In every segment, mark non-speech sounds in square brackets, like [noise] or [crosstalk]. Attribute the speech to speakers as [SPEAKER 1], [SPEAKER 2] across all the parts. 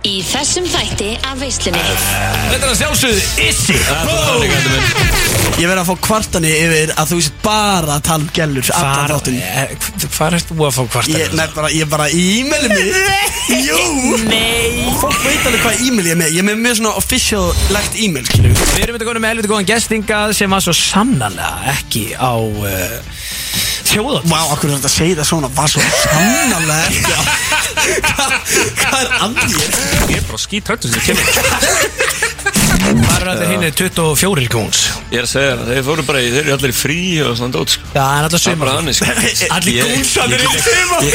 [SPEAKER 1] Í þessum þætti af veislunni
[SPEAKER 2] Þetta er að sjálfsögðu Issi
[SPEAKER 3] Ég verð að fá kvartani yfir að þú sett bara að tala um gellur Allan þáttinn
[SPEAKER 2] eh, Hvað ert þú að fá
[SPEAKER 3] Ég,
[SPEAKER 2] kvartar?
[SPEAKER 3] nei, bara, ég bara e-maili [laughs] mig Jú
[SPEAKER 2] Nei
[SPEAKER 3] Fólk veit alveg hvað e-mail ég er með Ég er með mjög svona official lagt e-mail skilju
[SPEAKER 2] Við erum þetta konum með helviti góðan gestingað sem var svo sannanlega ekki á uh, þjóðat
[SPEAKER 3] Vá, akkur er þetta að segja þetta svona Var svo sannarlega [laughs] ekki á- Hvað hvað er andið?
[SPEAKER 4] Ég er bara skítrættur sem ég kemur
[SPEAKER 2] Hvað eru þetta hinn 24 kúns?
[SPEAKER 4] Ég er að segja það, þeir fóru bara í, þeir eru allir í frí og svona dót sko.
[SPEAKER 2] Já, en alltaf
[SPEAKER 4] Það er
[SPEAKER 2] sumar
[SPEAKER 4] bara þannig sko.
[SPEAKER 2] Allir
[SPEAKER 4] Ég-
[SPEAKER 2] gúnsanir í
[SPEAKER 4] ég-
[SPEAKER 2] sumar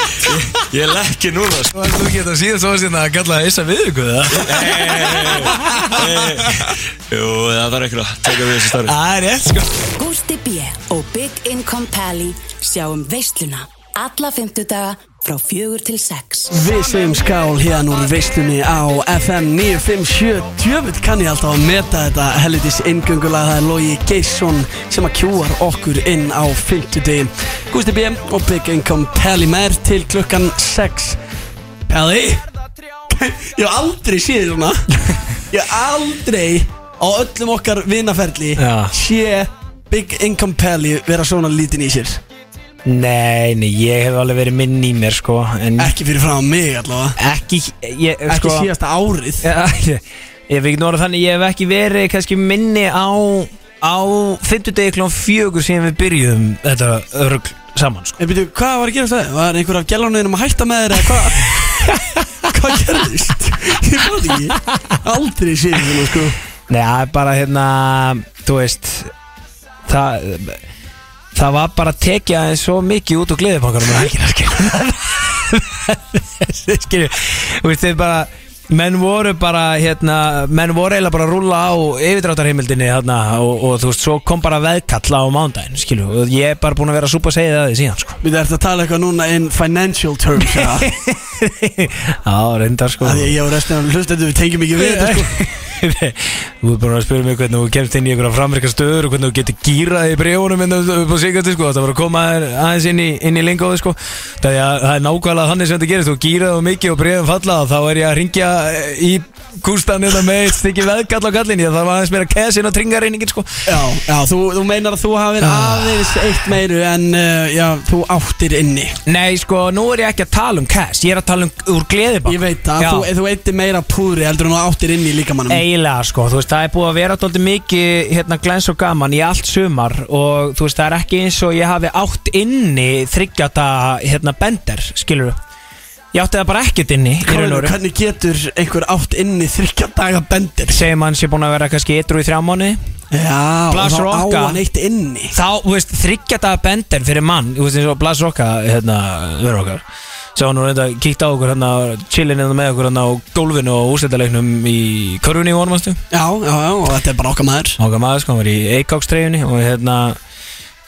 [SPEAKER 4] [laughs] Ég er ekki núna
[SPEAKER 2] [laughs]
[SPEAKER 4] sko.
[SPEAKER 2] Þú getur síðan svo að síðan að kalla Issa við ykkur það
[SPEAKER 4] Jú, það þarf ekkur að taka við þessu starfi
[SPEAKER 2] Það er rétt sko
[SPEAKER 5] Gústi B. og Big Income Pally sjáum um veisluna alla fymtudaga frá fjögur til sex.
[SPEAKER 3] Við segjum skál hérna úr veistunni á FM 957 Djöfitt kann ég alltaf að meta þetta helvitis inngöngulega Það er Logi Geisson sem að kjúar okkur inn á 50 degi Gústi B. og Big Income Peli Mær til klukkan 6 Peli [laughs] Ég hef aldrei séð þér svona Ég hef aldrei á öllum okkar vinaferli
[SPEAKER 2] Já.
[SPEAKER 3] sé Big Income Peli vera svona lítinn í sér
[SPEAKER 2] Nei, nei, ég hef alveg verið minn í mér sko En
[SPEAKER 3] Ekki fyrir frá mig allavega
[SPEAKER 2] ekki, ég,
[SPEAKER 3] Ekki
[SPEAKER 2] sko
[SPEAKER 3] síðasta árið
[SPEAKER 2] Já, [laughs] ég, ég hef ekki norað þannig, ég hef ekki verið kannski minni á á 50 degi klón fjögur síðan við byrjuðum þetta örgl saman sko.
[SPEAKER 3] En byrju, hvað var að gera það? Var einhver af gælunum að hætta með þér eða [laughs] hvað? hvað gerðist? Ég fóði ekki Aldrei séð þetta sko
[SPEAKER 2] Nei, það er bara hérna, þú veist það það var bara að tekja aðeins svo mikið út úr gleðibankanum að helgina [laughs] skilur skilur, þú veist þið bara menn voru bara hérna menn voru eiginlega bara að rúlla á yfirdráttarheimildinni þarna og, og þú veist svo kom bara veðkall á mándaginn skilur og ég er bara búin að vera að súpa að segja það því síðan sko [laughs]
[SPEAKER 3] Við ertu að tala eitthvað núna in financial terms [laughs] ja.
[SPEAKER 2] Já, reyndar sko
[SPEAKER 3] Því að ég og restina af hlustandi við tengjum ekki við þetta sko
[SPEAKER 2] Þú er bara að spyrja mig hvernig þú kemst inn í einhverja framverka stöður og hvernig þú getur gýrað í bregjónum en þú upp á sigandi sko, það var að koma þér aðeins inn í, inn í lengóðu sko það er, það er nákvæmlega þannig sem þetta gerist, þú gýrað þú mikið og bregjónum falla og þá er ég að ringja í kústan eða með eitt stykki veðgall á gallinni það var aðeins meira kessin og tringareiningin sko
[SPEAKER 3] Já, já, þú, þú meinar að þú hafi verið aðeins eitt meiru en uh, já, þú áttir inni
[SPEAKER 2] Nei sko, nú er ég ekki að tala um kess, ég er að tala um úr gleðibann
[SPEAKER 3] Ég veit það, þú, þú eittir meira púðri heldur en þú áttir inni líka mannum
[SPEAKER 2] Eiginlega sko, þú veist, það er búið að vera alltaf mikið hérna glens og gaman í allt sumar og þú veist, það er ekki eins og ég hafi átt inni þryggjata hérna bender, skilur Ég átti það bara ekkert inni í raun og veru.
[SPEAKER 3] Hvernig getur einhver átt inni þryggja daga bendir?
[SPEAKER 2] Segir mann sé búin að vera kannski ytrú í þrjá mánu
[SPEAKER 3] Já,
[SPEAKER 2] Blas
[SPEAKER 3] og þá
[SPEAKER 2] Rocka.
[SPEAKER 3] á hann eitt inni
[SPEAKER 2] Þá, þú veist, þryggjata bender fyrir mann, þú veist, eins og Blas Rokka, hérna, verður okkar sem hann nú reynda kíkt á okkur hérna chillin hérna með okkur hérna á gólfinu og úrstættaleiknum í körfunni í vormastu
[SPEAKER 3] Já, já, já, og þetta er bara okkar maður
[SPEAKER 2] Háka maður sko, hann var í Eikoks treyjunni og hérna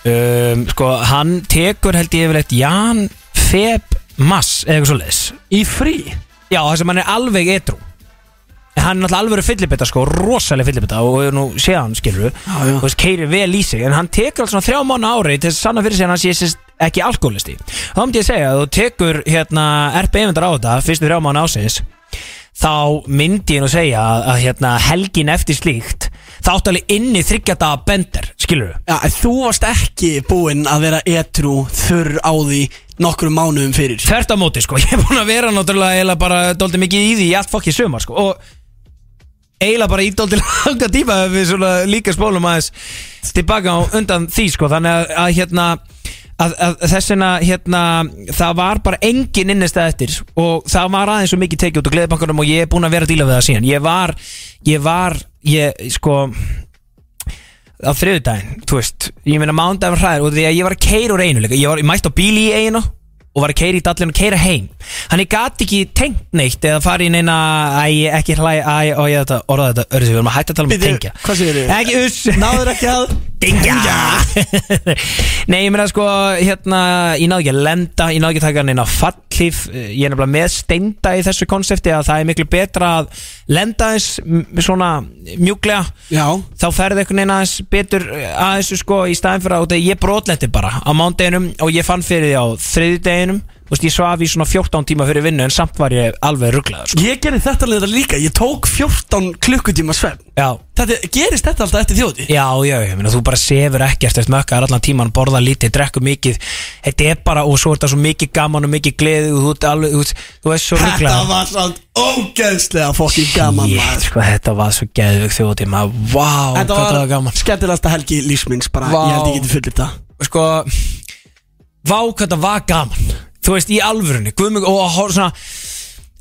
[SPEAKER 2] um, sko, hann tekur held ég yfirleitt Jan Feb Mass eða eitthvað svo leiðis
[SPEAKER 3] Í frí?
[SPEAKER 2] Já, það sem hann er alveg edru En hann er náttúrulega alveg fyllibita sko, rosalega fyllibita og við nú séð hann skilur
[SPEAKER 3] Já, já.
[SPEAKER 2] og þess keiri vel í sig en hann tekur alls svona þrjá mánu ári til þess að sanna fyrir sig að hann sé sérst ekki alkoholisti þá myndi ég segja að þú tekur hérna RPM-endar á þetta fyrstu þrjá mánu ásins þá myndi ég nú segja að, að hérna helgin eftir slíkt þá áttu alveg inni þryggjata bender skilur við
[SPEAKER 3] Já, en þú varst ekki búinn að vera etru þurr á því nokkrum mánuðum fyrir
[SPEAKER 2] Þvert á móti sko, [laughs] ég er búin að vera náttúrulega eiginlega bara dóldi mikið í því í allt fokk í sumar sko og eiginlega bara í dóldi [laughs] langa tíma ef við svona líka spólum aðeins tilbaka á undan því sko þannig að, að hérna að, að þess vegna hérna það var bara engin innistæð eftir og það var aðeins svo mikið tekið út og gleðibankunum og ég er búin að vera að díla við það síðan ég var, ég var, ég sko á þriðudaginn, þú veist ég meina mándaginn hræður og því að ég var að keira úr einu líka, ég var ég mætt á bíli í einu og var að keira í dallinu og keira heim hann ég gati ekki tengt neitt eða fari inn eina, æ, ekki hlæ æ, og ég þetta, orða þetta, örðu við erum að hætta að tala um að
[SPEAKER 3] Bíddu,
[SPEAKER 2] tengja
[SPEAKER 3] hvað segirðu?
[SPEAKER 2] Ekki, uss
[SPEAKER 3] Náður ekki að
[SPEAKER 2] Dingja [laughs] Nei, ég meina sko, hérna Ég náðu ekki að lenda, ég náðu ekki að taka hann inn á fallif Ég er nefnilega með steinda í þessu konsepti að það er miklu betra að lenda eins m- svona mjúklega
[SPEAKER 3] Já,
[SPEAKER 2] þá ferði einhvern veginn aðeins betur eh, aðeins sko í staðin fyrir að út af- ég brotletti bara á mándeginum og ég fann fyrir því á þriðdeginum þú veist, ég svaf í svona 14 tíma fyrir vinnu en samt var ég alveg rugglaður sko.
[SPEAKER 3] Ég gerði þetta leita líka, ég tók 14 klukkutíma svefn
[SPEAKER 2] Já,
[SPEAKER 3] Þetta, gerist þetta alltaf eftir þjóti?
[SPEAKER 2] já, já, ég meina, þú bara sefur ekkert eftir mökkar allan tíman, borða lítið, drekku mikið Þetta er bara, og svo er þetta svo mikið gaman og mikið gleði og þú, ert alveg, þú, veist- þú veist svo
[SPEAKER 3] Þetta
[SPEAKER 2] rugglaður
[SPEAKER 3] var samt ógeðslega fokkin gaman
[SPEAKER 2] Ég,
[SPEAKER 3] maður
[SPEAKER 2] sko, þetta var svo geðvig þjóðtíma Vá,
[SPEAKER 3] Þetta
[SPEAKER 2] hvað þetta var
[SPEAKER 3] var
[SPEAKER 2] gaman sko.
[SPEAKER 3] skemmtilegasta helgi lífsminns bara,
[SPEAKER 2] Vá.
[SPEAKER 3] ég held ég geti fullir það
[SPEAKER 2] sko Vá hvað það var gaman Þú veist, í alvörunni Guðmig, og, og svona,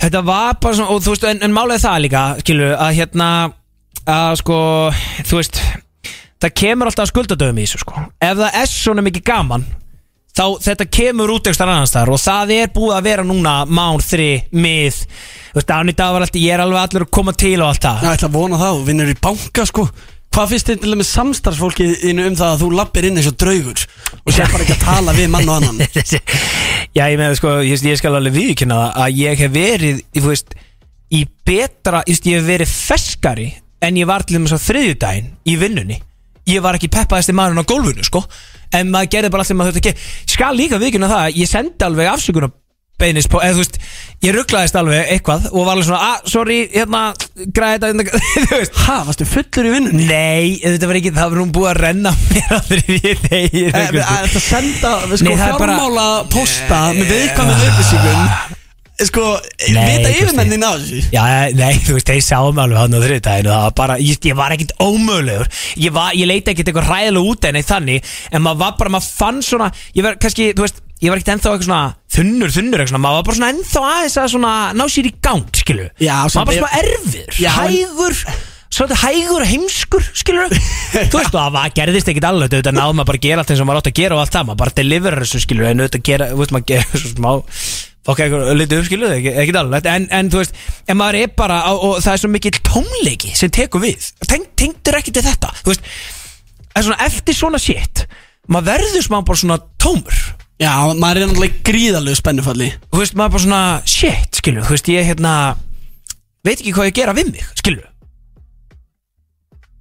[SPEAKER 2] Þetta var bara svona og, þú veist, en, en málega það líka skilur, að hérna að sko, þú veist það kemur alltaf skuldadöfum í þessu sko ef það er svona mikið gaman þá þetta kemur út ekstra annars þar og það er búið að vera núna mán þri, mið, þú veist, án í dag var alltaf ég er alveg allur að koma til og allt það
[SPEAKER 3] Já, ég ætla að vona það, þú vinnur í banka sko Hvað finnst þið til með samstarfsfólkið innu um það að þú lappir inn eins og draugur og sér bara ekki að tala við mann og annan [laughs]
[SPEAKER 2] [laughs] Já, ég meina sko, ég, ég skal alveg viðkynna það að ég hef verið, ég, þú veist, í betra, ég, veist, ég hef verið feskari en ég var til þess að þriðjudaginn í vinnunni. Ég var ekki peppaðasti maðurinn á gólfinu, sko, en maður gerði bara allt sem maður þurfti að gera. Ég Skal líka viðkynna það að ég sendi alveg afsökunar beinis på, eða þú veist, ég rugglaðist alveg eitthvað og var alveg svona, ah, sorry, hérna, græði þetta, hérna," [laughs] þú veist.
[SPEAKER 3] Ha, varstu fullur í vinnunni?
[SPEAKER 2] Nei, þetta var ekki, það var hún búið að renna mér að því ég þegir.
[SPEAKER 3] Eh, við- að Þetta senda, við sko,
[SPEAKER 2] Nei, það er bara- Eh,
[SPEAKER 3] fjármála posta með viðkvæmum upplýsingum Eh, Sko,
[SPEAKER 2] Nei,
[SPEAKER 3] vita
[SPEAKER 2] Gusti.
[SPEAKER 3] yfirmennin á þessu
[SPEAKER 2] Já, eh, nei, þú veist, þeir sáum alveg hann á þriðdæðinu Það var bara, ég, ég var ekkit ómögulegur Ég, var, ég leita ekkit eitthvað ræðilega út en eitt þannig En maður var bara, maður fann svona Ég var kannski, þú veist, ég var ekkit ennþá eitthvað svona Þunnur, þunnur, eitthvað svona Maður var bara svona ennþá aðeins að svona Ná sér í gang, skilu
[SPEAKER 3] Já,
[SPEAKER 2] Maður
[SPEAKER 3] samt
[SPEAKER 2] var bara
[SPEAKER 3] er-
[SPEAKER 2] svona erfir,
[SPEAKER 3] Já, en-
[SPEAKER 2] hægur Svona hægur og heimskur, skilur Þú veist, það var- gerðist ekkit alveg Þetta náðum maður bara að gera allt eins og maður átt að gera og allt það Maður bara deliverar þessu, skilur En auðvitað gera, þú veist, maður gera [laughs] svo smá fokk eitthvað litið upp skiluðu, ekki, ekki alveg en, en þú veist, en maður er bara á, og það er svo mikill tómleiki sem tekur við Teng, tengdur ekki til þetta þú veist, en svona eftir svona shit maður verður smá bara svona tómur
[SPEAKER 3] Já, maður er náttúrulega gríðalegu spennufalli
[SPEAKER 2] þú veist, maður er bara svona shit, skilu, þú veist, ég hérna veit ekki hvað ég gera við mig, skilu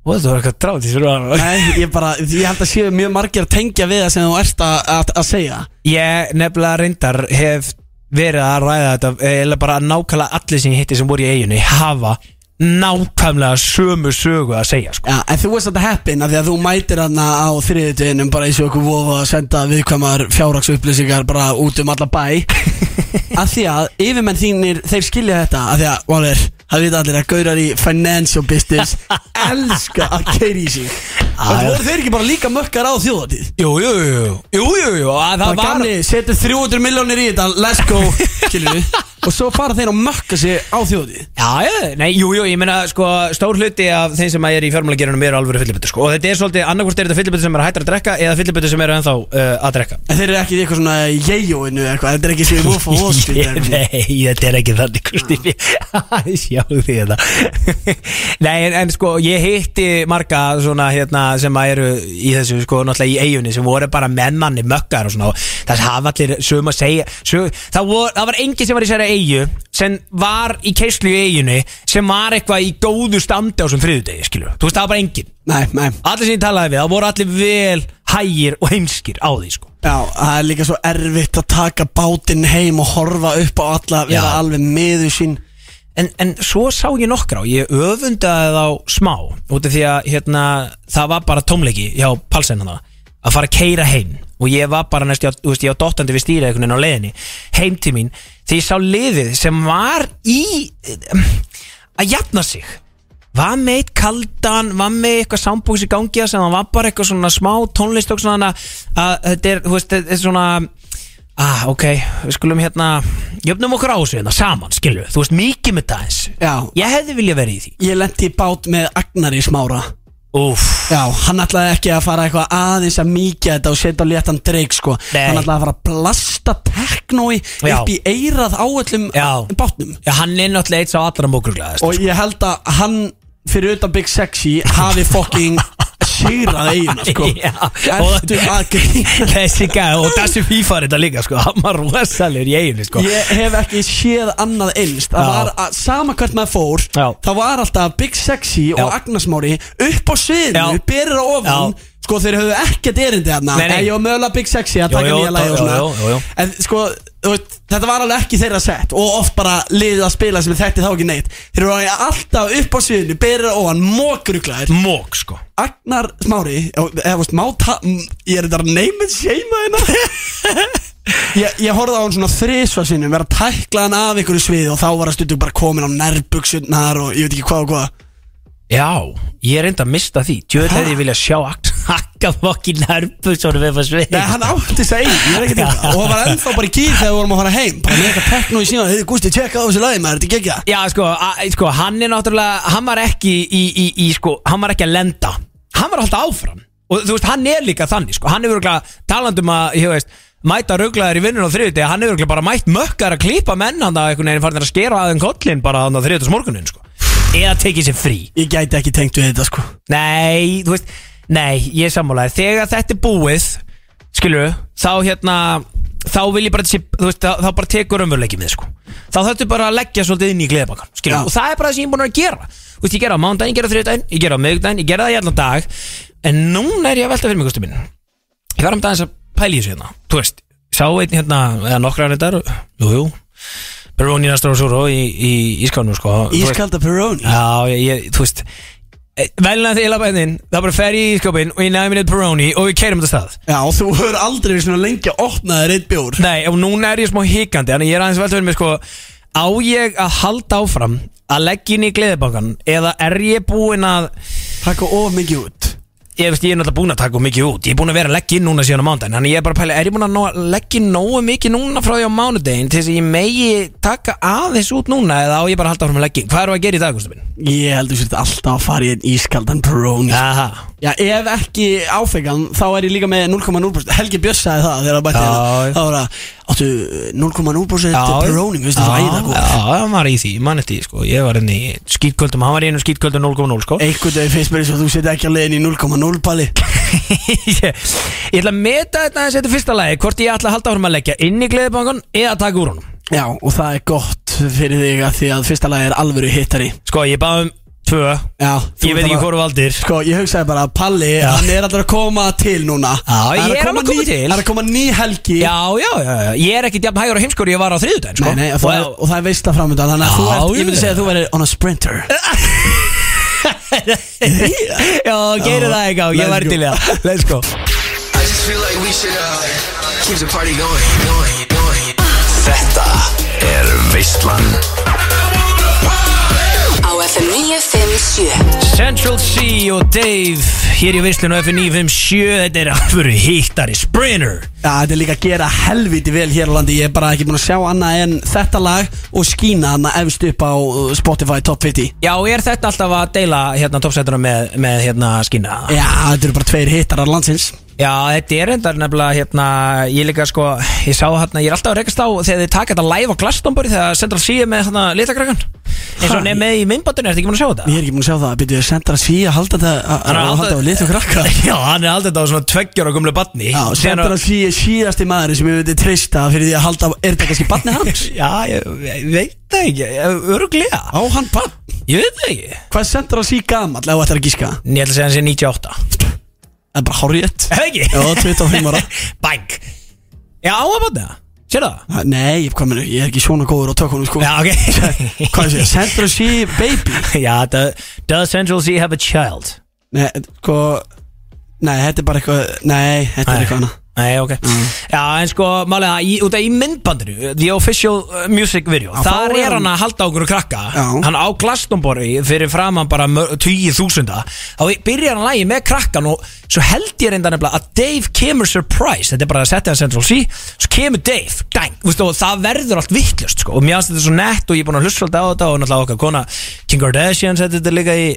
[SPEAKER 2] og þetta var eitthvað drátt í sér
[SPEAKER 3] Nei, ég bara, ég held að séu mjög margir að tengja við það sem þú ert að, að, að segja
[SPEAKER 2] ég nefnilega reyndar hef verið að ræða þetta eða bara nákvæmlega allir sem ég hitti sem voru í eiginni hafa nákvæmlega sömu sögu að segja sko.
[SPEAKER 3] Já, en þú veist þetta heppin að því að þú mætir hana á þriðutinum bara eins og okkur vofa að senda viðkvæmar fjárraksupplýsingar bara út um alla [laughs] bæ að því að yfirmenn þínir þeir skilja þetta að því að, Valur, það vita allir að gaurar í financial [laughs] business elska að keiri í sig og þú voru þeir ekki bara líka mökkar á þjóðatíð
[SPEAKER 2] Jú, jú, jú, jú, jú, jú að
[SPEAKER 3] Það
[SPEAKER 2] það
[SPEAKER 3] var
[SPEAKER 2] var
[SPEAKER 3] gamli, setur 300 miljónir í þetta, let's [laughs] go, skilju Og svo fara þeir og mökka sig á þjóðatíð
[SPEAKER 2] Já, já, nei, jú, jú, ég meina sko, stór hluti af þeim sem að ég er í fjármálagerunum eru alveg fyllibötu sko. og þetta er svolítið, annarkvort er þetta fyllibötu sem er hættar að drekka eða fyllibötu sem eru ennþá uh, að drekka
[SPEAKER 3] En þeir eru ekki í eitthvað svona jejóinu eða eitthvað, þetta er ekki sér Wolf of Wall Street eða
[SPEAKER 2] Ég-
[SPEAKER 3] eitthvað.
[SPEAKER 2] Nei, þetta er ekki þannig Kristi [laughs] Sjáðu því þetta [laughs] Nei, en, en sko, ég hitti marga svona, hérna, sem að eru í þessu, sko, náttúrulega í eigunni sem voru bara mennanni mökkar og svona og það hafa allir sögum að segja sög, það, vor, það var engin sem var í sér eigu sem var í keislu í eigunni sem var eitthvað í góðu standi á sem þriðudegi, skilur, þú veist, það var bara engin
[SPEAKER 3] Nei, nei
[SPEAKER 2] Allir sem ég talaði við, það voru allir vel hægir og heimskir á því, sko
[SPEAKER 3] Já, það er líka svo erfitt að taka bátinn heim og horfa upp á alla vera
[SPEAKER 2] Já.
[SPEAKER 3] alveg miður sín
[SPEAKER 2] En, en svo sá ég nokkra og ég öfundaði þá smá út af því að hérna, það var bara tómleiki hjá Palsen hann að fara að keira heim og ég var bara næst, ég, veist, ég var dottandi við stýra einhvern veginn á leiðinni heim til mín því ég sá liðið sem var í að jafna sig var með eitt kaldan, var með eitthvað sambúks í gangi að sem það var bara eitthvað svona smá tónlist og svona að að þetta er, þú veist, þetta er svona ah, ok, við skulum hérna jöfnum okkur á þessu hérna saman, skilju þú veist, mikið með það eins
[SPEAKER 3] Já.
[SPEAKER 2] ég hefði viljað verið í því
[SPEAKER 3] Ég lendi í bát með Agnar í smára
[SPEAKER 2] Úf,
[SPEAKER 3] Já, hann ætlaði ekki að fara eitthvað aðeins að mýkja þetta og setja á léttan dreik sko
[SPEAKER 2] Nei.
[SPEAKER 3] Hann ætlaði að fara að blasta teknói
[SPEAKER 2] Já.
[SPEAKER 3] upp í eirað á öllum
[SPEAKER 2] Já.
[SPEAKER 3] bátnum
[SPEAKER 2] já, hann er náttúrulega eitt sá allra sko. mókurglæðast
[SPEAKER 3] Og ég held að hann fyrir utan Big Sexy hafi fucking sigrað eigina sko
[SPEAKER 2] [laughs] Já.
[SPEAKER 3] Ertu að grína
[SPEAKER 2] [laughs] þessi gæð og þessi FIFA er þetta líka sko, hann var rosalur í eiginu sko.
[SPEAKER 3] Ég hef ekki séð annað einst Það
[SPEAKER 2] Já.
[SPEAKER 3] var að sama hvert maður fór
[SPEAKER 2] Já.
[SPEAKER 3] Það var alltaf Big Sexy og
[SPEAKER 2] Já.
[SPEAKER 3] Agnes Mári Upp á sviðinu,
[SPEAKER 2] Já.
[SPEAKER 3] berir á ofan
[SPEAKER 2] Já.
[SPEAKER 3] Sko þeir höfðu ekkert erindi hérna
[SPEAKER 2] Nei, nei.
[SPEAKER 3] En ég var mögulega Big Sexy að
[SPEAKER 2] Jú,
[SPEAKER 3] taka
[SPEAKER 2] jú,
[SPEAKER 3] nýja lagi og
[SPEAKER 2] jú,
[SPEAKER 3] svona
[SPEAKER 2] jú, jú, jú.
[SPEAKER 3] En sko þú veist, þetta var alveg ekki þeirra sett og oft bara liðið að spila sem þekkti þá ekki neitt þeir eru alveg alltaf upp á sviðinu berið ofan, mókruglaðir
[SPEAKER 2] Mók sko
[SPEAKER 3] Agnar Smári og- eða þú veist, má ta m- ég er þetta neymið seima hérna [laughs] ég, ég horfði á hann svona þrisvar sinnum vera tæklaðan af einhverju sviði og þá var að stundum bara komin á nærbuksunnar og ég veit ekki hvað og hvað
[SPEAKER 2] Já, ég er enda að mista því Tjóðið
[SPEAKER 3] Ha?
[SPEAKER 2] hefði ég vilja sjá [laughs] Hakka fokki nærbuksónum við fann svið
[SPEAKER 3] Nei, hann átti þess að einn, ég er ekkert eitthvað Og hann var ennþá bara í kýr þegar við vorum að fara heim Bara með eitthvað tekno í síma, heiði Gústi, tjekka á þessu lagi maður, þetta er geggjað
[SPEAKER 2] Já, sko, a, sko, hann er náttúrulega Hann var ekki í, í, í, sko Hann var ekki að lenda Hann var að halda áfram Og þú veist, hann er líka þannig, sko Hann er örugglega talandi um að, ég veist Mæta rugglaðir í vinnun á þriðutegi Hann er örugglega bara mætt mökkar að klípa menn Hann að einhvern veginn farin að skera aðeins kollin Bara hann á þriðutus morgunin, sko Eða tekið sér frí
[SPEAKER 3] Ég gæti ekki tengt við þetta sko
[SPEAKER 2] Nei, þú veist Nei, ég er sammálaði Þegar þetta er búið Skilur Þá hérna Þá vil ég bara sé, Þú veist Þá, þá bara tekur umveruleikið mið sko Þá þarftu bara að leggja svolítið inn í gleðbakkan Skilur
[SPEAKER 3] Já.
[SPEAKER 2] Og það er bara það sem ég er búin að gera Þú veist, ég gera á mándaginn Ég gera á þriðdaginn Ég gera á miðugdaginn Ég gera það í allan dag En núna er ég að velta fyrir mig, Gusti minn Ég var um dagins að pæli þessu hérna Þú veist Sá einn hérna Eða nokkra hann þetta Jú, jú Peroni Nastrosuro í, í, í skánu sko Þú veist-
[SPEAKER 3] Ískalda Peroni
[SPEAKER 2] Já, ég, ég, þú veist e, Velna þegar ég lappa hennin Það bara fer ég í skopin og ég næmi neitt Peroni Og við keirum þetta stað
[SPEAKER 3] Já, og þú hefur aldrei verið svona lengi að opna þér eitt bjór
[SPEAKER 2] Nei, og núna er ég smá hikandi Þannig ég er aðeins veldur með sko Á ég að halda áfram að leggja inn í gleðibankan Eða er ég búinn að
[SPEAKER 3] Takk og of mikið út
[SPEAKER 2] Ég veist, ég er náttúrulega búinn að taka of mikið út Ég er búinn að vera að leggja inn núna síðan á mánudaginn Þannig ég er bara að pæla, er ég búinn að ná- leggja inn nógu mikið núna frá því á mánudaginn Til þess að ég megi taka aðeins út núna Eða á ég bara að halda áfram að leggja inn Hvað eru að gera í dag, Gustaf minn?
[SPEAKER 3] Ég heldur sér þetta alltaf að fara í einn ískaldan Peroni
[SPEAKER 2] Aha.
[SPEAKER 3] Já, ef ekki áfengan, þá er ég líka með 0,0% Helgi Björns sagði það þegar að bætti
[SPEAKER 2] Já,
[SPEAKER 3] hérna
[SPEAKER 2] já.
[SPEAKER 3] Þá var það, áttu 0,0% Peroni, veistu það, sko." æða góð
[SPEAKER 2] Já, hann var í því, mann eftir, því, sko Ég var henni í skýtköldum, hann var í einu skýtköldum 0,0 sko
[SPEAKER 3] Einhvern veginn finnst mér eins og þú setja ekki alveg inn í 0,0 pali
[SPEAKER 2] [laughs] Ég ég ætla að meta þetta aðeins þetta fyrsta lagi Hvort ég ætla að halda áfram að leggja inn í gleðibankan Eða taka úr honum
[SPEAKER 3] Já, og það er gott fyrir þig að því að fyrsta lagi er alvöru hittari
[SPEAKER 2] Sko, ég bað um tvö
[SPEAKER 3] Já,
[SPEAKER 2] Ég veit
[SPEAKER 3] þú ert
[SPEAKER 2] ekki
[SPEAKER 3] alveg-
[SPEAKER 2] hvort valdir
[SPEAKER 3] Sko, ég hugsaði bara að Palli, hann er alltaf að koma til núna
[SPEAKER 2] Já,
[SPEAKER 3] Það
[SPEAKER 2] ég er alveg að koma
[SPEAKER 3] ný,
[SPEAKER 2] til.
[SPEAKER 3] Það er að koma ný helgi
[SPEAKER 2] Já, já, já, já, ég er ekkit jafn hægur á heimskori Ég var á þriðudaginn, sko
[SPEAKER 3] Nei, nei, og, það er, og það er veistla framöndan Þannig að þú
[SPEAKER 2] Já,
[SPEAKER 3] ert, ég myndi
[SPEAKER 2] ég-
[SPEAKER 3] segja að þú verður on a sprinter
[SPEAKER 2] [laughs] Já, gerir það ekki á,
[SPEAKER 3] [laughs] Let's
[SPEAKER 2] ég var
[SPEAKER 3] go.
[SPEAKER 2] til í það Let's go
[SPEAKER 6] I just feel like we should uh, keep the party going, going, going.
[SPEAKER 7] Þetta er Veislan
[SPEAKER 5] Á FM 957
[SPEAKER 2] Central C og Dave Hér í veislinu F957 Þetta er alvöru hittari Sprinter
[SPEAKER 3] Já, þetta er líka að gera helviti vel hér á landi Ég er bara ekki búin að sjá annað en þetta lag Og skína hann að efst upp á uh, Spotify Top 50
[SPEAKER 2] Já, er þetta alltaf að deila hérna toppsætuna með, með hérna skýna?
[SPEAKER 3] Já, þetta eru bara tveir hittarar landsins
[SPEAKER 2] Já, þetta er endar nefnilega hérna, ég líka sko, ég sá hérna, ég er alltaf að rekast á þegar þið taka þetta live á Glastonbury þegar Central C er með hérna litakrakkan eins og
[SPEAKER 3] Ha,
[SPEAKER 2] nefnið í myndbandinu, ertu ekki mann að sjá þetta?
[SPEAKER 3] Ég er ekki búin að sjá það, byrjuðu að senda að síja Halda þetta að-
[SPEAKER 2] Hann er
[SPEAKER 3] að halda
[SPEAKER 2] alltaf-
[SPEAKER 3] á lit og [laughs] krakka
[SPEAKER 2] [laughs] Já, hann er alltaf á svona tveggjóra gumlu batni
[SPEAKER 3] Já, Sandra Sì er síðasti maður sem ég veit treysta fyrir því að halda, er þetta kannski barnið hans?
[SPEAKER 2] [laughs] Já, ég, ég veit það ekki, öruglega
[SPEAKER 3] [laughs] Á hann barn?
[SPEAKER 2] Ég veit það ekki
[SPEAKER 3] Hvað er Sandra Sì gamall, ef þetta er að gíska?
[SPEAKER 2] En Ég ætla að segja hann sé 98
[SPEAKER 3] Það er bara horrið
[SPEAKER 2] Hef ekki?
[SPEAKER 3] Já,
[SPEAKER 2] [laughs]
[SPEAKER 3] 25 ára [laughs]
[SPEAKER 2] Bang Já, á að batna, sér það?
[SPEAKER 3] Ha, Nei, ég, hvað meina, ég er ekki svona góður á tökunum sko
[SPEAKER 2] Já, [laughs] ok
[SPEAKER 3] Hvað er þetta? Sandra Sì baby?
[SPEAKER 2] [laughs] Já, do- does Central C have a child?
[SPEAKER 3] Nei, sko Nei, þetta er bara eitthvað Nei, þetta er
[SPEAKER 2] Nei.
[SPEAKER 3] eitthvað annað
[SPEAKER 2] Nei, ok Já, en sko, málega, í, út af í myndbandinu The Official uh, Music Video
[SPEAKER 3] Já,
[SPEAKER 2] Þar
[SPEAKER 3] þá er
[SPEAKER 2] er hann
[SPEAKER 3] hann-
[SPEAKER 2] að halda okkur og krakka
[SPEAKER 3] Já.
[SPEAKER 2] Hann á Glastonbury fyrir framan bara tíu þúsunda Þá byrjar hann lagi með krakkan og svo held ég reynda nefnilega að Dave kemur surprise Þetta er bara að setja hann Central C Svo kemur Dave, dang, Vistu, og það verður allt vittlust sko. Og mér finnst þetta svo nett og ég er búin að hlusta alltaf á þetta Og náttúrulega okkar kona King Kardashian setti þetta líka í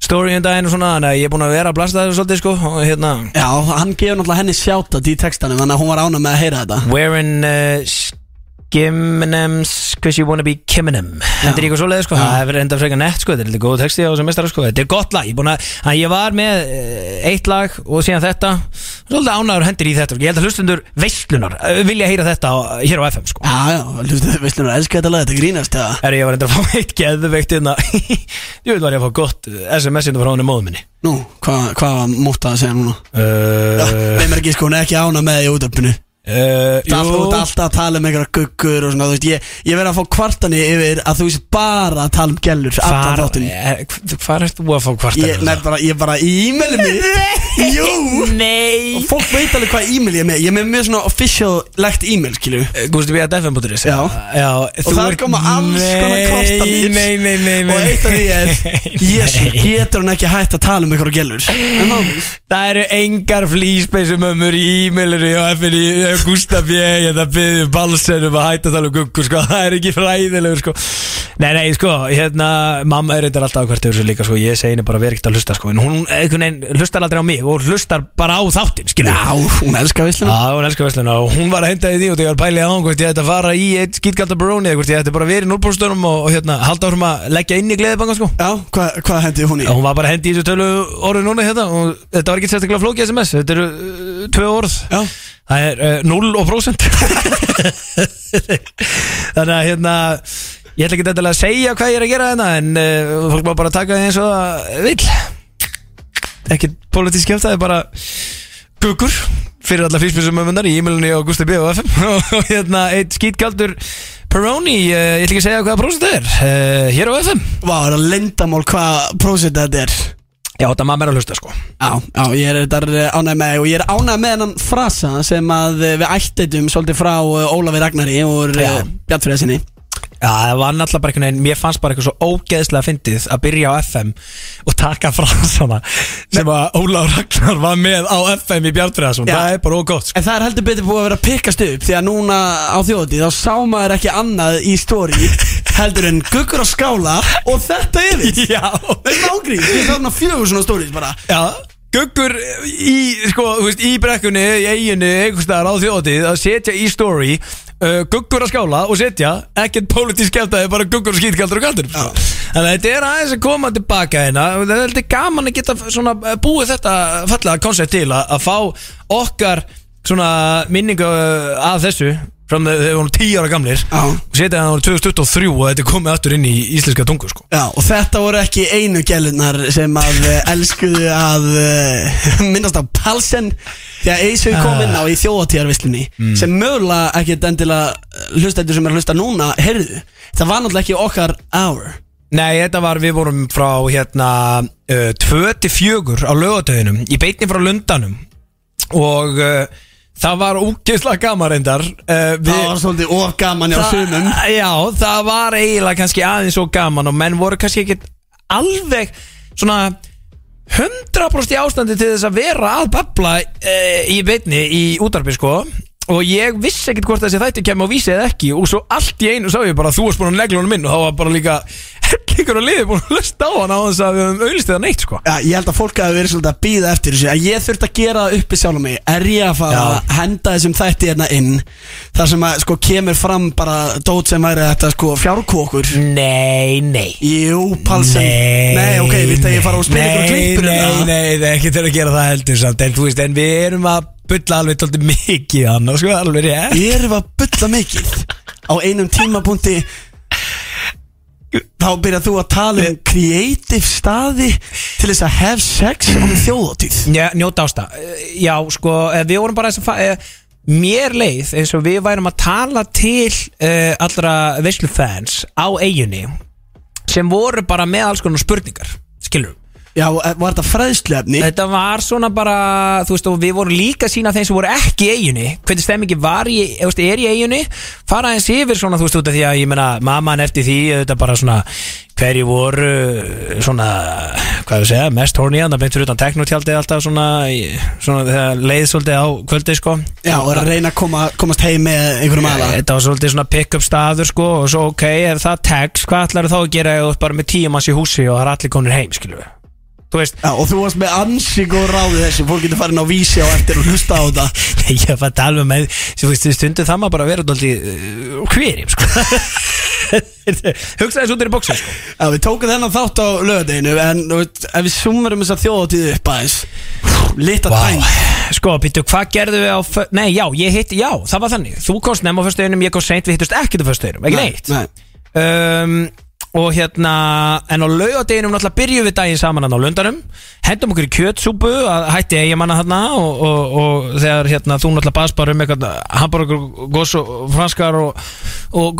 [SPEAKER 2] story um daginn og svona Þannig að ég er búin að vera að blasta þetta svolítið sko, og, hérna,
[SPEAKER 3] Já, hann gefur náttúrulega henni sjáta í textanum Þannig að hún var ána með að heyra þetta
[SPEAKER 2] Wearing uh, Skimnems Cause you wanna be Kiminem Þetta er eitthvað svoleiði sko Það hefur enda frekar nett sko Þetta er eitthvað góð texti á þessum mestara sko Þetta er gott lag Ég, er búinn að, að ég var með uh, eitt lag og síðan þetta Svolítið ánægur hendur í þetta sko. Ég held að hlustundur veistlunar vilja heyra þetta á, hér á FM sko
[SPEAKER 3] Já, já, hlustu, veistu nú, elsku þetta lag, þetta grínast eða?
[SPEAKER 2] Herri, ég var enda að fá eitt geðveikt [laughs] inna Ég veit var ég að fá gott eh, SMS inna hérna frá hann í móðum minni
[SPEAKER 3] Nú, hvað hva mótt að segja núna?
[SPEAKER 2] uh,
[SPEAKER 3] Nei, mér ekki sko, hún er ekki ána með í útöppinu
[SPEAKER 2] Uh,
[SPEAKER 3] Það er alltaf, þú ert alltaf að tala um einhverja guggur og svona, þú veist, ég, ég verð að fá kvartani yfir að þú veist bara að tala um gellur allan
[SPEAKER 2] Hvar,
[SPEAKER 3] þáttinn.
[SPEAKER 2] eh, hvar ert þú að fá
[SPEAKER 3] Ég,
[SPEAKER 2] kvartanir? [laughs]
[SPEAKER 3] nei, bara, ég bara í e-mailið mitt Jú
[SPEAKER 2] Nei
[SPEAKER 3] Og fólk veit alveg hvað e-mail ég er með Ég er með mjög svona official-legt e-mail, skilju
[SPEAKER 2] Eh, Gústi B.A. Defen.is
[SPEAKER 3] Já.
[SPEAKER 2] Já
[SPEAKER 3] Og það koma alls konar kvartanir
[SPEAKER 2] Nei, nei, nei, nei
[SPEAKER 3] Og eitt af því
[SPEAKER 2] [laughs] Nei,
[SPEAKER 3] er Jésu,
[SPEAKER 2] nei.
[SPEAKER 3] getur hann ekki hætt að tala um einhverja gellur En þá,
[SPEAKER 2] Það eru engar flýspeysumömmur í e-mailinu og FN í Gustaf ég ég það byggðu hérna balsen um að hætta að tala um guggu sko, [laughs] það er ekki fræðilegur sko Nei, nei, sko, hérna mamma er reyndar alltaf hvert þessu líka sko, ég segi henni bara verið ekkert að hlusta sko, en hún einhvern veginn hlustar aldrei á mig og hlustar bara á þáttinn, skilju
[SPEAKER 3] já, hún elskar vissluna
[SPEAKER 2] Já, hún elskar vesluna og hún var að henda í því og þegar ég var að pæla í án hvort ég ætti að fara í eitt skýtgalda baróni eða hvort ég ætti bara að vera í núlbúrstunum og, og hérna, halda áfram að leggja inn í gleðibanga sko
[SPEAKER 3] Já, hvað hva hendi hún í?
[SPEAKER 2] og hún var bara að hendi í þessu tölu orðu núna hérna og þetta var ekki sérstaklega flóki SMS þetta eru uh, tvö orð
[SPEAKER 3] Já.
[SPEAKER 2] það er uh, 0 og prósent [laughs] þannig að hérna ég ætla ekki þetta að segja hvað ég er að gera hérna en uh, fólk má bara taka því eins og það vil ekki pólitísk kjöfta, það er bara guggur fyrir alla físmisumöfunnar í e-mailunni á Gusti B og FM [laughs] og hérna eitt skýtkaldur Peroni, uh, ég ætla ekki að segja hvaða prósent það er uh, hér á FM
[SPEAKER 3] Vá, það er að lendamál hvað prósent þetta er
[SPEAKER 2] Já, þetta maður er að hlusta sko
[SPEAKER 3] Já, já, ég er þetta ánægð með og ég er ánægð með hennan frasa sem að eh, við ættitum svolítið frá eh, Ólafi Ragnari eh, og
[SPEAKER 2] Já.
[SPEAKER 3] Bjartfriða sinni
[SPEAKER 2] Já, það var náttúrulega bara einhvern veginn Mér fannst bara eitthvað svo ógeðslega fyndið að byrja á FM og taka fransana sem að Óla Ragnar var með á FM í Bjartfriðarsson
[SPEAKER 3] Já.
[SPEAKER 2] Það er bara ógótt sko.
[SPEAKER 3] En það er heldur betur búið að vera að pikkast upp Því að núna á þjóðatið þá sá maður ekki annað í [laughs] stóri Heldur en guggur á skála og þetta yfir
[SPEAKER 2] Já
[SPEAKER 3] Þetta er ágríð, ég sá þarna fjögur svona stóri bara
[SPEAKER 2] Já Guggur í, sko, þú veist, í brekkunni, í eiginu, einhvers staðar á þjóðatið að setja í story uh, Guggur að skála og setja, ekkert pólitísk kjæftaði, bara guggur og skýtkaldur og kaldur Þannig að þetta er aðeins að koma tilbaka hérna og Það er þetta gaman að geta svona eh, búið þetta fallega koncept til að, að fá okkar svona minningu eh, að þessu Frá þegar við vorum 10 ára gamlir
[SPEAKER 3] Já.
[SPEAKER 2] og setja það voru 2023 og þetta er komið aftur inn í íslenska tungu sko
[SPEAKER 3] Já, og þetta voru ekki einu gælunar sem að eh, elskuðu að eh, [laughs] minnast á Palsen því að Eisu kom inn á í þjóðatíðarvislunni sem mögulega ekki endilega eh, hlustendur sem er að hlusta núna, heyrðu það var náttúrulega ekki okkar hour
[SPEAKER 2] Nei, þetta var, við vorum frá hérna uh, 24 á lögatöðinum í beitni frá Lundanum og uh, það var úkislega gaman reyndar uh, við,
[SPEAKER 3] Það var svolítið of gaman hjá sumum
[SPEAKER 2] það, Já, það var eiginlega kannski aðeins og gaman og menn voru kannski ekkit alveg svona 100% í ástandi til þess að vera að babla uh, í beitni í útarpi sko og ég vissi ekkit hvort þessi þættu kemur á vísi eða ekki og svo allt í einu sá ég bara þú varst búin að negla honum inn og þá var bara líka [laughs] hellingur og liði búin að hlusta á hann á þess að við höfum auðlist eða neitt sko
[SPEAKER 3] Já, ég held að fólk hafi verið svolítið að býða eftir þessu að ég þurft að gera það uppi sjálf mig er ég að fara
[SPEAKER 2] Já.
[SPEAKER 3] að henda þessum þætti hérna inn þar sem að sko kemur fram bara dót sem væri þetta sko fjárkókur
[SPEAKER 2] Nei, nei
[SPEAKER 3] Jú, Palsen Nei, ok, vilt að ég fara og spila
[SPEAKER 2] nei,
[SPEAKER 3] ykkur klippur
[SPEAKER 2] Nei, nei,
[SPEAKER 3] hérna?
[SPEAKER 2] nei, það er ekki til að gera það heldur samt En þú veist, en við erum að bulla alveg tólti mikið hann og sko alveg rétt
[SPEAKER 3] Ég er að bulla mikið á einum tímapunkti þá byrjar þú að tala um creative staði til þess að have sex um og þjóðatíð
[SPEAKER 2] Já, njóta ásta Já, sko, eh, við vorum bara þess að fa- eh, Mér leið eins og við værum að tala til uh, allra veislufans á eiginni sem voru bara með alls konar spurningar skilur
[SPEAKER 3] Já, var þetta fræðslefni?
[SPEAKER 2] Þetta var svona bara, þú veist, og við vorum líka að sína þeim sem voru ekki í eiginni hvernig stemmingi var í, eða, þú veist, er í eiginni fara eins yfir svona, þú veist, út af því að ég meina, mamman eftir því, þetta bara svona hverju voru svona, hvað við segja, mest horni þannig að beintur utan teknotjaldið alltaf svona, í- svona þegar leið svolítið á kvöldið, sko Eh,
[SPEAKER 3] Já, og er að reyna að koma, komast heim með einhverjum aðla
[SPEAKER 2] Þetta var svolítið svona pick-up staður sko og svo ok, ef það tekst, hvað ætlar þá að gera ef þú ert bara með tíum hans í húsi og það er allir konur heim, skilur við Þú veist,
[SPEAKER 3] Já, og þú varst með ansi góð ráði þessu Fólk getur farin á vísi á eftir og hlusta á þetta
[SPEAKER 2] Nei, [laughs] ég fann alveg með sem um þú veist, stundu það maður bara að vera alltaf uh, hverjum sko. [laughs] hugsaði þessu út í bóksin sko.
[SPEAKER 3] Já, við tókum þennan þátt á lögadeginu En þú veist, ef við summarum þess að þjóðatíð upp aðeins Lita wow. dæn
[SPEAKER 2] sko, býttu, hvað gerðu við á fö- nei, já, ég hitt, já, það var þannig þú komst nefn á föstuðinum, ég komst seint, við hittust ekkert á föstuðinum, ekki neitt
[SPEAKER 3] Nei,
[SPEAKER 2] um, og hérna, en á laugadeginum náttúrulega byrjum við daginn saman hann á lundanum hendum okkur í kjötsúpu að hætti eigimanna hann og, og, og þegar hérna, þú náttúrulega baðst bara um eitthvað hamburgur, gos og franskar og,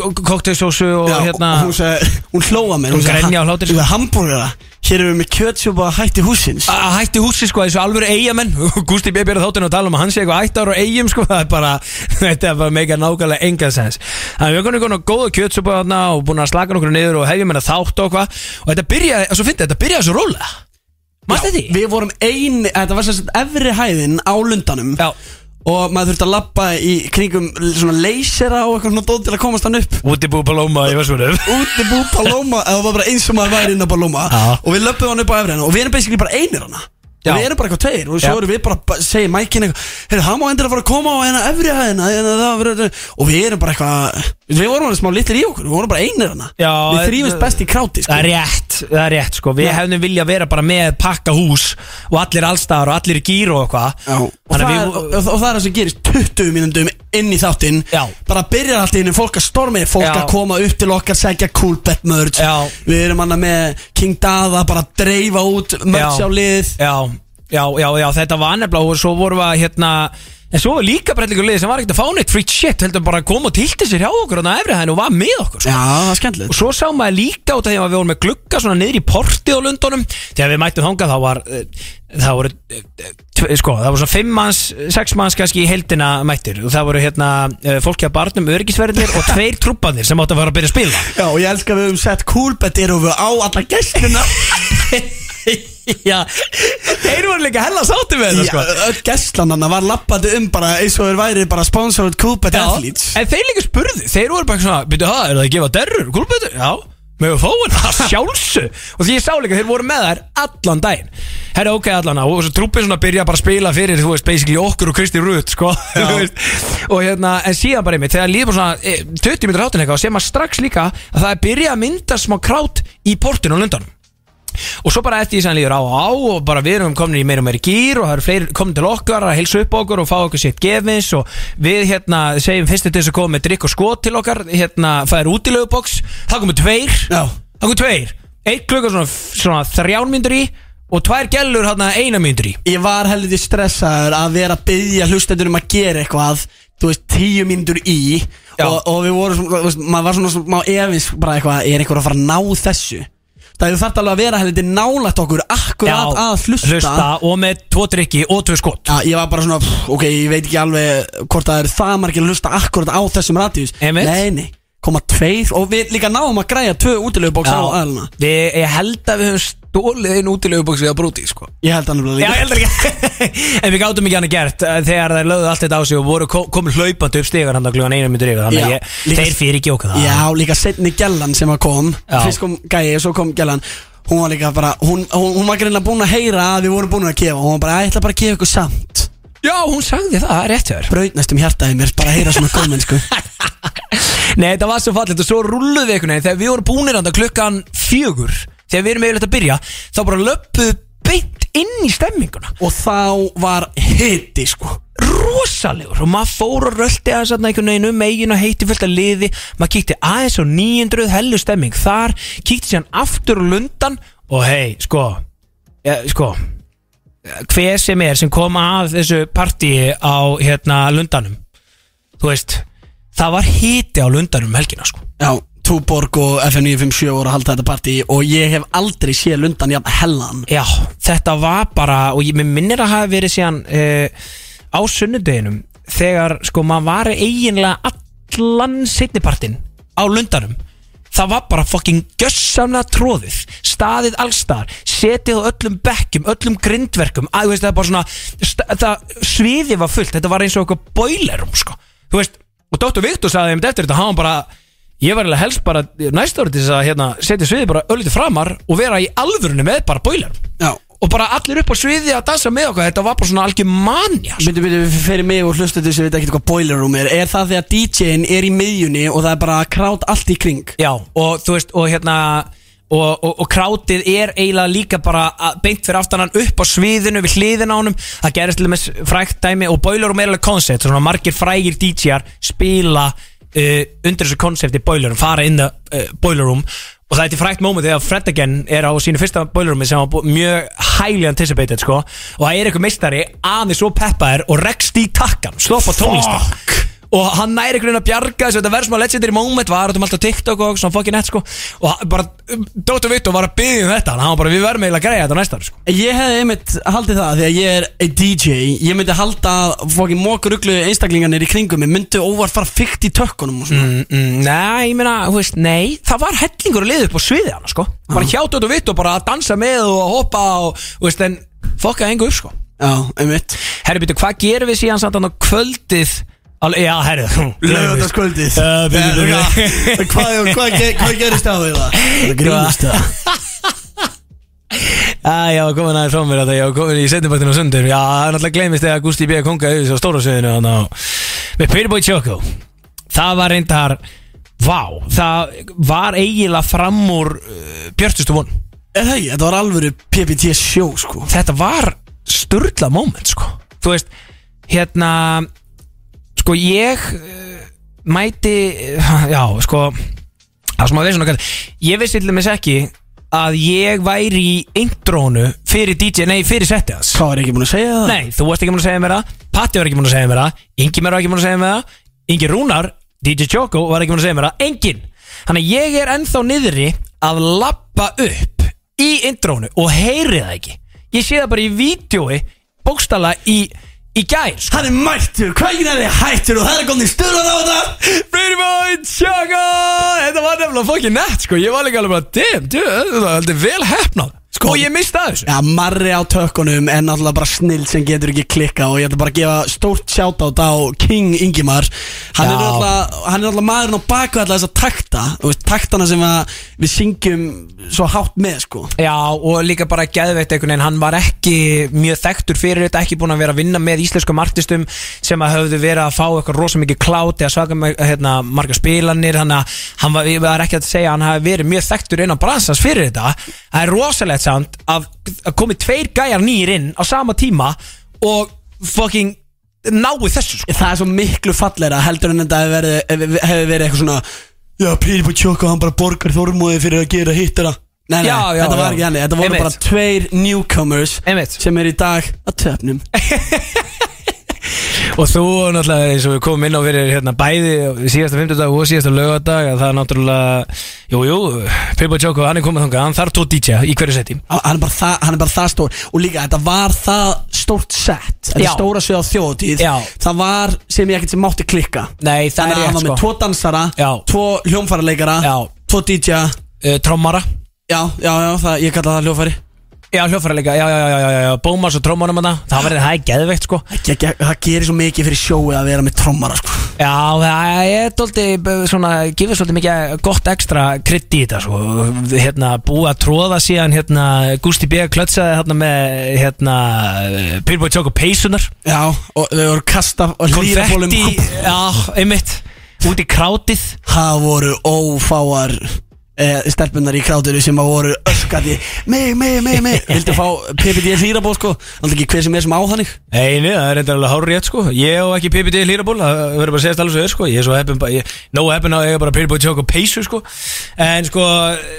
[SPEAKER 2] og koktelsósu og
[SPEAKER 3] Já,
[SPEAKER 2] hérna
[SPEAKER 3] hún, sagði, hún hlóa mér
[SPEAKER 2] Hún grenja
[SPEAKER 3] "Ha-
[SPEAKER 2] á sko." hlátri,
[SPEAKER 3] hún sagði, hambúrgara, hér erum við með kjötsjúpa að hætti húsins
[SPEAKER 2] að hætti húsi sko þessu alvöru eigamenn [laughs] Gústi B. byrði þáttinn og tala um að hann sé eitthvað ættar og eigum sko [laughs] það er bara þetta er bara meika nákvæmlega engan sens þannig við erum konar góða kjötsúpa þarna og búin að slaka nokkur niður og hefjum henni þátt og hvað og þetta byrjaði, svo fyndi þetta byrjaði svo róla
[SPEAKER 3] Já,
[SPEAKER 2] mannst þetta í?
[SPEAKER 3] Við vorum ein, þetta var sérst efri hæðin á lundanum
[SPEAKER 2] Já.
[SPEAKER 3] Og maður þurfti að labba í kringum svona leysera og eitthvað svona dót til að komast hann upp
[SPEAKER 2] Úti búið Paloma í Vestmjörnum
[SPEAKER 3] Úti bú Paloma, eða það var bara eins og maður væri inn á Paloma
[SPEAKER 2] Já.
[SPEAKER 3] Og við löppum hann upp á efri hennar og við erum basically bara einir hana
[SPEAKER 2] Já.
[SPEAKER 3] Og við erum bara eitthvað tveir og svo
[SPEAKER 2] Já.
[SPEAKER 3] erum við bara að segja mækinn hérna eitthvað Heyrðu, hann má endur að fara að koma á hennar efri hæðina hérna, það verður- Og við erum bara eitthvað, við vorum alveg smá litlir í okkur, við vorum bara einir hana
[SPEAKER 2] Já,
[SPEAKER 3] Við þrýfumst best í kráti sko.
[SPEAKER 2] Það er rétt, það er rétt sko Við
[SPEAKER 3] Já.
[SPEAKER 2] hefðum vilja vera bara með pakka hús og allir allstaðar og allir í gýr og eitthvað
[SPEAKER 3] Já, og, það
[SPEAKER 2] Þannig
[SPEAKER 3] er,
[SPEAKER 2] að
[SPEAKER 3] og,
[SPEAKER 2] við-
[SPEAKER 3] og það er það sem gerist 20 mínundum inn í þáttinn
[SPEAKER 2] Já.
[SPEAKER 3] bara byrjar allt í henni, fólk að stormi fólk
[SPEAKER 2] Já.
[SPEAKER 3] að koma upp til okkar, segja cool bet merch
[SPEAKER 2] Já.
[SPEAKER 3] við erum hann með King Dada bara að dreifa út merch
[SPEAKER 2] Já.
[SPEAKER 3] á lið
[SPEAKER 2] Já, já, já, já, þetta var nefnilega og svo vorum við að hérna En svo var líka breytlingur liðið sem var ekkert að fá neitt frýtt shit heldur bara að koma og tilti sér hjá okkur þannig að efri hæðin og var með okkur sko.
[SPEAKER 3] Já, það er
[SPEAKER 2] Og
[SPEAKER 3] skemmtilegt
[SPEAKER 2] svo sá maður líka út af því að við vorum með glugga svona niður í portið á lundunum Þegar við mættum þangað þá var eh, Það voru, eh, tve- sko, það voru svona fimm manns, sex manns kannski í heldina mættir Og það voru hérna eh, fólki að barnum öryggisverðinir og tveir trúpanir sem áttu að fara að byrja að
[SPEAKER 3] [laughs]
[SPEAKER 2] spila
[SPEAKER 3] Já, og ég elska að við höfum sett cool bet erum við á alla [laughs] gestina
[SPEAKER 2] Já, þeir voru líka hella sátti með
[SPEAKER 3] Já,
[SPEAKER 2] þetta sko
[SPEAKER 3] öll gestlananna var lappandi um bara eins og þeir væri bara sponsored cool bet
[SPEAKER 2] Já,
[SPEAKER 3] athletes
[SPEAKER 2] En þeir líka spurðu, þeir voru bara eitthvað svona Býttu, ha, er það að gefa derrur, gúlbætur? Já, með að fá hann, sjálfsu Og því ég sá líka, þeir voru með þær allan daginn Herra, ok, allan á Og svo trúpin svona byrja bara að spila fyrir, þú veist, basically okkur og Kristi Rut, sko [laughs] þú veist. Og hérna, en síðan bara einmitt Þegar líður bara svona eh, 20 minnur áttin eitthvað Sem að strax líka að það er byrja að mynda smá krát Í portinu á lundanum og svo bara eftir því sem hann líður á og á og bara við erum komin í meira og meira gýr og það eru fleiri komin til okkar að heilsa upp á okkur og fá okkur sitt gefins og við hérna segjum fyrst til þess að koma með drikk og skot til okkar hérna það er útileguboks, það komið tveir
[SPEAKER 3] Já.
[SPEAKER 2] það komið tveir, eitt klukka svona, svona þrján myndur í og tvær gellur hérna eina myndur í
[SPEAKER 3] ég var heldur stressaður að vera að byggja hlustendur um að gera eitthvað þú veist, tíu mínútur í
[SPEAKER 2] Já.
[SPEAKER 3] og, og við vorum, svona, þú veist, maður var svona smá efins bara eitthvað, er einhver að fara að ná þessu það þú þarft alveg að vera heldur nálægt okkur akkurat að hlusta,
[SPEAKER 2] og með tvo drikki og tvö skot
[SPEAKER 3] Já, ég var bara svona, pff, ok, ég veit ekki alveg hvort það er það margir að hlusta akkurat á þessum radíus
[SPEAKER 2] Einmitt.
[SPEAKER 3] nei, nei, koma tveir og við líka náum að græja tvö útilegubóks á aðluna
[SPEAKER 2] Við- ég held að við höfum stólið einn útileguboks við að brúti sko
[SPEAKER 3] ég held hann alveg
[SPEAKER 2] Já,
[SPEAKER 3] líka
[SPEAKER 2] ég heldur ekki [laughs] En við gátum ekki hann að gert eh, Þegar þær lögðu allt þetta á sig og voru ko- komin hlaupandi upp stegar hann að klugan einu myndur yfir Þannig að
[SPEAKER 3] Já,
[SPEAKER 2] ég,
[SPEAKER 3] líka-
[SPEAKER 2] þeir fyrir ekki okkur það
[SPEAKER 3] Já, líka setni gellan sem að kom
[SPEAKER 2] Já.
[SPEAKER 3] Fyrst kom gæi og svo kom gellan Hún var líka bara, hún, hún, hún var greinlega búin að heyra að við vorum búin að gefa Hún var bara, "Æ, ég ætla bara að gefa ykkur samt
[SPEAKER 2] Já, hún sagði það, rétt hjá þér
[SPEAKER 3] Braut næstum hjartaði mér, bara að heyra
[SPEAKER 2] [laughs]
[SPEAKER 3] svona góðmenn sko
[SPEAKER 2] Nei, þetta var svo fallegt og svo rulluðu við einhvern veginn Þegar við vorum búinir hann klukkan fjögur Þegar við erum yfirleitt að byrja Þá bara löppuðu beint inn í stemminguna
[SPEAKER 3] Og þá var hiti sko
[SPEAKER 2] rosalegur og maður fór og rölti aðeins aðna einhvern veginn um eigin og heiti fullt að liði maður kíkti aðeins á 900 hellu stemming þar, kíkti sér aftur á lundan og hei, sko ja, sko eh, hver sem er sem kom að þessu partíi á hérna lundanum þú veist, það var hiti á lundanum um helgina sko
[SPEAKER 3] Já, Túborg og FN957 voru að halda þetta partí Og ég hef aldrei séð lundan jafn hellan
[SPEAKER 2] Hm. Já, þetta var bara og ég mig minnir að hafa verið síðan uh, á sunnudeginum þegar sko maður var eiginlega allan setnipartin á lundanum það var bara fucking gjössamna tróðið staðið allstar, setið á öllum bekkjum, öllum grindverkum að, þú veist, það er bara svona sta- það, sviðið var fullt, þetta var eins og eitthvað boilerum sko. þú veist, og Dr. Viktor sagði einmitt eftir þetta, hann var bara ég var eiginlega helst bara næsta árið til þess að hérna, setja sviðið bara öllítið framar og vera í alvörunni með bara boiler
[SPEAKER 3] Já
[SPEAKER 2] og bara allir upp á sviði að dansa með okkur þetta var bara svona algjör manja sko.
[SPEAKER 3] Byndu, byndu, fyrir mig og hlustu þessu veit ekki hvað boiler room er Er það þegar DJ-in er í miðjunni og það er bara krát allt í kring
[SPEAKER 2] já og þú veist og hérna og, og, og krátið er eiginlega líka bara að- beint fyrir aftan hann upp á sviðinu við hliðin á honum, það gerist til þess frækt dæmi og boiler room er alveg koncept svona margir frægir DJ-ar spila uh, undir þessu koncepti boiler room, fara inn að uh, boiler room Og það er til frækt móment þegar Fred again er á sínu fyrsta boilerumi sem var bú- mjög highly anticipated sko og það er eitthvað meistari aðeins og peppaðir og rekst í takkan, stoppa tónlistar og hann næri einhvern veginn að bjarga þessu þetta verður smá legendary moment, var þetta um alltaf TikTok og svona fucking net sko og hann bara, um, Dr. Vito var að byggja um þetta, hann var bara við verðum eiginlega að greiða þetta næsta ári sko
[SPEAKER 3] Ég hefði einmitt haldið það því að ég er a DJ Ég myndi halda að fókin mokuruglu einstaklingarnir í kringum mig myndu óvart fara fykt í tökkunum og svona
[SPEAKER 2] mm, mm, Nei, ég meina, þú veist, nei Það var hellingur að liða upp á sviði hann, sko Bara hjá Dóttu Vitt og bara að dansa með og að hoppa og, þú veist, en fokkaði engu upp, sko
[SPEAKER 3] Já, einmitt
[SPEAKER 2] Herri, býttu, hvað gerum við síðan samt hann á kvöldið Alveg, já, herri
[SPEAKER 3] Laugardagskvöldið
[SPEAKER 2] Já, bíddu, bíddu.
[SPEAKER 3] Hvað hvað- hvað ge- hvað gerist á því það? Það grínast það
[SPEAKER 2] Æ, já, komin aðeins frá mér þetta Ég var komin í setjumpartinu á sundur Já, það er náttúrulega gleymist eða Gústi B. Konga yfir þessu á stóra sviðinu hann á Með Pyrboy Choco Það var reyndar Vá, það var eiginlega fram úr uh, Björtustu von
[SPEAKER 3] Er það ekki? Þetta var alvöru PPT sjó sko
[SPEAKER 2] þetta var sturgla moment sko þú veist, hérna sko ég uh, mæti, [laughs] uh, já sko það sem að veist svona kallt ég vissi til dæmis ekki að ég væri í intrónu fyrir DJ, nei fyrir settið hans
[SPEAKER 3] Hvað er ekki búin að segja það?
[SPEAKER 2] nei, þú varst ekki múin að segja mér það Patti var ekki múin að segja mér það, Ingi mér var ekki múin að segja mér það Ingi Rúnar, DJ Choco var ekki múin að segja mér það, enginn þannig að ég er ennþá niðri að lappa upp í intrónu og heyri það ekki ég sé það bara í vídjói bókstala í, í gær sko.
[SPEAKER 3] Hann er mættur, hvað er þið hættur og það er komið stöðan á þetta
[SPEAKER 2] Pretty boy, Choco Þetta var nefnilega fokkin nett sko Ég var líka alveg bara, damn, dude, þetta var heldur vel hefnað sko, Og ég mista þessu
[SPEAKER 3] Já, marri á tökkunum en náttúrulega bara snill sem getur ekki klikka og ég ætla bara að gefa stórt shoutout á King Ingimar hann er,
[SPEAKER 2] Já.
[SPEAKER 3] náttúrulega, hann er náttúrulega maðurinn á baku alltaf þess að takta þú veist, taktana sem að við syngjum svo hátt með sko
[SPEAKER 2] Já, og líka bara geðveitt einhvern veginn, hann var ekki mjög þekktur fyrir þetta, ekki búinn að vera að vinna með íslenskum artistum sem að höfðu verið að fá eitthvað rosa mikið kláti að svaka með, hérna, marga spilanir, hann, að, hann var, ég var ekki að segja að hann hafi verið mjög þekktur inn á bransans fyrir þetta. Það er rosalegt samt að, að komi tveir gæjar nýr inn á sama tíma og fucking náu þessu sko.
[SPEAKER 3] það er svo miklu falleira heldur en þetta hefur verið, hef- hefur verið eitthvað svona já, Píri på tjóka, hann bara borgar þormóði fyrir að gera hittara Nei, nei,
[SPEAKER 2] Já, já,
[SPEAKER 3] þetta var
[SPEAKER 2] já.
[SPEAKER 3] ekki henni, þetta voru
[SPEAKER 2] Einmitt.
[SPEAKER 3] bara tveir newcomers
[SPEAKER 2] Einmitt.
[SPEAKER 3] sem er í dag að töfnum
[SPEAKER 2] Og þú náttúrulega eins og við komum inn á fyrir hérna bæði síðasta fymtudag og síðasta lögadag að það er náttúrulega, jú, jú, Pippa Joko, hann er komið þangað, hann þarf tvo DJ í hverju seti.
[SPEAKER 3] Hann- hann er bara það, hann er bara það stór og líka þetta var það stórt sett þetta
[SPEAKER 2] Já.
[SPEAKER 3] er stóra svið á þjóðtíð
[SPEAKER 2] Já.
[SPEAKER 3] það var sem ég ekkert sem mátti klikka
[SPEAKER 2] Nei, það er
[SPEAKER 3] þannig að hann
[SPEAKER 2] rétt,
[SPEAKER 3] var
[SPEAKER 2] sko.
[SPEAKER 3] með tvo dansara
[SPEAKER 2] Já.
[SPEAKER 3] tvo hljómfærarleikara
[SPEAKER 2] Já.
[SPEAKER 3] tvo DJ já,
[SPEAKER 2] Uh, trommara.
[SPEAKER 3] já, já, það, ég kalla það hljófæri
[SPEAKER 2] Já, hljófæra líka, já, já, já, já, já, já, Bómas og trommanum hann, það verður, það er geðveikt, sko.
[SPEAKER 3] það gerir svo mikið fyrir sjóið að vera með trommara sko.
[SPEAKER 2] Já, það er doldið, svona, gefur svolítið mikið eh, gott ekstra krydd í þetta, sko. Hérna, búið að tróða síðan, hérna, Gusti B. klötsaði hérna með, hérna, Pippa Joko peysunar.
[SPEAKER 3] já, og þau voru kasta og hlýra bólum
[SPEAKER 2] konfetti Já, einmitt Út í krátið
[SPEAKER 3] það voru ófáar eh, stelpunar í krátunni sem að voru öskandi mig, mig, mig,
[SPEAKER 2] [laughs]
[SPEAKER 3] mig vildi fá PPD hlýra ból sko alltaf ekki hver sem er sem á þannig
[SPEAKER 2] Einu, það er reyndar alveg hár rétt sko Ég og ekki PPD hlýraból Það verður bara að segja alveg svo er sko Ég er svo heppin bara- ég- Nóg heppin að ég er bara PPD tjók og peysu sko En sko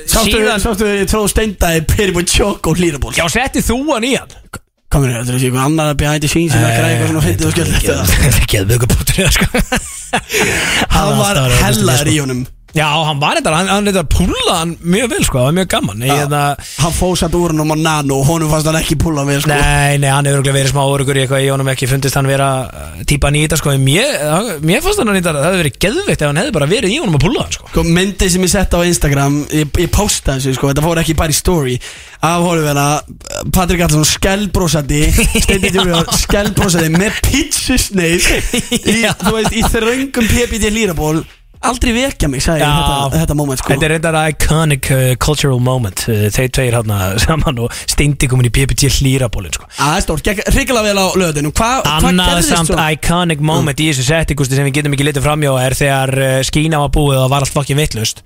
[SPEAKER 3] Sáttu
[SPEAKER 2] Síðan
[SPEAKER 3] Sáttu þau tróð steindaði Peri búið tjók og hlýraból
[SPEAKER 2] Já, setti þú hann í hann
[SPEAKER 3] Kom mér, þetta er ekki eitthvað annar að behind the scenes
[SPEAKER 2] Eh,
[SPEAKER 3] sem er að græða eitthvað svona fyndið og skjöld
[SPEAKER 2] Geðum við ykkur bóttur í það sko
[SPEAKER 3] Hann
[SPEAKER 2] alltaf
[SPEAKER 3] var
[SPEAKER 2] að vera
[SPEAKER 3] hellar
[SPEAKER 2] ógeðslega,
[SPEAKER 3] í honum
[SPEAKER 2] sko. Já, hann var reyndar Hann, hann reyndar púlaði hann mjög vel sko Það var mjög gaman Ég, hérna,
[SPEAKER 3] Hann fóð satt úr hann um á nano og honum fannst hann ekki púla við sko
[SPEAKER 2] Nei, nei, hann hefur örugglega verið smá orugur í eitthvað Ég honum ekki fundist hann vera uh, típan í þetta sko En Mér, hann- mér fannst hann nýttar að það hefði verið geðveitt ef hann hefði bara verið í honum að pulla hann sko
[SPEAKER 3] Sko, myndið sem ég sett á Instagram Ég, ég posta þessu, sko, þetta fór ekki bara í story Af horfum hérna Patrik Allarsson skellbrósandi Steindi Djúriðar skellbrósandi Með pítsusneið í,
[SPEAKER 2] Já.
[SPEAKER 3] Þú veist, í þröngum PPD hlýraból Aldrei vekja mig, sagði ég
[SPEAKER 2] Já.
[SPEAKER 3] þetta, þetta moment sko
[SPEAKER 2] Þetta er reyndar iconic uh, cultural moment uh, [laughs] Þeir tveir hann saman og steindi komin í PPT hlýrabólin sko
[SPEAKER 3] Það er stórt, gekk hrikalega vel á löðinu Hvað hva
[SPEAKER 2] Annað
[SPEAKER 3] gerðist sko?
[SPEAKER 2] samt
[SPEAKER 3] svo?
[SPEAKER 2] iconic moment í þessu settingusti sem við getum ekki litið framjá er þegar uh, skína var búið og var allt fokkin vittlust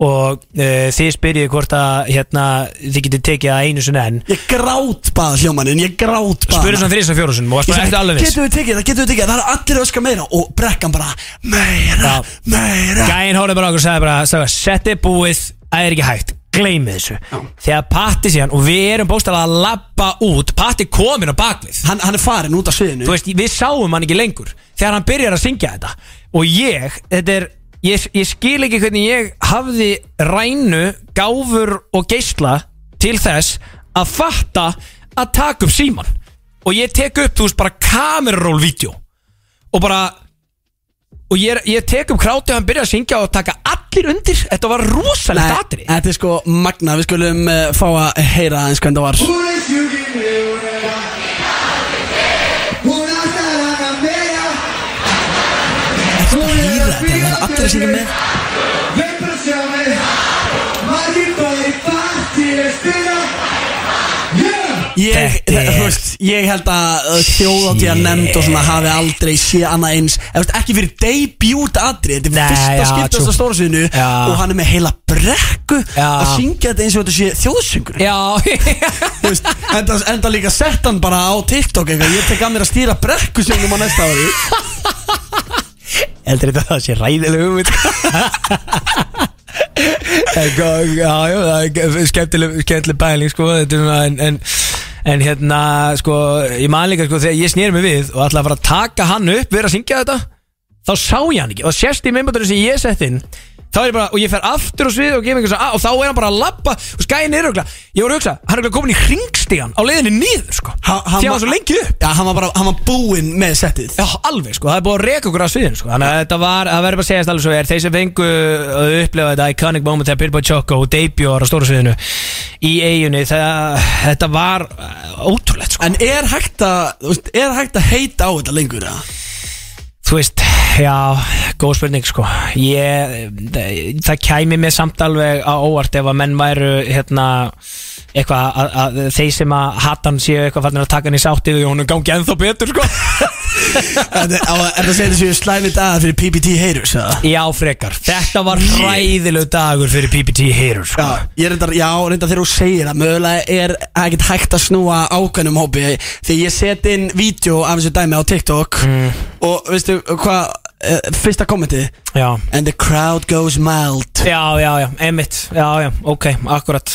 [SPEAKER 2] og uh, þið spyrjið hvort að hérna, þið getið tekið að einu sinni enn
[SPEAKER 3] Ég grát bað hljómaninn, ég grát bað
[SPEAKER 2] spurðið svona þrýs og fjórusunum og varst bara eftir alveg viss
[SPEAKER 3] Getum við tekið það, getum við tekið það Það er allir að öskra meira og brekkan bara Meira,
[SPEAKER 2] Já.
[SPEAKER 3] meira
[SPEAKER 2] Gæinn horfði bara á okkur og sagði bara sagði, Setti búið, það er ekki hægt gleymið þessu þegar Patti síðan og við erum bóstalega að labba út Patti komin á bakvið
[SPEAKER 3] hann, hann er farin út af sviðinu
[SPEAKER 2] þú veist, við sáum hann ekki lengur þegar hann byrjar að syngja þetta og ég, þetta er ég, ég skil ekki hvernig ég hafði rænu, gáfur og geisla til þess að fatta að taka upp síman og ég tek upp, þú veist, bara kameruról-vídeó og bara og ég, er- ég tek upp krátu og hann byrjar að syngja og taka allir undir þetta var rosalegt
[SPEAKER 3] Nei,
[SPEAKER 2] atrið
[SPEAKER 3] þetta er sko magna, við skulum uh, fá að heyra aðeins hvernig það var Ertu að heyra þetta, það er allir að syngja með Ég,
[SPEAKER 2] Þetta
[SPEAKER 3] það-
[SPEAKER 2] er-
[SPEAKER 3] þú veist, ég held að þjóðáttíða nefnd og svona hafi aldrei séð annað eins eða, þú veist, ekki fyrir debut aðri þetta er
[SPEAKER 2] Nei,
[SPEAKER 3] fyrsta
[SPEAKER 2] já,
[SPEAKER 3] skiptast
[SPEAKER 2] true.
[SPEAKER 3] á stóra sviðinu
[SPEAKER 2] Já.
[SPEAKER 3] og hann er með heila brekku
[SPEAKER 2] Já.
[SPEAKER 3] að syngja þetta eins og þetta sé þjóðsöngur
[SPEAKER 2] já, [laughs]
[SPEAKER 3] Þú veist, enda, enda líka sett hann bara á TikTok eitthvað ég tek að mér að stýra brekku sögnum á næsta ári
[SPEAKER 2] heldur þetta að það sé ræðileg hugmynd En gó- já, já, það er skemmtileg, skemmtileg bæling sko, þetta er svona en, en, en hérna, sko, ég man líka sko, þegar ég snýri mig við og ætla að fara að taka hann upp vera að syngja þetta þá sá ég hann ekki og sérst í minnbætturinn sem ég sett inn þá er ég bara, og ég fer aftur á svið og gef einhvers að, og þá er hann bara að labba og skæin er örugglega, ég voru að hugsa, hann er örugglega komin í hringstígan á leiðinni niður, sko
[SPEAKER 3] Ha-
[SPEAKER 2] því
[SPEAKER 3] hann
[SPEAKER 2] hann
[SPEAKER 3] var-
[SPEAKER 2] var svo lengi upp
[SPEAKER 3] já, hann var bara, hann var búinn með settið
[SPEAKER 2] Já, alveg sko, það er búið að reka okkur á sviðin sko. Þannig að þetta var, það verður bara að segja alveg svo er Þeir sem fengu að upplefa þetta iconic moment Þegar Bilbo Choco og debut var á stóra sviðinu Í eigunni, það, þetta var uh, ótrúlegt sko
[SPEAKER 3] en er hægt að þú veist, er hægt að heita á þetta lengur eða?
[SPEAKER 2] Þú veist, já, góð spurning sko Ég, það kæmi mér samt alveg á óvart Ef að menn væru, hérna Eitthvað, að, að, þeir sem að hatan séu eitthvað fannir að taka hann í sáttið Og hún gangi ennþá betur sko
[SPEAKER 3] En- á að- er það að segja þessu slæmi dagar fyrir PPT haters eða?
[SPEAKER 2] Já, frekar, þetta var hræðilegu dagur Fyrir PPT Hero sko
[SPEAKER 3] Já, ég reyndar, já, reyndar þegar þú segir það Mögulega er ekkert hægt að snúa ákveðnum hópi Því ég set inn vídeo af þessu dæmi á TikTok Og veistu hvað, uh, fyrsta kommenti
[SPEAKER 2] Já
[SPEAKER 3] And the crowd goes mild
[SPEAKER 2] Já, já, já, emitt, já, já, ok, akkurat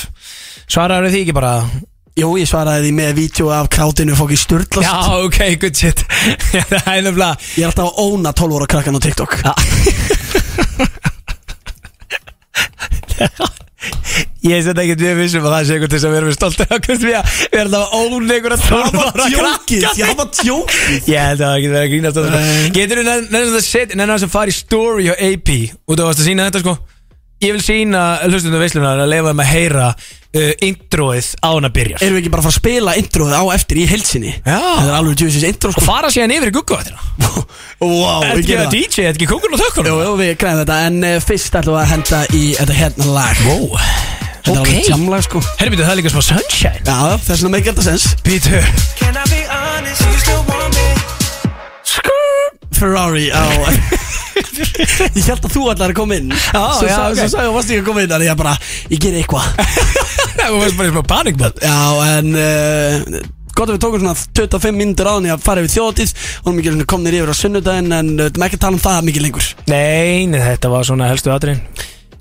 [SPEAKER 2] Svaraðu því ekki bara
[SPEAKER 3] Jú, ég svaraði því með vídeo af krátinu fók í styrlast
[SPEAKER 2] Já, ok, good [laughs] shit Það er nefnilega
[SPEAKER 3] Ég er alltaf að óna 12 ára krakkan á TikTok
[SPEAKER 2] Já. Ég set ekki við vissum um að það sé eitthvað til þess að við erum stoltir af hvernig við að við erum alltaf ón einhverja
[SPEAKER 3] Það var
[SPEAKER 2] tólvara
[SPEAKER 3] tjókið, já, það var tjókið
[SPEAKER 2] Ég held að það getur verið að grínast að það sko. Getur þú nefnast að setja, nefnast að fara í story á AP og þú varst að sína þetta sko Ég vil sína hlustundum veislunar að leifa þeim að heyra uh, introið á hana byrjar
[SPEAKER 3] Erum við ekki bara að fara að spila introð á eftir í helsinni
[SPEAKER 2] Já.
[SPEAKER 3] Það er alveg tjóðsins intro
[SPEAKER 2] Og
[SPEAKER 3] sko
[SPEAKER 2] fara síðan yfir í gugguvættina
[SPEAKER 3] [laughs] Vá,
[SPEAKER 2] Þetta
[SPEAKER 3] við
[SPEAKER 2] ekki
[SPEAKER 3] gerum
[SPEAKER 2] að
[SPEAKER 3] það
[SPEAKER 2] DJ, þetta ekki kókun og
[SPEAKER 3] Jú,
[SPEAKER 2] tökkunum
[SPEAKER 3] jú, við græðum þetta En uh, fyrst ætlum við að henda í þetta hérna lag
[SPEAKER 2] Ó,
[SPEAKER 3] Þetta er alveg
[SPEAKER 2] ok
[SPEAKER 3] jamlag sko
[SPEAKER 2] Herri, býtu, það er líka smá sunshine
[SPEAKER 3] Já, já, þess vegna make þetta sens
[SPEAKER 2] Býtu Sko. [laughs]
[SPEAKER 3] Ferrari á [laughs] Ég held að þú allar að koma inn Já, svo,
[SPEAKER 2] já,
[SPEAKER 3] sa-
[SPEAKER 2] ok.
[SPEAKER 3] Svo sagði ég varst ekki að koma inn Þannig ég bara, ég ger eitthvað
[SPEAKER 2] [laughs] Það var bara í smá panic mode
[SPEAKER 3] Já, en uh, Gott að við tókum svona 25 mínútur á þannig að fara yfir þjóðatíð Og hún mikið komnir yfir á sunnudaginn En við uh, ekki að tala um það mikið lengur
[SPEAKER 2] Nei, nei, þetta var svona helstu atriðin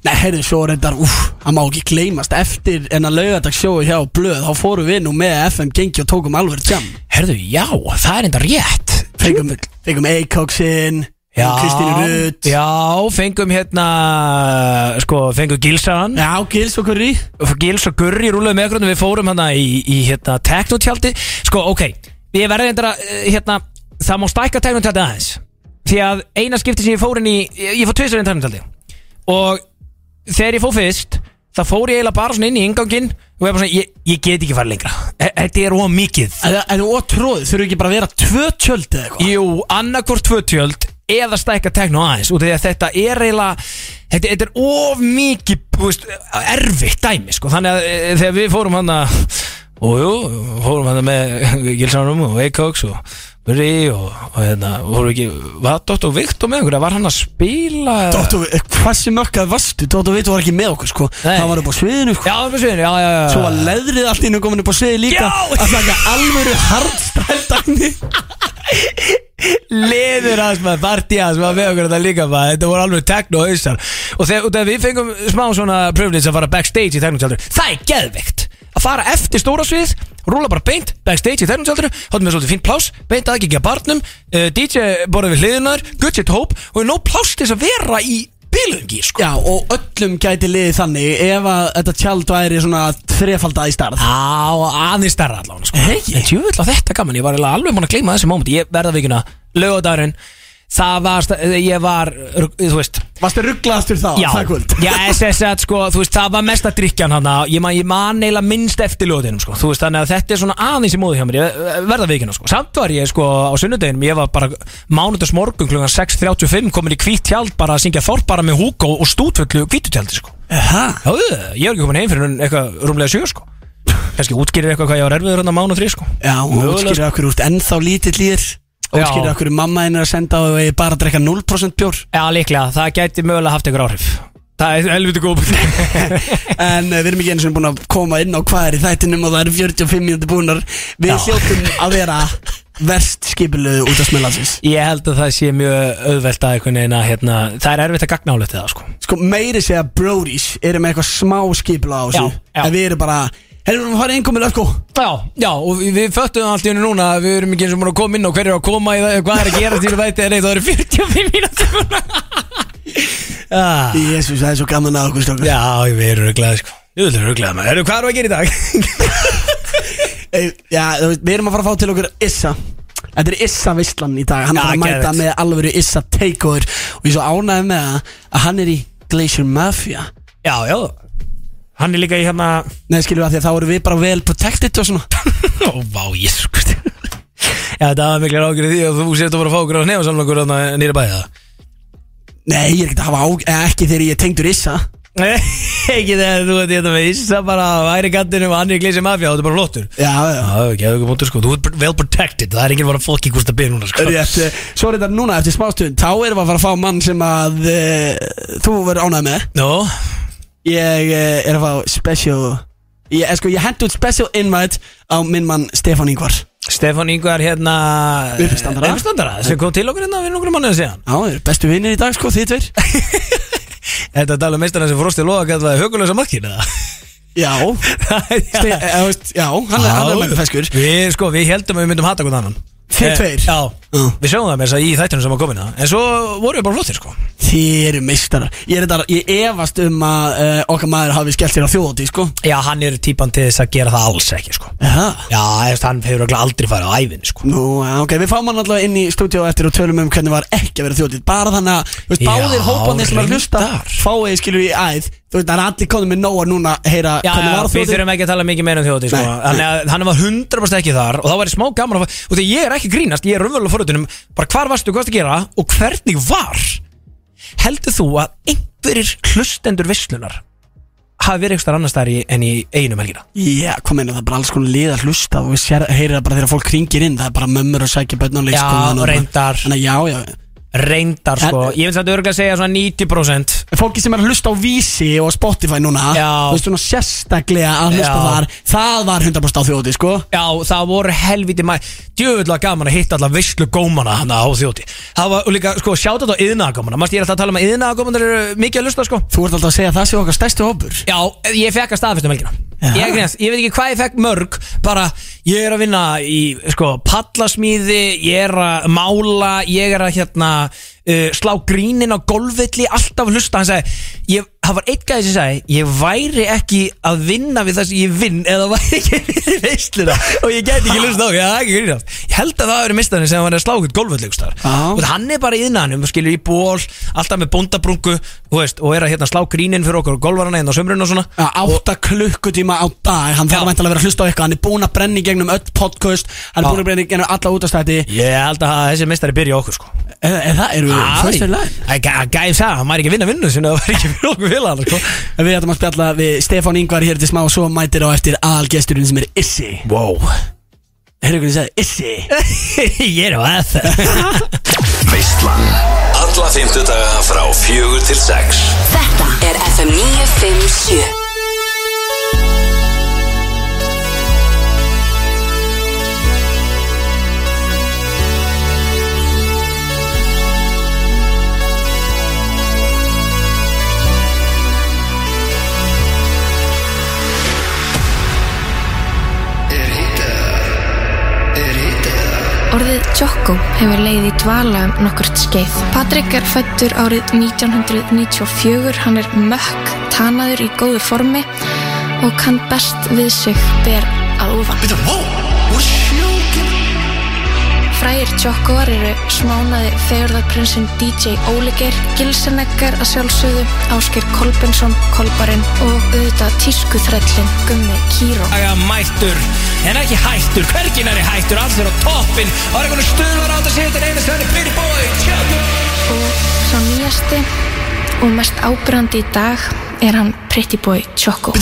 [SPEAKER 3] Nei, heyrðu, svo reyndar, úf, það má ekki gleymast Eftir en að laugardagssjói hjá Blöð Þá fórum við nú með FM gengi og tókum alveg jam
[SPEAKER 2] Herðu, já, það er enda rétt
[SPEAKER 3] Fengum, fengum Eikóksinn Kristínu Rutt
[SPEAKER 2] Já, fengum hérna Sko, fengum Gilsaðan
[SPEAKER 3] Já, Gils og Curry
[SPEAKER 2] Gils og Gurri rúlaði með okkur Við fórum hérna í, í hérna, teknotjaldi Sko, ok, ég verði enda að, eh, hérna, Það má stækka teknotjaldi aðeins Því að eina skipti sem ég fór inn í Ég, ég fór tvisar inn í teknotjaldi Og þegar ég fór fyrst Það fór ég eiginlega bara svona inn í ingangin Og ég, bara svona, ég, ég get ekki farið lengra E- Þetta er of mikið
[SPEAKER 3] En, en og tróð, þurfu ekki bara að vera tvö tjöld eða eitthvað?
[SPEAKER 2] Jú, annarkvort tvötjöld eða stækka tekno aðeins út af því að þetta er eiginlega þetta, þetta er of mikið þú veist, erfitt dæmi sko. þannig að e, þegar við fórum hann að og jú, fórum hann með Gilsanum og Eikóks og Bri og, og hérna voru ekki, var Dóttur Viktor með einhverja, var hann að spila
[SPEAKER 3] Dóttu, hversi mökkað vastu? Dóttu veit var ekki með okkur sko
[SPEAKER 2] Nei.
[SPEAKER 3] Það var upp á sviðinu sko
[SPEAKER 2] Já, það var sviðinu, já, já, já
[SPEAKER 3] Svo var leðrið allt inn og komin upp á sviði líka
[SPEAKER 2] Já! [laughs]
[SPEAKER 3] Að taka alvöru hardstældagni
[SPEAKER 2] Leður aðeins maður, partí aðeins maður með okkur þetta líka maður Þetta voru alveg tekno og hausar Og þegar, og þegar við fengum smá svona privilege að fara backstage í teknotjaldur Það er geðveikt Að fara eftir stóra svið, rúla bara beint backstage í teknotjaldur Háttum við svolítið fínt pláss, beint aðgengja barnum uh, DJ borðið við hliðunar, gudget hóp Og er nóg pláss til þess að vera í bilungi sko.
[SPEAKER 3] Já, og öllum gæti liðið þannig ef að þetta tjald væri svona þrefaldað í starð
[SPEAKER 2] Á, aðeins stærra allavega sko.
[SPEAKER 3] Hey.
[SPEAKER 2] En tjúvill á þetta gaman, ég var eiginlega alveg mann að gleyma þessi moment Ég verða vikuna, lögadagurinn Það var, sta- ég var, þú veist
[SPEAKER 3] Varstu rugglaðastur þá,
[SPEAKER 2] Já,
[SPEAKER 3] það kvöld
[SPEAKER 2] já SS, sko, þú veist, það var mesta drikjan hann ég man, ég man eiginlega minnst eftir ljóðinum sko. þú veist, þannig að þetta er svona aðeins í móðu hjá mér ég eh, verða vikina, sko. samt var ég sko á sunnudeginum, ég var bara mánudags morgun kl. 6.35 komin í hvít tjald bara að syngja þorpara með Hugo og stútvöldu hvítutjaldi, sko
[SPEAKER 3] Aha.
[SPEAKER 2] já, eh, ég var ekki komin heim fyrir en eitthvað rúmlega sjö, sko kannski útskýrir eitthvað hvað ég var erfiður hann að mánu þrý, sko
[SPEAKER 3] Já, og
[SPEAKER 2] Mögulega,
[SPEAKER 3] útskýra okkur út ennþá lítill í þér
[SPEAKER 2] Já.
[SPEAKER 3] Útskýra okkur um mamma henni er að senda og ég bara að drekka 0% bjór
[SPEAKER 2] já, líklega, það gæti mögulega haft einhver áhrif það er helviti
[SPEAKER 3] [laughs]
[SPEAKER 2] góð
[SPEAKER 3] En uh, við erum ekki eins og búin að koma inn á hvað er í þættinum og það eru 45 mínúti búnar Við
[SPEAKER 2] Já.
[SPEAKER 3] hljóttum að vera verst skipiluðu út af smilansins
[SPEAKER 2] Ég held að það sé mjög auðvelt að einhvern veginn að hérna, það er erfitt að gagna álið til það sko.
[SPEAKER 3] Sko meiri segja Brodies eru með eitthvað smá skipila á þessu
[SPEAKER 2] Já, já.
[SPEAKER 3] En við erum bara, herrjum við farið einkomið öll
[SPEAKER 2] Já, já, og við- við föttum allt í hennu núna að við erum ekki eins og búin að koma inn og hver er að koma í það, hvað er að gera til þetta nei, það eru 45 mínútur [laughs] ah,
[SPEAKER 3] Jésús, það er svo gaman að okkur strókur
[SPEAKER 2] Já, við erum rugglað sko. Við erum rugglað maður, Heyrðu, hvað erum við að gera í dag?
[SPEAKER 3] Ey, Eh, Já, þú veist, við erum að fara að fá til okkur Issa Þetta er Issa Vistlan í dag Hann
[SPEAKER 2] Já,
[SPEAKER 3] er að mæta
[SPEAKER 2] geðveikt.
[SPEAKER 3] með alvöru Issa takeover Og ég er svo ánægði með það að hann er í Glacier Mafia
[SPEAKER 2] [laughs] já, já Hann er líka í hérna
[SPEAKER 3] Nei, skiljum við að því að þá eru við bara vel protected og svona
[SPEAKER 2] Ó, vá, jésu Kristi. Já, þetta var miklar ágjörði því að þú sért að fara að fá okkur á nefnsamlokur nýra bæða
[SPEAKER 3] Nei, ég er ekkert að hafa á, eh, ekki þegar ég er tengdur Issa
[SPEAKER 2] Nei, [laughs] ekki þegar þú ert hérna með Issa bara á æri kantinum og hann er í glísi mafja og þetta er bara flottur
[SPEAKER 3] Já, já
[SPEAKER 2] Já, ekki, það er punktur sko, þú ert well protected, það er enginn bara fólk í hvort að byrja núna sko
[SPEAKER 3] Rétt, eh, svo er þetta núna eftir smástund Þá erum við að fara að fá mann sem að uh, Þú verður ánægð með
[SPEAKER 2] Nó,
[SPEAKER 3] Ég uh, er að fá special Ég, eh, sko, ég hendur special invite Á minn mann Stefán Ingvar
[SPEAKER 2] Stefán Ingvar hérna
[SPEAKER 3] Uppistandara.
[SPEAKER 2] Uppstandara, sem kom til okkur hérna fyrir nokkrum mannaðin síðan
[SPEAKER 3] Já, þeir eru bestu vinnir í dag sko, þið tveir
[SPEAKER 2] Þetta er talað meistarna sem frostið loða kallaði högulösa markið eða
[SPEAKER 3] Já, [laughs]
[SPEAKER 2] [laughs]
[SPEAKER 3] Ste
[SPEAKER 2] Já,
[SPEAKER 3] eða, þú veist, já hann er, hann er mættu feskur
[SPEAKER 2] Við sko, við heldum að við myndum hata hvort annan
[SPEAKER 3] Þið
[SPEAKER 2] Eh,
[SPEAKER 3] tveir?
[SPEAKER 2] Já,
[SPEAKER 3] Já.
[SPEAKER 2] við sjáum það með þess að í þættunum sem að komina En svo voru við bara flottir sko
[SPEAKER 3] Þið eru meistarar Ég, er þetta- ég efast um að uh, okkar maður hafi skellt þér á þjóðóti sko.
[SPEAKER 2] Já, hann er típan til þess að gera það alls ekki sko
[SPEAKER 3] Já
[SPEAKER 2] Já, eftir, hann hefur örugglega aldrei farið á ævinni sko
[SPEAKER 3] Nú, já, ok, við fáum hann allavega inn í stúdíu á eftir og tölum um hvernig var ekki að vera þjóðið Bara þannig að, þú veist,
[SPEAKER 2] Já,
[SPEAKER 3] báðir hópanir sem er að hlusta
[SPEAKER 2] reyndar.
[SPEAKER 3] Fáið skilur í æð Þú veist, það er allir konum með nóa núna að heyra
[SPEAKER 2] Já,
[SPEAKER 3] hvernig
[SPEAKER 2] já,
[SPEAKER 3] var
[SPEAKER 2] við
[SPEAKER 3] þjóðið
[SPEAKER 2] þurfum ekki að tala mikið meira um þjóti sko.
[SPEAKER 3] Nei, nei.
[SPEAKER 2] Þannig að hann var 100% ekki þar Og þá væri smá gaman að fá- Og því ég er ekki að grínast, ég er raunverulega fóruðunum Bara hvar varstu, hvað varstu að gera og hvernig var Heldur þú að einhverjir hlustendur vislunar Hafi verið eitthvað annars þar í, en í einum helgina
[SPEAKER 3] Já, hvað meina, það er bara alls konar lið að hlusta og við sér, heyrir það bara þegar fólk ringir inn Það er bara mömmur og sækja börn og
[SPEAKER 2] Já,
[SPEAKER 3] leikskólan og-
[SPEAKER 2] reyndar.
[SPEAKER 3] Þannig að já, já,
[SPEAKER 2] Reyndar sko,
[SPEAKER 3] En-
[SPEAKER 2] ég finnst að þetta örgulega að segja svona 90%
[SPEAKER 3] fólki sem er að hlusta á Vísi og Spotify núna
[SPEAKER 2] Já.
[SPEAKER 3] þú veist svona sérstaklega að hlusta
[SPEAKER 2] Já.
[SPEAKER 3] þar það var 100% á þjóti sko
[SPEAKER 2] Já, það voru helviti mæ Djöfulega gaman að hitta alla visslu gómana hana á þjóti Það var og líka, sko, sjáta þetta á yðnaðagómana Mást ég er alltaf að tala um að yðnaðagómanar eru mikið að lusta, sko
[SPEAKER 3] þú ert alltaf að segja að það sé okkar stærstu hópur
[SPEAKER 2] Já, ég fekk að staðfestum helgina ég, er grínast, ég veit ekki hvað ég fekk mörg Bara, ég er að vinna í sko, pallasmíði Ég er að mála Ég er að hérna uh, Slá grínin á golfvilli Alltaf hlusta, hann sagði ég, Það var einn gæði sem sagði Ég væri ekki að vinna við það sem ég vinn Eða [laughs] væri ekki við veisluna Og ég gæti ekki hlusta á því, það er ekki grínast Ég held að það eru mistanir sem var að slá ykkur golfvilli einhvers staðar.
[SPEAKER 3] Já.
[SPEAKER 2] Og hann er bara í innanum, skilur í ból Alltaf með bóndabrungu, þú veist Og er að hérna slá grínin fyrir okkur og golfarana hérna á sömrun og svona
[SPEAKER 3] Já, átta klukkutíma á dag hann þarf
[SPEAKER 2] Já.
[SPEAKER 3] væntanlega að vera að hlusta á eitthvað hann er búinn að brenna í gegnum öll podcast hann er
[SPEAKER 2] Já.
[SPEAKER 3] búinn að brenna í gegnum alla útastæti
[SPEAKER 2] Ég held að þessi meistari byrja okkur sko
[SPEAKER 3] eða erum við fyrstu lag
[SPEAKER 2] Gæði það, hann var ekki að vinna vinnu sinna [laughs] Það var ekki fyrir okkur vilja hann sko
[SPEAKER 3] við ætlum að spjalla við Stefán Ingvar hér til smá og svo mætir á eftir aðalgesturinn sem er Issi
[SPEAKER 2] Wow
[SPEAKER 3] heyrðu hvernig ég sagði Issi
[SPEAKER 2] [laughs] Ég er á að
[SPEAKER 7] Veislan Alla fymtudaga frá fjögur til sex
[SPEAKER 5] Þetta er FM 957
[SPEAKER 8] Ég Orðið tjókko hefur leið í dvala um nokkurt skeið. Patrik er fættur árið 1994, hann er mökk, tanaður í góðu formi og kann best við sig ber að ofan. Frægir tjókkoar eru smánaði fegurðarprinsinn DJ Ólegeir, Gilseneggar að sjálfsögðu, Ásker Kolbensson, Kolbarinn og auðvitað tískuþrællin Gummi Kíró.
[SPEAKER 2] Aga mættur, en ekki hættur, hvergin er í hættur, alls er á toppin og er einhvern stuðlar á þetta setin einu stöðni fyrir bóði, tjöggur
[SPEAKER 8] og sá nýjasti og mest ábyrrandi í dag er hann Pretty Boy Choco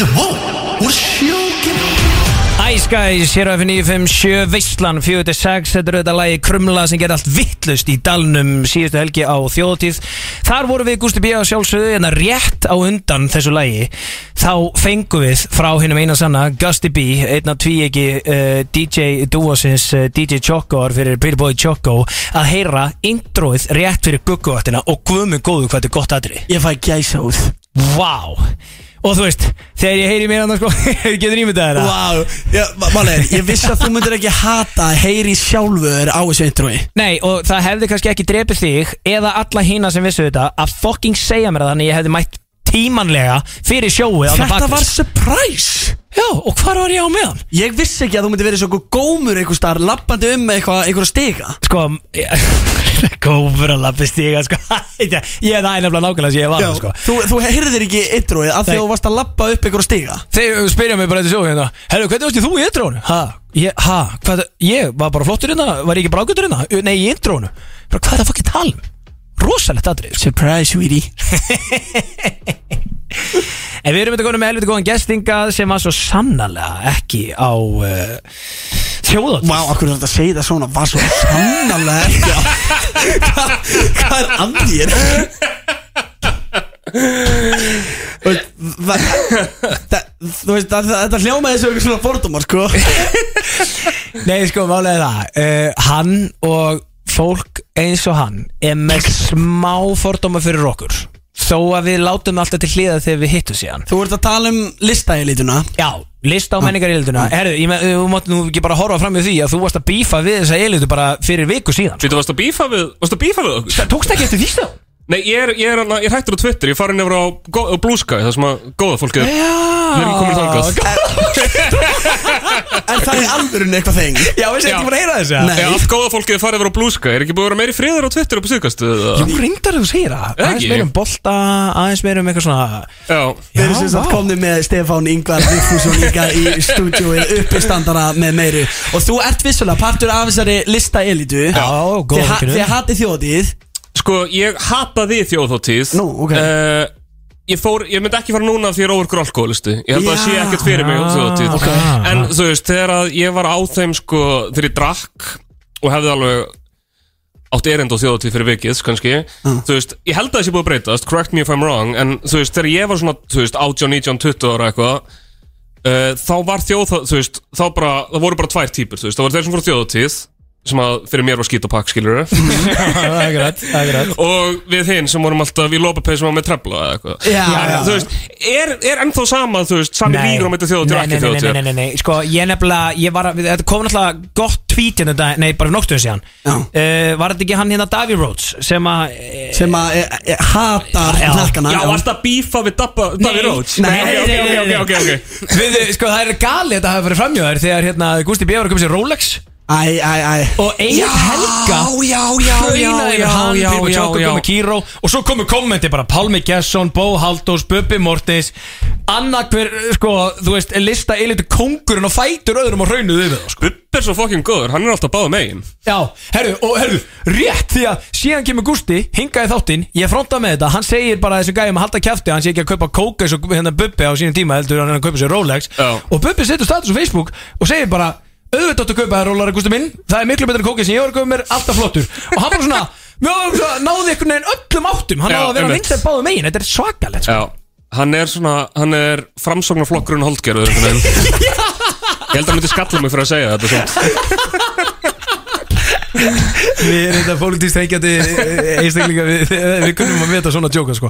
[SPEAKER 2] Ice Guys, hér á F957 Veistlan, 46, þetta er auðvitað lagi Krumla sem gerði allt vittlust í dalnum síðustu helgi á þjóðtíð Þar voru við Gústi B. á sjálfsögðu en að rétt á undan þessu lagi þá fengum við frá hinnum eina sanna Gusti B, einna tvíegi uh, DJ Duosins, uh, DJ Chocoar fyrir Pretty Boy Choco að heyra introið rétt fyrir gugguvattina og guðmur góðu hvað þetta er gott atrið
[SPEAKER 3] Ég fæ gæsa út
[SPEAKER 2] Vá Og þú veist, þegar ég heyri mér annars sko [laughs] Getur ímyndað þetta
[SPEAKER 3] Vá, málega, ég vissi að þú myndir ekki hata að heyri sjálfur á þessu introi
[SPEAKER 2] Nei, og það hefði kannski ekki drepið þig Eða alla hína sem vissu þetta Að fucking segja mér það Þannig að ég hefði mætt tímanlega Fyrir sjóið þarna
[SPEAKER 3] Þetta var
[SPEAKER 2] bakvið.
[SPEAKER 3] surprise
[SPEAKER 2] Já, og hvar var ég á meðan?
[SPEAKER 3] Ég vissi ekki að þú myndir verið svo gómur einhver starf Lappandi um með eitthvað, einhver að stiga
[SPEAKER 2] Sko ég- [laughs] Gófur að lappi stíga sko [laughs] Ég það er nefnilega nákvæmlega sem ég var sko.
[SPEAKER 3] Þú, þú heyrðir ekki introið af því
[SPEAKER 2] Nei.
[SPEAKER 3] að þú varst að lappa upp einhver að stiga
[SPEAKER 2] Þeir uh, spyrja mig bara þetta sjóið hérna Herru, hvernig varst þú í intrónu? Ha, ég, ha, hvað, ég var bara flottur hérna Var ég ekki brákutur hérna? Nei, í intrónu Bara hvað er það fucking tala um? Rosalegt
[SPEAKER 3] sko.
[SPEAKER 2] atrið
[SPEAKER 3] Surprise, sweetie
[SPEAKER 2] En við erum þetta konum með helviti góðan gestingað sem var svo sannarlega ekki á uh, þjóðat
[SPEAKER 3] Vá, akkur er þetta að segja það svona Var svo sannarlega ekki á- Hvað- Hvað er andir? Þú veist, það- það- þetta hljómaði þessu eitthvað svona fordómar, sko
[SPEAKER 2] Nei, sko, málega það uh, Hann og fólk eins og hann er með smá fordóma fyrir okkur Þó að við látum alltaf til hliða þegar við hittum síðan
[SPEAKER 3] Þú ert að tala um listaælítuna
[SPEAKER 2] Já, lista á menningar eilituna Herðu, ég með, þú mátt nú ekki bara horfa fram í því að þú varst að bífa við þessa eilitu bara fyrir viku síðan
[SPEAKER 4] Þú varst að bífa við, varst að bífa við okkur?
[SPEAKER 2] Það tókst ekki eftir því stöðum?
[SPEAKER 4] Nei, ég er, ég er, hana, ég er hættur á Twitter, ég farin yfir á, Go- á Blue Sky, það sem að góða fólkið er
[SPEAKER 2] Já
[SPEAKER 4] Við erum komin þangað
[SPEAKER 3] En það
[SPEAKER 2] [laughs]
[SPEAKER 3] er alvörun eitthvað þeng
[SPEAKER 2] Já, veist,
[SPEAKER 4] Já.
[SPEAKER 2] ekki bara að heyra þessu
[SPEAKER 3] Nei.
[SPEAKER 4] Já, allt góða fólkið er farið yfir á Blue Sky Er ekki búið að vera meiri friður á Twitter upp á síðkastu?
[SPEAKER 2] Jú, reyndar þú segir það
[SPEAKER 4] Ekki.
[SPEAKER 2] Aðeins meira um bolta, aðeins meira um eitthvað svona
[SPEAKER 4] Já,
[SPEAKER 3] Við erum sem sagt komni með Stefán Ingvar Vigfússon líka í stúdíói uppistandara með meiru og þú ert vissulega partur af þessari listaælítu
[SPEAKER 2] Já, góða vinkonu.
[SPEAKER 3] Þið hatið þjóðið
[SPEAKER 4] sko, ég hata því þjóðhóttíð
[SPEAKER 3] Nú, ok.
[SPEAKER 4] Eh, Ég fór, ég myndi ekki fara núna af því ég er ofurkur alkoholisti Ég held að það sé
[SPEAKER 3] Já. Ah,
[SPEAKER 4] ekkert fyrir mig um þjóðhóttíð
[SPEAKER 2] Ok.
[SPEAKER 4] En þú veist, þegar að ég var á þeim sko Þegar ég drakk og hefði alveg átt erind á þjóðatíð fyrir vikið, kannski
[SPEAKER 3] Ah.
[SPEAKER 4] þú veist, ég held að það sé búið að breytast, correct me if I'm wrong en þú veist, þegar ég var svona, þú veist, 18, 19, 20 ára eitthvað uh, þá var þjóð, þú veist, þá bara það voru bara tvær típur, þú veist, það voru þeir sem voru þjóðatíð sem að fyrir mér var skítapakk,
[SPEAKER 2] [laughs]
[SPEAKER 4] skilur
[SPEAKER 2] Akkurat, akkurat
[SPEAKER 4] og við hinn sem vorum alltaf í lópapeisum og með trefla eða eitthvað
[SPEAKER 3] Já,
[SPEAKER 4] En,
[SPEAKER 3] já.
[SPEAKER 4] þú veist, er, er ennþá sama, þú veist, sami vígur á meita þjóðatíð og
[SPEAKER 2] nei,
[SPEAKER 4] ekki
[SPEAKER 2] nei, nei,
[SPEAKER 4] þjóðatíð
[SPEAKER 2] nei, nei, nei, sko, ég nefnilega, ég var að, við- þetta kom náttúrulega gott tweet hérna, um daginn- nei, bara noktuðu síðan
[SPEAKER 3] Já.
[SPEAKER 2] Eh, Var þetta ekki hann hérna Davy Rhodes sem að eh,
[SPEAKER 3] sem að e, e, hatar
[SPEAKER 2] Já.
[SPEAKER 3] hlakkana
[SPEAKER 4] Já, varst að bífa við Dabba, Dabbi Róts?
[SPEAKER 2] nei,
[SPEAKER 4] ok,
[SPEAKER 2] nei,
[SPEAKER 4] ok,
[SPEAKER 2] nei,
[SPEAKER 4] ok, ok, ok
[SPEAKER 2] Við, eh, sko, það er galið að það hafa farið framjá þær þegar hérna Gusti B. var að koma sér Rolex
[SPEAKER 3] Æ, æ, æ
[SPEAKER 2] og Egil Helga
[SPEAKER 3] já, já,
[SPEAKER 2] Hrauna yfir hann, Pípa Tjóko,
[SPEAKER 4] já.
[SPEAKER 2] komið Kíró og svo komið kommenti bara Pálmi Gesson, Bó Haldós, Bubbi Mortis annar hver, sko, þú veist lista eilitu kongurinn og fætur öðrum og raunuðu yfir það, sko.
[SPEAKER 4] Bubbi er svo fokkin góður, hann er alltaf báða megin
[SPEAKER 2] Já, herru, og herru, rétt því að síðan kemur Gusti, hingaði þáttinn ég fronta með þetta, hann segir bara þessum gæjum að halda kæfti, hann sé ekki að kaupa kóka eins og hérna Bubbi á sínum tíma, heldur hann er að kaupa sér Rolex
[SPEAKER 4] Já.
[SPEAKER 2] og Bubbi setur status á Facebook og segir bara, auðvitað áttu að kaupa þér Rolex Gusti minn, það er miklu betur en kóka sem ég var að kaupa mér, alltaf flottur og hann bara svona, mjá, svo náði einhvern veginn öllum áttum, hann
[SPEAKER 4] Já,
[SPEAKER 2] náði að vera
[SPEAKER 4] einmitt.
[SPEAKER 2] vinstar báðum megin, þetta er svakalegt sko.
[SPEAKER 4] Já, hann er svona, hann er framsóknarflokkurinn holdgerður einhvern veginn
[SPEAKER 2] [laughs]
[SPEAKER 4] Ég held að hann myndi skalla mig fyrir að segja þetta svona
[SPEAKER 2] Við erum þetta pólitískt hengjandi einstaklinga við, við kunnum að meta svona djóka sko.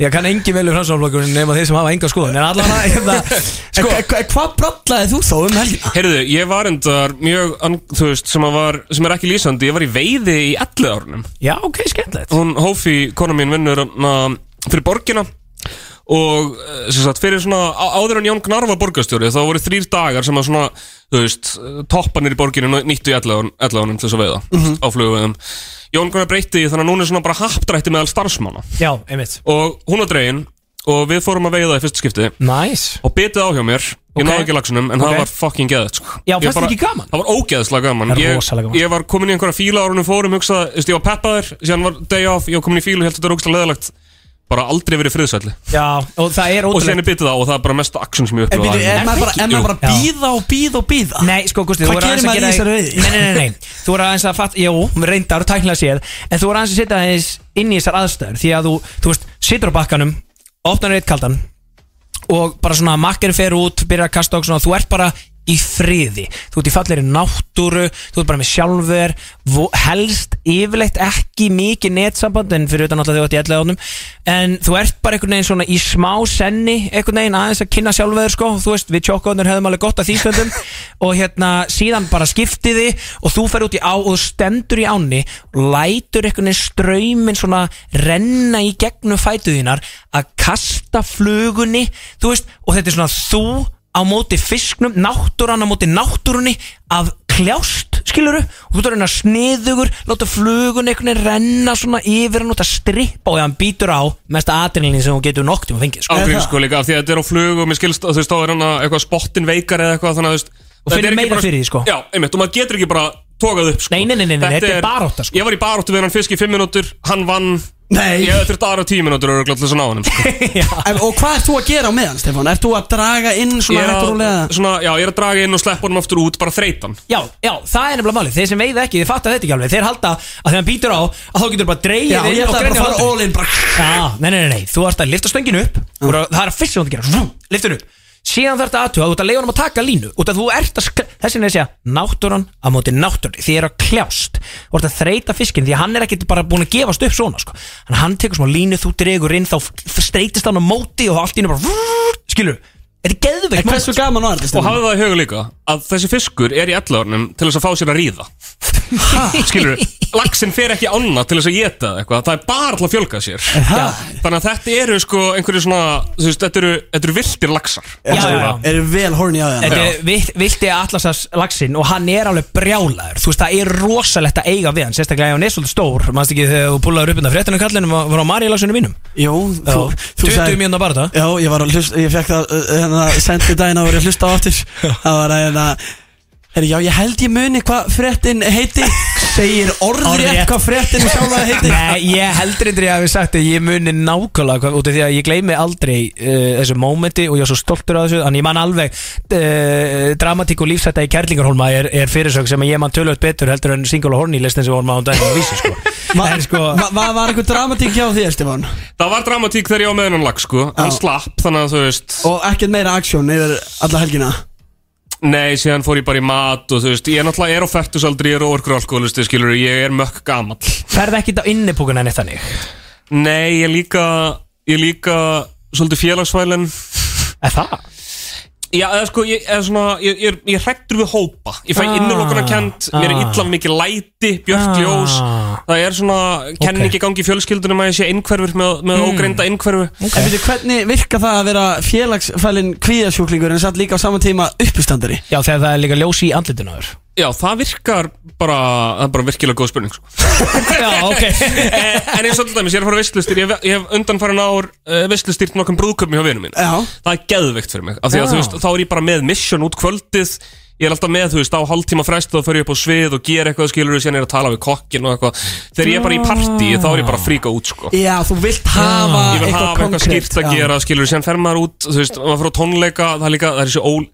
[SPEAKER 2] Ég kann engin velur hansvonflokkurinn nema þeir sem hafa enga skoðun En allan að [laughs] hérna,
[SPEAKER 3] En
[SPEAKER 2] sko,
[SPEAKER 3] hva- hva- eh, Hvað brallaði þú þá um helgina?
[SPEAKER 4] Heyrðu, ég var endar mjög, an- þú veist, sem, að var, sem er ekki lýsandi, ég var í veiði í 11 árunum.
[SPEAKER 2] Já, ok, skemmtilegt
[SPEAKER 4] Hún hófi, kona mín vinnur na, fyrir borgina og eh, sem sagt, fyrir svona á- áður en Jón Gnarr var borgarstjóri þá voru þrýr dagar sem að svona, þú veist, eh, topparnir í borginu nýttu í 11 árun- 11 árunum til þess að veiða á flugveiðum. Jón Gnarr breytti því þannig að núna er svona bara hapdrætti meðal starfsmanna
[SPEAKER 2] Já, einmitt
[SPEAKER 4] og hún var dregin og við fórum að veiða í fyrsta skipti
[SPEAKER 2] Nice
[SPEAKER 4] og bitið á hjá mér ég
[SPEAKER 2] Ok.
[SPEAKER 4] náði ekki lagsunum en
[SPEAKER 2] Ok.
[SPEAKER 4] það var fucking geðið sko.
[SPEAKER 2] Já,
[SPEAKER 4] Ég
[SPEAKER 2] fannst
[SPEAKER 4] bara-
[SPEAKER 2] ekki gaman?
[SPEAKER 4] það var ógeðslega gaman
[SPEAKER 2] Það er
[SPEAKER 4] ég,
[SPEAKER 2] rosalega gaman.
[SPEAKER 4] ég var komin í einhverja fíla árunum fórum hugsaði, þú veist, ég var peppaður síðan var day off, ég var komin í fílu, held að þetta er ógeðslega leðalagt bara aldrei verið friðsætli
[SPEAKER 2] Já, og það er
[SPEAKER 4] og síðan
[SPEAKER 2] ótrúlega
[SPEAKER 4] er bitið á og það er bara mesta action sem ég
[SPEAKER 3] En býtu,
[SPEAKER 4] upplifaði á
[SPEAKER 3] Eh, er
[SPEAKER 4] ævinni.
[SPEAKER 3] maður bara, er
[SPEAKER 4] Jú.
[SPEAKER 3] maður bara að býða og býða og býða?
[SPEAKER 2] Nei, sko, Gusti,
[SPEAKER 3] Hvað
[SPEAKER 2] þú er aðeins
[SPEAKER 3] gerir
[SPEAKER 2] að
[SPEAKER 3] maður í
[SPEAKER 2] gera
[SPEAKER 3] þessari veiði?
[SPEAKER 2] Nei, nei, nei, nei, þú er aðeins að fatta Jú, reyndar, tæknilega séð En þú er aðeins að setja aðeins inn í þessar aðstæður Því að þú, þú veist, situr á bakkanum Opnar eitt kaldan Og bara svona makker fer út, byrjar að kasta og svona Þú ert bara í friði Þú ert í fallegri náttúru, þú ert bara með sjálfur vo- Helst yfirleitt ekki mikið netsamband En fyrir utan alltaf þegar þú ert í ellega ánum En þú ert bara einhvern veginn svona í smá senni Einhvern veginn aðeins að kynna sjálfur sko Þú veist, við tjókkoðunir hefðum alveg gott að því stöndum Og hérna, síðan bara skiptiði Og þú fer út í á og þú stendur í ánni Lætur einhvern veginn straumin svona Renna í gegnum fætuðinar Að kasta flugunni Þú veist, og þetta er svona þú á móti fisknum, náttúran á móti náttúrunni að kljást skiluru, og þú ert að reyna sniðugur láta flugun einhvern veginn renna svona yfir hann út að strippa og ef hann býtur á mesta adrenalin sem hún getur nokt um að fengið sko.
[SPEAKER 4] ágrín sko líka af því að þetta er á flug og mér skilst að þú veist þá er hann að eitthvað spottin veikar eða eitthvað þannig að þú veist
[SPEAKER 2] finnur
[SPEAKER 4] þetta er ekki
[SPEAKER 2] meira
[SPEAKER 4] bara-
[SPEAKER 2] fyrir því, sko.
[SPEAKER 4] já, einmitt og maður getur ekki bara tókað upp sko
[SPEAKER 2] Nei, nei, nei, nei, nei, þetta er barátta, sko.
[SPEAKER 4] ég var í baróttu við hann fisk í 5 minútur hann vann
[SPEAKER 3] Nei.
[SPEAKER 4] ég þurfti aðra 10 minútur og glöðlega svo ná hann sko.
[SPEAKER 3] En, og hvað ert þú að gera á meðan, Stefán? Ert þú að draga inn svona
[SPEAKER 4] ég,
[SPEAKER 3] hægt og
[SPEAKER 4] er
[SPEAKER 3] rólega?
[SPEAKER 4] að- svona, já, ég er að draga inn og sleppa honum aftur út bara þreytan
[SPEAKER 2] Já, já, það er nefnilega málið, þeir sem veiða ekki, þeir fatta þetta ekki alveg þeir halda að þegar hann býtur á að þá getur bara dreigið
[SPEAKER 3] Já,
[SPEAKER 2] inn
[SPEAKER 3] ég
[SPEAKER 2] og
[SPEAKER 3] ætla bara að
[SPEAKER 2] grenja á
[SPEAKER 3] fara
[SPEAKER 2] höndunum.
[SPEAKER 3] all in bara
[SPEAKER 2] Já, nei, nei, nei, nei, þú ert að lifta stönginu upp mm. og það er að fyrst sem þú ert að gera Vú, Lifta henni upp Síðan þarf þetta aðtuga, þú ert að leiða honum að taka línu út af þú ert að, sk- þess vegna er að segja náttúran á móti náttúrunni, því er að kljást og ert að þreita fiskinn, því að hann er ekkit bara búin að gefast upp svona, sko hann, hann tekur smá línu, þú dregur inn, þá f- streytist hann á móti og allt í henni bara vú, skilur, þetta er geðveikt
[SPEAKER 3] En hversu gaman var þetta,
[SPEAKER 4] og
[SPEAKER 3] Stefán?
[SPEAKER 4] hafði það í huga líka að þessi fiskur er í 11 árnum til þess að fá sér að ríða [laughs] skilur laxinn fer ekki ána til þess að geta eitthvað það er bara alltaf að fjölga sér já. þannig að þetta eru sko einhverju svona þú veist, þetta eru, þetta eru viltir laxar
[SPEAKER 2] Já, já, já.
[SPEAKER 3] Eru vel horni á það?
[SPEAKER 2] Þetta er vilt- vilti Atlasas laxinn og hann er alveg brjálaður Þú veist, það er rosalegt að eiga við hann Sérstaklega ef hann er svolítið stór Manst ekki þegar þú púlaður upp undan fréttunum kallinum og var á Marílasunum mínum
[SPEAKER 3] Jú, þú,
[SPEAKER 2] Já.
[SPEAKER 3] þú
[SPEAKER 2] 20 mínútna bara þetta
[SPEAKER 3] Já, ég var að hlusta, ég fekk það, uh, hérna, sendi daginn að vera að hlusta á aftur Það var að, hérna, herri, já, ég held ég muni hvað fréttin heiti Segir orðrétt
[SPEAKER 2] Orðrétt.
[SPEAKER 3] hvað fréttin sjálfa heiti
[SPEAKER 2] Nei, ég heldur eindir ég hafi sagt að ég muni nákvæmlega hvað, út af því að ég gleymi aldrei uh, þessu mómenti og ég er svo stoltur af þessu en ég man alveg uh, dramatík og lífsætta í Kærlingarholma er, er fyrirsök sem að ég man tölvöld betur heldur en single og horny listin sem vorum á um daginn og vísi sko.
[SPEAKER 3] Va-
[SPEAKER 2] en sko
[SPEAKER 3] va- va- Var eitthvað dramatík hjá þér, Stefán?
[SPEAKER 4] það var dramatík þegar ég á meðan hann lax sko hann
[SPEAKER 3] Já.
[SPEAKER 4] slapp þannig að þú veist
[SPEAKER 3] Og ekkert meira aksjón yfir alla helgina
[SPEAKER 4] nei síðan fór ég bara í mat og þú veist ég náttúrulega er á færtusaldri ég er óorkur alkoholisti skilur ég er mökk gamall
[SPEAKER 2] ferð ekki á innipúkuna neitt þannig
[SPEAKER 4] nei ég er líka ég er líka svolítið félagsvælin
[SPEAKER 2] Er það?
[SPEAKER 4] Já, eða sko, ég, eða svona, ég, ég, er- ég hrættur við hópa Ég fæ
[SPEAKER 2] Ah,
[SPEAKER 4] ah, innurlokunarkend, mér er
[SPEAKER 2] ah.
[SPEAKER 4] illa mikið læti, björkt
[SPEAKER 2] Ah.
[SPEAKER 4] ljós Það er svona, kenning í gangi í fjölskyldunum að ég sé innhverfur með,
[SPEAKER 2] Hmm.
[SPEAKER 4] með ógreinda innhverfu
[SPEAKER 3] En veitu, hvernig virka það að vera félagsfælinn kvíðasjúklingur en satt líka á sama tíma uppistandari?
[SPEAKER 2] Já, þegar það er líka ljós í andlitinu á þér
[SPEAKER 4] Já, það virkar bara, það er bara virkilega góð spurning sko.
[SPEAKER 2] Já, ok
[SPEAKER 4] Eh, [laughs] En eins og alltaf dæmis, ég er að fara veistlustýr Ég hef- ég hef undanfærin ár uh, veistlustýrt nokkrum brúðköpum hjá vinum mín
[SPEAKER 3] Já
[SPEAKER 4] Það er geðveikt fyrir mig, af
[SPEAKER 2] Já.
[SPEAKER 4] því að þú veist, þá er ég bara með mission út kvöldið Ég er alltaf með, þú veist, á hálftíma frest þá fer ég upp á svið og gera eitthvað skilur og síðan er ég að tala við kokkin og eitthvað Þegar ég er bara í partí, þá er ég bara að fríka út, sko
[SPEAKER 3] Já, þú vilt hafa
[SPEAKER 4] Ég vil
[SPEAKER 3] eitthvað
[SPEAKER 4] hafa eitthvað
[SPEAKER 3] konkrétt,
[SPEAKER 4] skýrt að
[SPEAKER 3] já.
[SPEAKER 4] gera, skilur, síðan fer maður út, þú veist, maður fyrir á tónleika, það er líka, það er þessi ól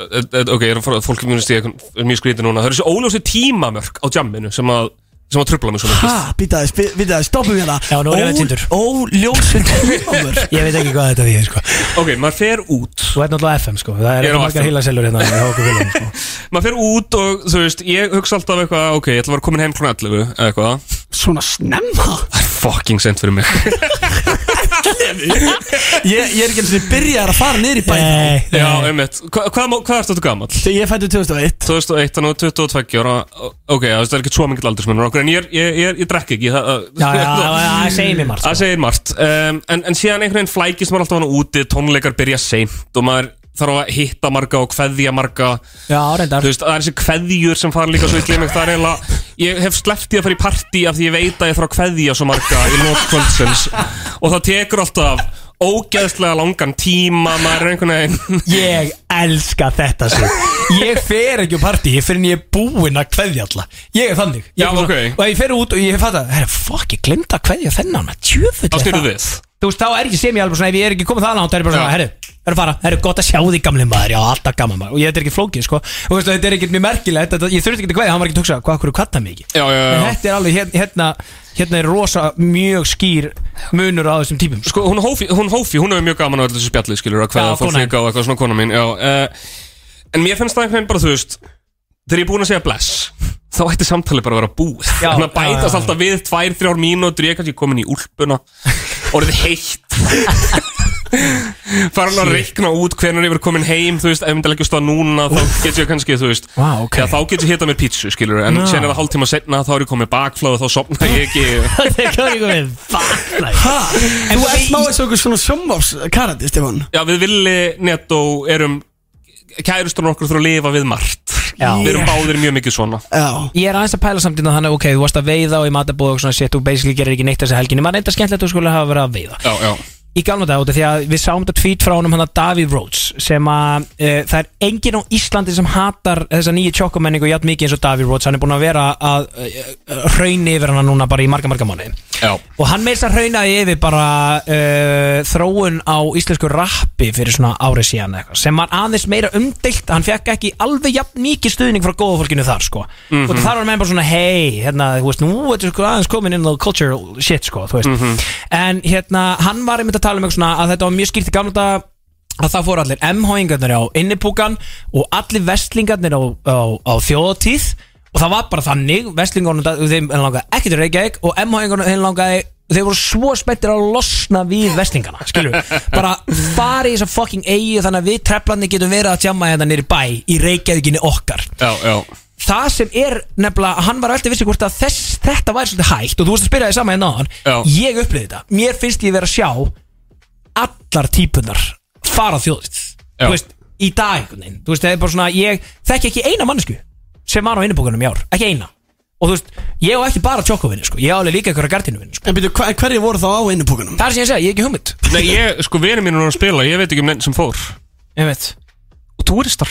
[SPEAKER 4] Eh, eh, Ok, ég er að fara, fólk munist ég, er mjög skrítið núna, það er þessi óljósi tímamörk á jamminu sem að sem að trubla mig svo mikið
[SPEAKER 3] Ha, býta aðeins, bí- býta aðeins, stoppum hérna
[SPEAKER 2] Já, nú er ég týndur.
[SPEAKER 3] Óljósir
[SPEAKER 2] [laughs]
[SPEAKER 3] tímamur
[SPEAKER 2] [laughs] Ég veit ekki hvað þetta því, sko
[SPEAKER 4] Ok, maður fer út
[SPEAKER 2] Þú ert náttúrulega FM, sko Það er
[SPEAKER 4] Ég er
[SPEAKER 2] ekki
[SPEAKER 4] á
[SPEAKER 2] margar
[SPEAKER 4] FM.
[SPEAKER 2] heilaselur hérna hjá okkur félagum, sko.
[SPEAKER 4] Maður fer út og, þú veist, ég hugsa alltaf eitthvað Ok, ég ætla að vera komin heim klón 11 eða eitthvað
[SPEAKER 3] Svona snemma
[SPEAKER 4] Það er fucking sent fyrir mig
[SPEAKER 3] ég, ég er ekki eins og byrjar að fara niður í bæn
[SPEAKER 2] Nei,
[SPEAKER 3] þá.
[SPEAKER 2] nei.
[SPEAKER 4] Já, einmitt Hva, hvað, má- hvað ertu þetta gamall?
[SPEAKER 3] Þegar ég fættu 2001
[SPEAKER 4] 2001, þannig að 22 ára Ok, það er ekki svo mikill aldursmunur okkur En ég, er- ég, ég, ég drekk ekki það,
[SPEAKER 2] Já, já, já, það segir mér margt,
[SPEAKER 4] Það
[SPEAKER 2] sko
[SPEAKER 4] segir margt um, en, en síðan einhvern veginn flækist maður alltaf hann úti Tónleikar byrja seint og maður þarf að hitta marga og kveðja marga
[SPEAKER 2] Já,
[SPEAKER 4] Þú
[SPEAKER 2] reyndar
[SPEAKER 4] veist, það er þessi kveðjur sem fara líka svo í glimik Það er eiginlega, ég hef sleppt í að fara í partí Af því ég veit að ég þarf að kveðja svo marga Í lót kvöldsins Og það tekur alltaf ógeðslega langan tíma Maður er einhvern veginn
[SPEAKER 2] Ég elska þetta sig Ég fer ekki á partí, ég fer en ég er búinn að kveðja alla Ég er þannig ég
[SPEAKER 4] Já,
[SPEAKER 2] er bara
[SPEAKER 4] ok.
[SPEAKER 2] svona- Og ég fer út og ég fatt að Herra, fuck, ég glemd að kveðja þennan Tjöfull
[SPEAKER 4] Þá
[SPEAKER 2] er
[SPEAKER 4] styrðu
[SPEAKER 2] það
[SPEAKER 4] við
[SPEAKER 2] Þú veist, þá er ekki sem ég alveg svona Ef ég er ekki komið það langt, það er ég bara svona
[SPEAKER 4] Já.
[SPEAKER 2] Herru, herru fara, herru, gott að sjá því gamli maður Já, alltaf gaman maður Og ég, þetta er ekki flókið, sko Og veist, þetta er ekki mjög merkilegt þetta, Ég þurfti ekki að kveðja, hann var ekki að hugsa Hvað, hverju katta mig ekki
[SPEAKER 4] Já, já, já,
[SPEAKER 2] En
[SPEAKER 4] já.
[SPEAKER 2] þetta er alveg, hér- hérna, hérna er rosa mjög skýr munur á þessum típum sko.
[SPEAKER 4] [laughs] Sko, hún Hófi, hún Hófi, hún hefur mjög gaman á öllu þessu spjalli, skilur, að
[SPEAKER 2] Já,
[SPEAKER 4] hvaða fólk
[SPEAKER 2] konan.
[SPEAKER 4] líka og eitthvað svona kona mín, já. Uh, en mér finnst það einhvern veginn bara, þú veist, þegar ég er búin að segja bless, [laughs] þá ætti samtalið bara að vera búið.
[SPEAKER 2] Já,
[SPEAKER 4] Þannig
[SPEAKER 2] já,
[SPEAKER 4] að
[SPEAKER 2] já,
[SPEAKER 4] bætast
[SPEAKER 2] já.
[SPEAKER 4] alltaf við tvær, þrjár mínútur, ég er kannski komin í úlpuna,
[SPEAKER 2] [laughs]
[SPEAKER 4] orðið heitt. Farin að reikna út hvernig ég verið komin heim, þú veist, ef ég myndi leggjast á núna, þá get ég kannski, þú veist,
[SPEAKER 2] Vá, ok.
[SPEAKER 4] já, þá get ég hitað mér pítsu, skilur, en
[SPEAKER 2] Já.
[SPEAKER 4] sen er það hálftíma setna, þá er ég komið bakfláð og þá sopna ég
[SPEAKER 2] [laughs]
[SPEAKER 4] ekki.
[SPEAKER 2] Þetta er ekki komið Fuck,
[SPEAKER 3] Ha,
[SPEAKER 2] En
[SPEAKER 3] þú
[SPEAKER 2] við-
[SPEAKER 3] ert smá eins og einhver svona sjómváfs karati, Stefán
[SPEAKER 4] Já, við villi netto erum kærustunum okkur þurfa að lifa við margt
[SPEAKER 2] Já.
[SPEAKER 4] Við erum báðir mjög mikið svona
[SPEAKER 3] Já
[SPEAKER 2] Ég er aðeins að pæla samt innan þannig, ok, þú varst að veiða og í matabóð og svona shit, þú basically gerir ekki neitt þessa helginni, maður reynda skemmtilegt að þú skulle hafa verið að veiða.
[SPEAKER 4] Já, já
[SPEAKER 2] Í galna dag út af því að við sáum þetta tweet frá honum hann að David Rhodes, sem að e, það er enginn á Íslandi sem hatar þessa nýju tjókomenningu jafn mikið eins og David Rhodes, hann er búin að vera að e, e, hrauna yfir hana núna bara í marga, marga mánuði.
[SPEAKER 4] Já,
[SPEAKER 2] Og hann meðist að raunaði yfir bara uh, þróun á íslensku rappi fyrir svona árið síðan eitthvað sem var aðeins meira umdilt, hann fekk ekki alveg jafn mikið stuðning frá góða fólkinu þar sko og þar var menn bara svona hei, hérna, þú veist, nú ertu sko aðeins komin inn á cultural shit sko, þú veist en hérna, hann var einmitt að tala um eitthvað svona að þetta var mjög skýrt í gamla daga að það fóru allir MH-ingarnir á innipúkan og allir vestlingarnir á, á, á þjóðatíð og það var bara þannig, vestlingarnir þeim langaði ekki til Reykjavík og MH-ingarnir þeim langaði þeir voru svo spenntir að losna við vestlingana, skilur bara fara í þessa fucking eigi þannig að við treflarnir getum verið að tjama hérna nýri bæ í Reykjavíkinni okkar
[SPEAKER 4] já, já
[SPEAKER 2] það sem er nefnilega, hann var alltaf vissi hvort að þess, þetta væri svolítið hægt og þú veist að spyrja því sama hérna á hann
[SPEAKER 4] Já.
[SPEAKER 2] ég upplýði þetta, mér finnst ég vera að sjá allar típunar fara þjóðið,
[SPEAKER 4] Já.
[SPEAKER 2] þú veist í dag einhvern veginn, þú veist, það er bara svona ég þekki ekki eina mannesku sem var á innbúkunum í ár, ekki eina og þú veist, ég á ekki bara tjókovinni, sko, ég á alveg líka einhverja gardinuvinn, sko,
[SPEAKER 3] En býtu, hver, hverju voru þá á innupókunum?
[SPEAKER 2] það er sem ég segja, ég er ekki hugmynd
[SPEAKER 4] Nei, ég, sko, vinur mínur er að spila, ég veit ekki um neinn sem fór
[SPEAKER 2] ég veit,
[SPEAKER 4] Og túristar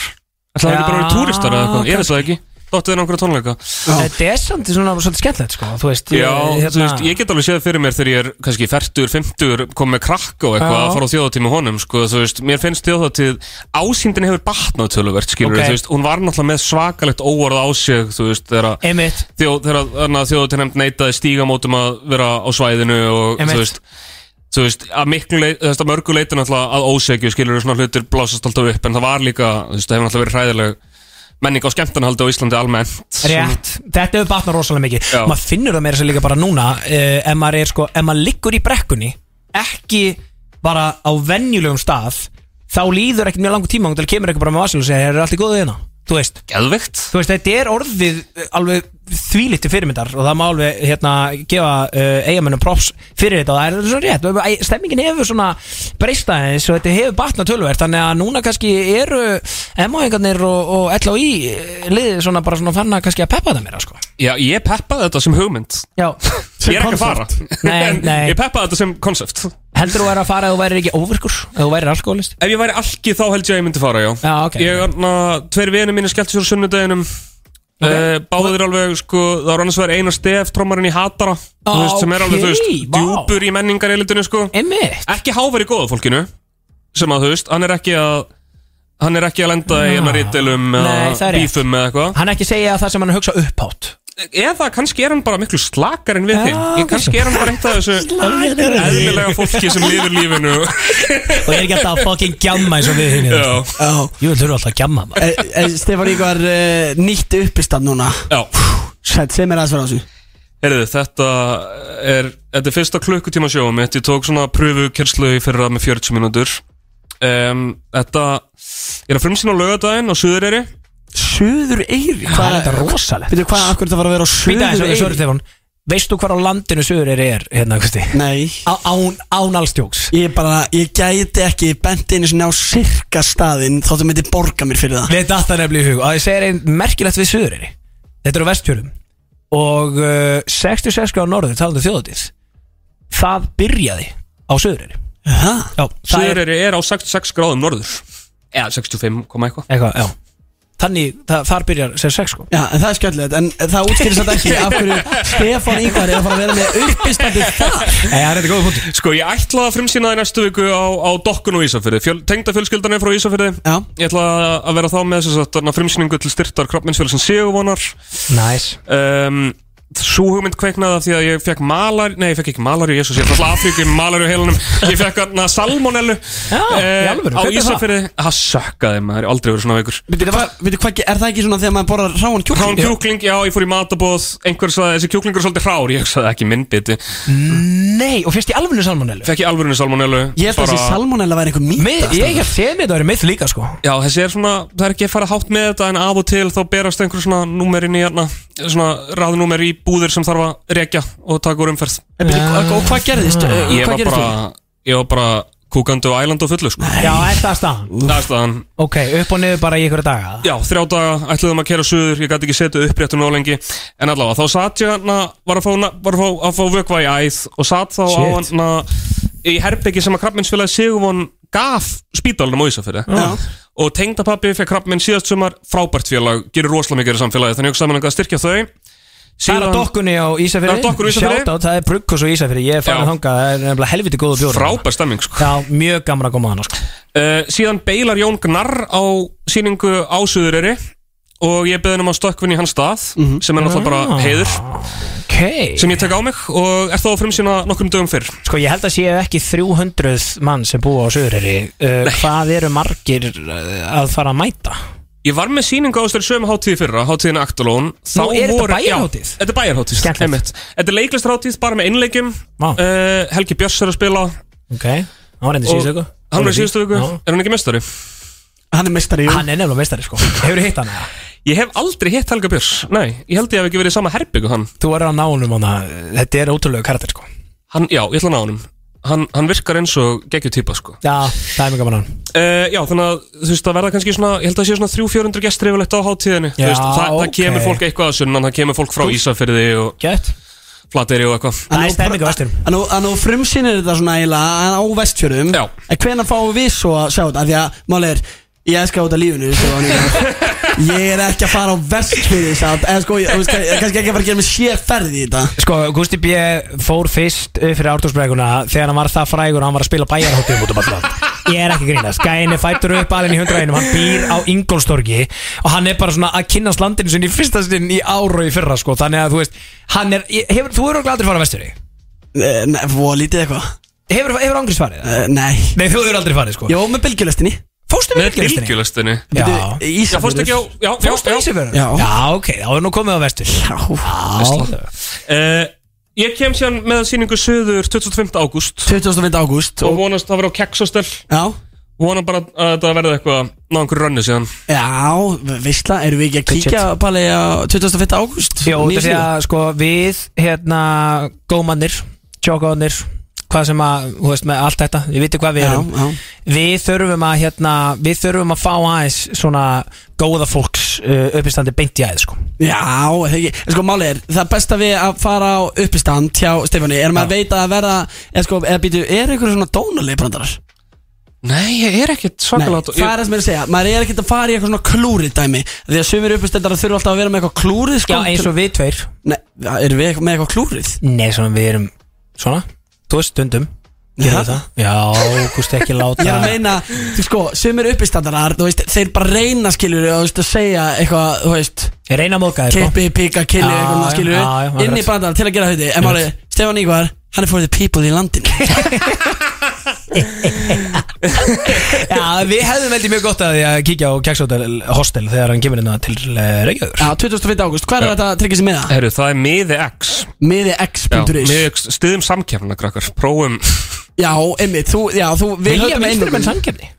[SPEAKER 2] Já,
[SPEAKER 4] Það er ekki bara að vera túristar eða eitthvað, ég veit það ekki Dóttu þeir einhverja tónleika
[SPEAKER 2] þetta er samt svona svolítið skemmtilegt, sko, þú veist hérna,
[SPEAKER 4] Já, þú veist, ég get alveg séð fyrir mér þegar ég er kannski færtur, fymtur, kom með krakk og eitthvað
[SPEAKER 2] Já.
[SPEAKER 4] að fara á þjóðatíð með honum, sko, þú veist, mér finnst þjóðatíð, ásýndin hefur batnað töluvert, skilur,
[SPEAKER 2] Ok.
[SPEAKER 4] þú veist, hún var náttúrulega með svakalegt óorð á sig, þú veist, þegar að-
[SPEAKER 2] Einmitt,
[SPEAKER 4] þjó, þegar þarna þjóðutinnemnd neitaði stígamótum að vera á svæðinu og
[SPEAKER 2] Einmitt.
[SPEAKER 4] þú veist, þú veist að miklu leit, þess að mörgu leitin alltaf að ósegju skilur svona hlutir blásast alltaf upp en það var líka, þú veist, það hefur alltaf verið hræðileg menning á skemmtanahaldi á Íslandi almennt
[SPEAKER 2] Rétt, þetta hefur batnað rosalega mikið
[SPEAKER 4] Já.
[SPEAKER 2] Maður finnur það meira sér líka bara núna uh, ef, maður er, sko, ef maður liggur í brekkunni ekki bara á venjulegum stað þá líður ekkert mjög langur tíma þannig að kemur eitthvað bara með vasil og segir er allt í góðu hérna þú veist,
[SPEAKER 4] Geðvegt
[SPEAKER 2] þú veist, þetta er orðið eh, alveg þvílitt til fyrirmyndar og það má alveg hérna gefa uh, eigamennum props fyrir þetta og það er svo rétt Æ, stemmingin hefur svona breysta eins og þetta hefur batnað tölverð þannig að núna kannski eru MO-ingarnir og, og LOI eh, liðið svona bara svona fann að kannski að peppa það meira sko
[SPEAKER 4] Já, ég peppaði þetta sem hugmynd
[SPEAKER 2] Já,
[SPEAKER 4] Ég er ekki að fara [laughs]
[SPEAKER 2] Nei,
[SPEAKER 4] En
[SPEAKER 2] nei.
[SPEAKER 4] Ég peppaði þetta sem konsept Ef
[SPEAKER 2] heldur þú væri að fara að þú væri ekki óvirkur eða þú væri alkoholist
[SPEAKER 4] ég væri alki þá held ég að ég myndi fara, já
[SPEAKER 2] Já, ok.
[SPEAKER 4] Ég, na, tveir vinur mínir skelltu sér á sunnudeginum okay. Báðir alveg, sko, það var annars vegar Einar Stef, trommarinn í Hatara þú veist, sem er alveg, þú veist,
[SPEAKER 2] Ókei, vá.
[SPEAKER 4] djúpur í menningarelitinu, sko
[SPEAKER 2] Einmitt
[SPEAKER 4] Ekki hávar í góða fólkinu sem að, þú veist, hann er ekki að hann er ekki að lenda í
[SPEAKER 2] Já.
[SPEAKER 4] hennar rítilum
[SPEAKER 2] Ah. Nei, það
[SPEAKER 4] eða
[SPEAKER 2] er rétt.
[SPEAKER 4] bífum eða eitthvað
[SPEAKER 2] Hann er ekki að segja það sem hann er að hugsa upphátt
[SPEAKER 4] eða kannski er hann bara miklu slakar en við
[SPEAKER 3] Já,
[SPEAKER 4] þinn Ég- kannski er hann bara eitt af þessu eðlilega fólki sem lifir lífinu
[SPEAKER 2] [laughs] Og ég er ekki alltaf að fucking gjamma eins og við hinn
[SPEAKER 4] já,
[SPEAKER 3] Já
[SPEAKER 2] Jú, þurfa alltaf að gjamma maður.
[SPEAKER 3] e, e, Stefán Ívar e, nýtt uppistand núna
[SPEAKER 4] já.
[SPEAKER 3] Sætt, segð mér aðeins frá þessu
[SPEAKER 4] Heyrðu, þetta er þetta er fyrsta klukkutíma sjóum mitt ég tók svona pröfukerslu í fyrra með 40 mínútur um, þetta ég er að frumsýna á laugardaginn á Suðureyri
[SPEAKER 3] Suður Eyri
[SPEAKER 2] Það er þetta rosalegt
[SPEAKER 3] Veitu hvað, akkur þetta var að vera á
[SPEAKER 2] Býta
[SPEAKER 3] Suður
[SPEAKER 2] þessu,
[SPEAKER 3] Eyri
[SPEAKER 2] Sörur Stefán Veistu hvar á landinu sögur er er hérna, Kristi?
[SPEAKER 3] Nei
[SPEAKER 2] Á- Án, án allstjóks
[SPEAKER 3] Ég bara, ég gæti ekki bent einu sinni á sirka staðinn þóttu myndi borga mér fyrir það
[SPEAKER 2] Við datta nefnilega í hug Og ég segir einn merkilegt við Suðureyri Þetta er á Vestfjörðum Og uh, 66 á norður talandi um þjóðatíð Það byrjaði á Suðureyri
[SPEAKER 3] Hæ?
[SPEAKER 2] Já, það er
[SPEAKER 4] Suðureyri er á 66 gráðum norður eða 65, koma eitthvað
[SPEAKER 2] eitthvað, já Þannig, það, þar byrjar 66 sko
[SPEAKER 3] Já, en það er skjöldlega, en það útskýrir satt ekki af hverju Stefán Ívar er að fara að vera með uppistandi þar
[SPEAKER 2] [laughs] Nei, það er þetta góða punktur
[SPEAKER 4] Sko, ég ætlaði að frumsýna það í næstu viku á, á dokkun og Ísafyrði Fjöl, Tengda fjölskyldan er frá Ísafyrði
[SPEAKER 3] Já.
[SPEAKER 4] Ég ætla að vera þá með þess að þarna frumsýningu til styrtar krabbminnsfjölsins Sigurvonar
[SPEAKER 2] Næs
[SPEAKER 4] um, Sú hugmynd kveiknaði af því að ég fekk malar Nei, ég fekk ekki malar í Jésús, ég er alltaf Afríku með malar í heilanum Ég fekk hana salmonellu eh,
[SPEAKER 2] Já, í alvöru,
[SPEAKER 4] Á
[SPEAKER 2] hvernig er það?
[SPEAKER 4] Ísafyrði, það sökkaði maður, ég hef aldrei verið svona veikur
[SPEAKER 3] Veitu hvað, veitu hvað, er það ekki svona þegar maður borðar ráan kjúkling?
[SPEAKER 4] Rán kjúkling, já, ég fór í matabóð Einhver sagði, þessi kjúklingur er svolítið hrár Ég sagði ekki minnbiti
[SPEAKER 2] Nei, og fyrst í alvöru salmonellu
[SPEAKER 4] Fekk ég alvörinu salmonellu
[SPEAKER 3] Ég held að þessi salmonella væri einhver mýta sko.
[SPEAKER 2] Mið, Ég hef séð með það eru mið líka sko
[SPEAKER 4] Já, þessi er svona, það er ekki að fara hátt með þetta en af og til þá berast einhver svona númerin í hérna, svona ráðnúmer í búðir sem þarf að rekja og taka úr umferð
[SPEAKER 3] En byrju, og- Og hvað gerðist?
[SPEAKER 2] Ah.
[SPEAKER 3] Eh,
[SPEAKER 4] Ég
[SPEAKER 3] hvað
[SPEAKER 4] var
[SPEAKER 3] gerðist
[SPEAKER 4] bara,
[SPEAKER 3] þú?
[SPEAKER 4] ég var bara kúkandi og æland og fullu sko.
[SPEAKER 2] Já, þetta er staðan
[SPEAKER 4] Það er staðan,
[SPEAKER 2] Ok, upp og niður bara í ykkur daga
[SPEAKER 4] já, þrjá daga ætluðum að kera suður, ég gæti ekki setja uppréttu nóg lengi en allavega, þá satt ég hérna var að fá, var að fá, að fá vökva í æð og satt þá á
[SPEAKER 2] Shit.
[SPEAKER 4] hérna í herbyggi sem að krabbminnsfélagi Sigurvon gaf spítalunum á Ísafyrði og tengdapappi fekk krabbminn síðast sumar frábært félag, gerir rosalega mikið í samfélagi þannig ég hugsaði mér að styrkja þau
[SPEAKER 2] Það er að dokkunni á Ísafyrði
[SPEAKER 4] Það er á dokkunni á Ísafirði.
[SPEAKER 2] Shoutout, það er brugghús á Ísafyrði Ég er farin
[SPEAKER 4] Já.
[SPEAKER 2] að þanga, það er nefnilega helviti góða bjóður
[SPEAKER 4] frábær stemming sko.
[SPEAKER 2] Já, mjög gaman að koma að hana sko.
[SPEAKER 4] uh, síðan beilar Jón Gnarr á síningu á Suðureyri og ég beði um að stökkvinn í hans stað sem er náttúrulega bara heiður
[SPEAKER 2] Ok
[SPEAKER 4] sem ég tek á mig og er þá að frumsýna nokkrum dögum fyrr
[SPEAKER 2] Sko ég held að séu ekki 300 mann sem búa á Suðurri uh, Hvað eru margir uh, að fara að mæta?
[SPEAKER 4] ég var með síningu á þessari sömu hátíði í fyrra hátíðin Aktalón þá
[SPEAKER 2] Nú, er þetta
[SPEAKER 4] voru-
[SPEAKER 2] bæjarhátíð?
[SPEAKER 4] Já, þetta er bæjarhátíð
[SPEAKER 2] Skemmtilegt.
[SPEAKER 4] einmitt. þetta er leiklistarhátíð bara með innleikjum
[SPEAKER 2] Vá.
[SPEAKER 4] uh, Helgi Björns er að spila
[SPEAKER 2] Ok, hann var endur
[SPEAKER 4] og
[SPEAKER 2] síðustu viku
[SPEAKER 4] hann er í síðustu viku
[SPEAKER 2] Já.
[SPEAKER 4] er hann ekki mestari
[SPEAKER 3] Hann er mestari, jú
[SPEAKER 2] Hann er nefnilega meistari sko Hefur hitt hann það?
[SPEAKER 4] ég hef aldrei hitt Helga Björns nei, ég held ég hef ekki verið í sama herbyggu hann
[SPEAKER 2] Þú er á nánum hann að Þetta er ótrúlega karakter sko
[SPEAKER 4] hann, já, ég ætla að ná honum hann, hann virkar eins og geggjur típa sko
[SPEAKER 2] Já, það er mjög gaman að hann
[SPEAKER 4] uh, Já, þannig að þú veist, það verða kannski svona ég held að sé svona 300-400 gestur yfirleitt á hátíðinni
[SPEAKER 2] Já,
[SPEAKER 4] Þú veist, það, það
[SPEAKER 2] ok.
[SPEAKER 4] kemur fólk eitthvað að sunnan, það kemur fólk frá Ísafyrði og
[SPEAKER 2] Gætt
[SPEAKER 4] Flateyri og eitthvað
[SPEAKER 2] Það er stemming á Vestfjörðum.
[SPEAKER 3] Hann og frumsýnir þetta svona eiginlega á vestfjörum
[SPEAKER 4] Já.
[SPEAKER 3] En hvenær fáum við svo að sjá þetta? Af Því að máli er, ég elska út af lífinu Stefán
[SPEAKER 4] [laughs]
[SPEAKER 3] Ívar Ég er ekki að fara á vestfjöri satt En sko, ég, þú veist, ég er kannski ekki að fara að gera mig sér ferði í þetta
[SPEAKER 2] Sko, Gusti B. fór fyrst upp fyrir ártóksbrekuna þegar hann var það frægur og hann var að spila bæjarhóttum út um allan Ég er ekki að grínast, gæin er fættur upp alveg í hundraðinum, hann býr á Ingolstorgi og hann er bara svona að kynnast landinu sinni í fyrsta sinn í ára í fyrra sko, þannig að þú veist, hann er, ég- hefur, þú eru aldrei farið að vestur í
[SPEAKER 3] Eh, Nei, fó lítið eitthvað
[SPEAKER 2] Hefur, hefur Angris farið? það?
[SPEAKER 3] Eh, Nei
[SPEAKER 2] Nei, þú eru aldrei farið sko
[SPEAKER 3] Jó, með bylgjulestinni
[SPEAKER 2] Fórstu
[SPEAKER 4] Með
[SPEAKER 2] með bylgjulestinni?
[SPEAKER 4] bylgjulestinni
[SPEAKER 2] Já,
[SPEAKER 4] Já, fórstu ekki á Já, já,
[SPEAKER 2] fórstu í
[SPEAKER 4] já
[SPEAKER 2] Ísafjörður?
[SPEAKER 3] Já.
[SPEAKER 2] Já, ok, þá er nú komið á vestur Já,
[SPEAKER 4] uh, Ég kem síðan með síningu söður 25. ágúst
[SPEAKER 3] 25. ágúst
[SPEAKER 4] og vonast það verið á keksastel
[SPEAKER 3] Já
[SPEAKER 4] vona bara að þetta verði eitthvað ná einhverju rönni síðan
[SPEAKER 3] Já, veistla, erum við ekki að kíkja Palli á 25. ágúst
[SPEAKER 2] Jó, þetta er að sko við hérna gómanir, tjókáðanir hvað sem að, þú veist, með allt þetta við vitum hvað við
[SPEAKER 3] Já,
[SPEAKER 2] erum
[SPEAKER 3] já.
[SPEAKER 2] við þurfum að, hérna, við þurfum að fá aðeins svona góða fólks uh, uppistandi beint í aðeins, sko
[SPEAKER 3] Já, er það ekki, en sko málið er, það besta við að fara á uppistand hjá Stefáni er maður að veita að verða, eða sko, eða býtu, er einhverjum svona dónulegbrandarar?
[SPEAKER 4] Nei, ég er ekkert
[SPEAKER 3] Nei,
[SPEAKER 4] svakalega
[SPEAKER 3] það er það sem ég er að segja, maður er ekkert að fara í eitthvað svona klúrið dæmi, því að sömur uppistandar þurfa alltaf að vera með eitthvað klúrið
[SPEAKER 2] Já,
[SPEAKER 3] sko
[SPEAKER 2] eins og við tveir
[SPEAKER 3] Nei, erum við eitthvað- með eitthvað klúrið?
[SPEAKER 2] Nei, svona við erum, svona, þú veist stundum
[SPEAKER 3] Já.
[SPEAKER 2] gerum við það Já, gúst ekki láta
[SPEAKER 3] Ég er að meina, þú sko, sömur uppistandarar, þú veist, þeir bara reyna skilur og þú veist að segja eitthvað, þú veist,
[SPEAKER 2] Ég reyna að móka þér sko
[SPEAKER 3] Kippi, pika, killi,
[SPEAKER 2] Já,
[SPEAKER 3] eitthvað maður
[SPEAKER 2] já,
[SPEAKER 3] skilur
[SPEAKER 2] já, já, maður
[SPEAKER 3] Inn í
[SPEAKER 2] rétt.
[SPEAKER 3] brandarann til að gera hauti En
[SPEAKER 2] Rétt.
[SPEAKER 3] maður, Stefán Ígvar, hann er for the people í landinu
[SPEAKER 2] Já, við hefðum veldig mjög gott að því að kíkja á Kjaksótel hostel þegar hann kemur hérna til eh, Reykjavíkur
[SPEAKER 3] Já, 25. ágúst, hvað er
[SPEAKER 4] Já.
[SPEAKER 3] þetta að tryggja sér með það?
[SPEAKER 4] Herru, það er miði X
[SPEAKER 3] Miði
[SPEAKER 4] Já,
[SPEAKER 3] x.is
[SPEAKER 4] miði X, stuðum samkjafna, krakkar Prófum
[SPEAKER 3] Já, einmitt, þú, já, þú Við höfum
[SPEAKER 2] vinstri menn
[SPEAKER 3] einum
[SPEAKER 2] samkefni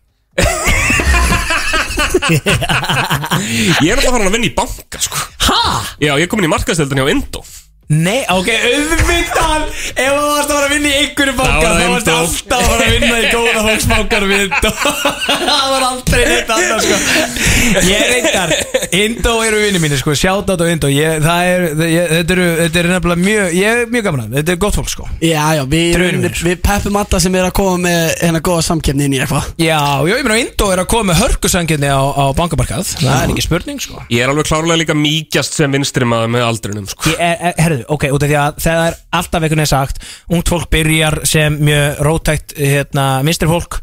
[SPEAKER 4] Ég er alltaf farin að vinna í banka, sko
[SPEAKER 2] Ha?
[SPEAKER 4] Já, ég er komin í markaðstöldin hjá Indó
[SPEAKER 2] Nei, ok, auðvitað Ef þú varst að vera að vinna í einhverju
[SPEAKER 4] Það
[SPEAKER 2] banka
[SPEAKER 4] var
[SPEAKER 2] Þá varst
[SPEAKER 4] Indó.
[SPEAKER 2] alltaf að vera að vinna í góða hóksbankanum við [laughs] Indó Það var aldrei neitt annað sko Ég reyndar Indó eru vinni mínir sko Sjátátt á Indó Ég- Það er, það- ég- þetta eru, þetta eru nefnilega mjög Ég er mjög gaman að þeim. Þetta er gott fólk sko
[SPEAKER 3] Já, já, við,
[SPEAKER 2] Draunum mínir.
[SPEAKER 3] við peppum alla sem er að koma með hérna góða samkefni inn í eitthvað
[SPEAKER 2] Já, já, ég meina Indó er að koma með hörkusangirni á, á bankamarkað Það er ekki spurning sko
[SPEAKER 4] Ég er alveg klárlega líka mýkjast sem vinstri maður með aldrinum, sko
[SPEAKER 2] Ég er, er, herðu, ok, út af því að það er alltaf einhvern veginn sagt, ungt fólk byrjar sem mjög rótækt hérna, minnstri fólk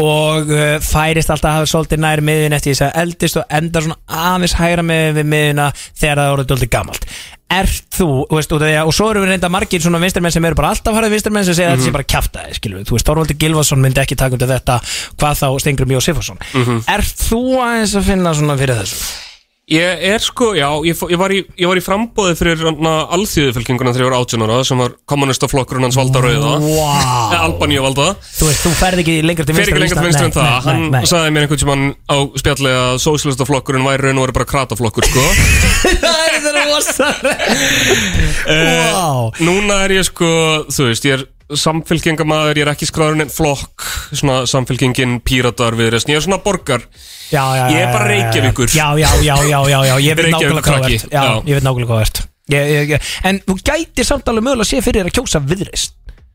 [SPEAKER 2] og uh, færist alltaf að hafa svolítið nær miðin eftir þess að eldist og endar svona aðeins hægra með við miðina þegar það er orðið dóldi gamalt Ert þú, þú veist, út af því að, og svo eru við reynda margir svona vinstrimenn sem eru bara alltaf harðið vinstrimenn sem segja að þetta sé bara kjafta, skilur við, þú veist, Þorvaldur Gilvason myndi ekki taka um þetta, hvað þá Stengur Mjó Sifarsson. Ert þú aðeins að finna svona fyrir þessu?
[SPEAKER 4] Ég er sko, já, ég, fó- ég, var, í, ég var í frambóði fyrir hérna, alþýðufylkinguna þegar ég var 18 ára sem var kommunistaflokkurinn hans Valda Rauða [laughs] Eh,
[SPEAKER 2] Vá.
[SPEAKER 4] Albaníu Valda
[SPEAKER 2] Þú veist, þú ferð ekki lengra til
[SPEAKER 4] Fyrir
[SPEAKER 2] vinstri
[SPEAKER 4] ekki lengra til vinstri en það Hann
[SPEAKER 2] nei, nei, nei.
[SPEAKER 4] sagði mér einhvern tímann á spjalli að sósílistaflokkurinn væri raun og verið bara krataflokkur
[SPEAKER 2] [laughs]
[SPEAKER 4] sko.
[SPEAKER 2] Það er
[SPEAKER 4] [laughs] Eh,
[SPEAKER 2] rosalega Wow
[SPEAKER 4] Núna er ég sko, þú veist, ég er samfylkingamaður, ég er ekki skráðurinn en flokk, svona samfylkingin píratar við resten, ég er svona borgar
[SPEAKER 2] já, já,
[SPEAKER 4] Ég er bara
[SPEAKER 2] já, já, já.
[SPEAKER 4] Reykjavíkur.
[SPEAKER 2] Já, já, já, já, já, já Ég veit nákvæmlega hvað þú
[SPEAKER 4] Reykjavíkurkrakki,
[SPEAKER 2] ert Já,
[SPEAKER 4] já.
[SPEAKER 2] ég veit nákvæmlega hvað þú ert ég, ég, ég. En þú gæti samt alveg mögulega að sé fyrir þér að kjósa viðreist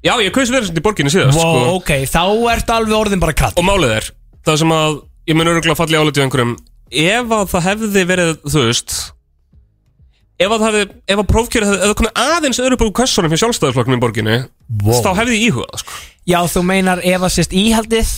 [SPEAKER 4] Já, ég kaus verið svona í borginni síðast
[SPEAKER 2] Wow,
[SPEAKER 4] sko.
[SPEAKER 2] ok, þá ert alveg orðin bara kratt
[SPEAKER 4] Og málið er, það sem að ég mun öruglega falli álítið einhverjum Ef að það hefði verið, þú veist Ef að það hefði, ef að prófkjörið hefði, ef það komið aðeins öðru búið kvessunum fyrir sjálfstæðisflokknum í borginni Þá hefði ég íhugað, sko
[SPEAKER 2] Já, þú meinar ef að sérst íhaldið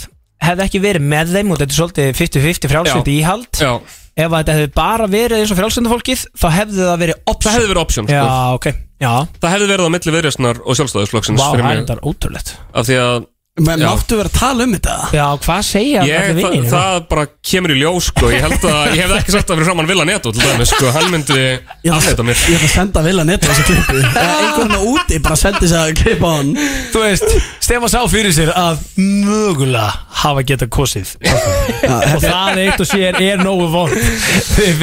[SPEAKER 2] hefði ekki verið með þeim og þetta er svolítið 50-50 frjálsöndi
[SPEAKER 4] Já.
[SPEAKER 2] íhald
[SPEAKER 4] Já,
[SPEAKER 2] Ef að þetta hefði bara verið eins og frjálsöndi fólkið þá hefði það verið
[SPEAKER 4] það
[SPEAKER 2] option
[SPEAKER 4] hefði verið option,
[SPEAKER 2] Já,
[SPEAKER 4] sko
[SPEAKER 2] ok, já
[SPEAKER 4] Það hefði verið á milli viðrjastnar og sjálfstæðisflokksins
[SPEAKER 2] Vá, það
[SPEAKER 4] fyrir
[SPEAKER 2] er
[SPEAKER 4] mig
[SPEAKER 2] þetta ótrúlegt
[SPEAKER 4] Af því að
[SPEAKER 3] Men
[SPEAKER 4] Já.
[SPEAKER 3] máttu vera að tala um þetta?
[SPEAKER 2] Já, hvað segja
[SPEAKER 4] ég,
[SPEAKER 2] allir
[SPEAKER 4] það,
[SPEAKER 2] vinir?
[SPEAKER 4] það bara kemur í ljós, sko Ég held að, ég hefði ekki sagt að fyrir framann Villa Neto til dæmis, sko Hann myndi
[SPEAKER 3] Ég
[SPEAKER 4] afleita
[SPEAKER 3] ætla
[SPEAKER 4] mér
[SPEAKER 3] ég ætla að senda vilja netta þessu klippu
[SPEAKER 4] [laughs]
[SPEAKER 3] Einhvern veginn úti, bara sendi þess að klippa hann
[SPEAKER 2] Þú veist, Stefán sá fyrir sér að mögulega hafa getað kosið og það eitt og sér er nógu vond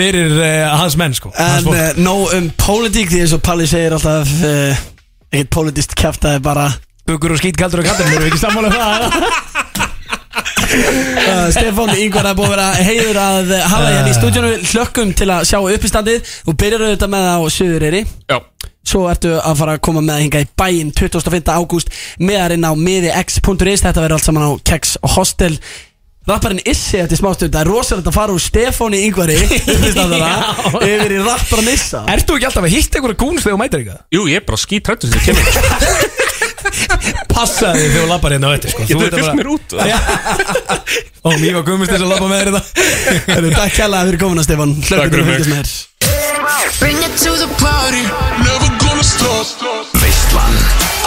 [SPEAKER 2] fyrir uh, hans menn sko hans
[SPEAKER 3] En
[SPEAKER 2] fólk.
[SPEAKER 3] uh, nóg um pólitík því eins og Palli segir alltaf uh, Ekkert pólitíst kæftæði bara
[SPEAKER 2] Bugur og skýt kaldur og kaldur, erum við ekki sammála um það?
[SPEAKER 3] uh, Stefán Ingvar er búið að vera heiður að eh, hafa hérna í stúdjónu Hlökkum til að sjá uppistandið Þú byrjar auðvitað með það á Suðureyri
[SPEAKER 4] Já,
[SPEAKER 3] Svo ertu að fara að koma með hinga í bæinn 25. ágúst meðarinn á miðix.is Þetta verður allt saman á Kex Hostel Rapparinn Issi eftir smástund Það er rosalegt að fara úr Stefáni
[SPEAKER 4] [laughs]
[SPEAKER 3] Ingvari uppistandara
[SPEAKER 2] Já.
[SPEAKER 3] yfir í rapparinn Issa
[SPEAKER 2] Ert þú ekki alltaf að hitta einhverja gúns þegar þú mætir eitthvað?
[SPEAKER 4] jú, ég er bara skítrættur þegar ég kemur
[SPEAKER 2] Passa þig þegar þú lappar hérna á þetta sko
[SPEAKER 4] Ég þau fyllt mér út Já,
[SPEAKER 2] Og mýfa gummist þess að lappa með þér hérna. þetta
[SPEAKER 3] Heyrðu, Takk kjærlega fyrir komuna Stefán
[SPEAKER 4] Takk
[SPEAKER 3] Hlökkum til
[SPEAKER 4] fyrir
[SPEAKER 3] að
[SPEAKER 4] mig.
[SPEAKER 3] fylgjast með þér
[SPEAKER 6] Bring it to the party, never gonna stop.
[SPEAKER 7] Veislan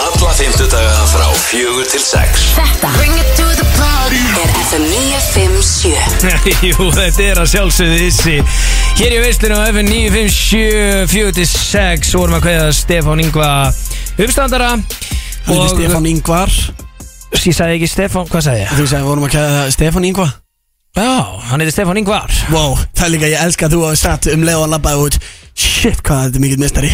[SPEAKER 7] Alla fymtudaga frá fjögur til sex
[SPEAKER 5] Þetta
[SPEAKER 6] Bring it to the party.
[SPEAKER 5] er FM 957
[SPEAKER 2] [laughs] Jú, þetta er að sjálfsögðu þessi Hér í veislinu á FN 95746 vorum að kveða Stefán Ingva uppstandara
[SPEAKER 3] Hann er Stefán Ingvar
[SPEAKER 2] Ég sagði ekki Stefán, hvað sagði ég?
[SPEAKER 3] Þú sagði, vorum að kæða Stefán Ingvar
[SPEAKER 2] Já, hann heitir Stefán [laughs] Ingvar
[SPEAKER 3] Wow, það er líka, ég elska að þú hafa satt um leið og að labbaði út Shit, hvað þetta er mikill mistari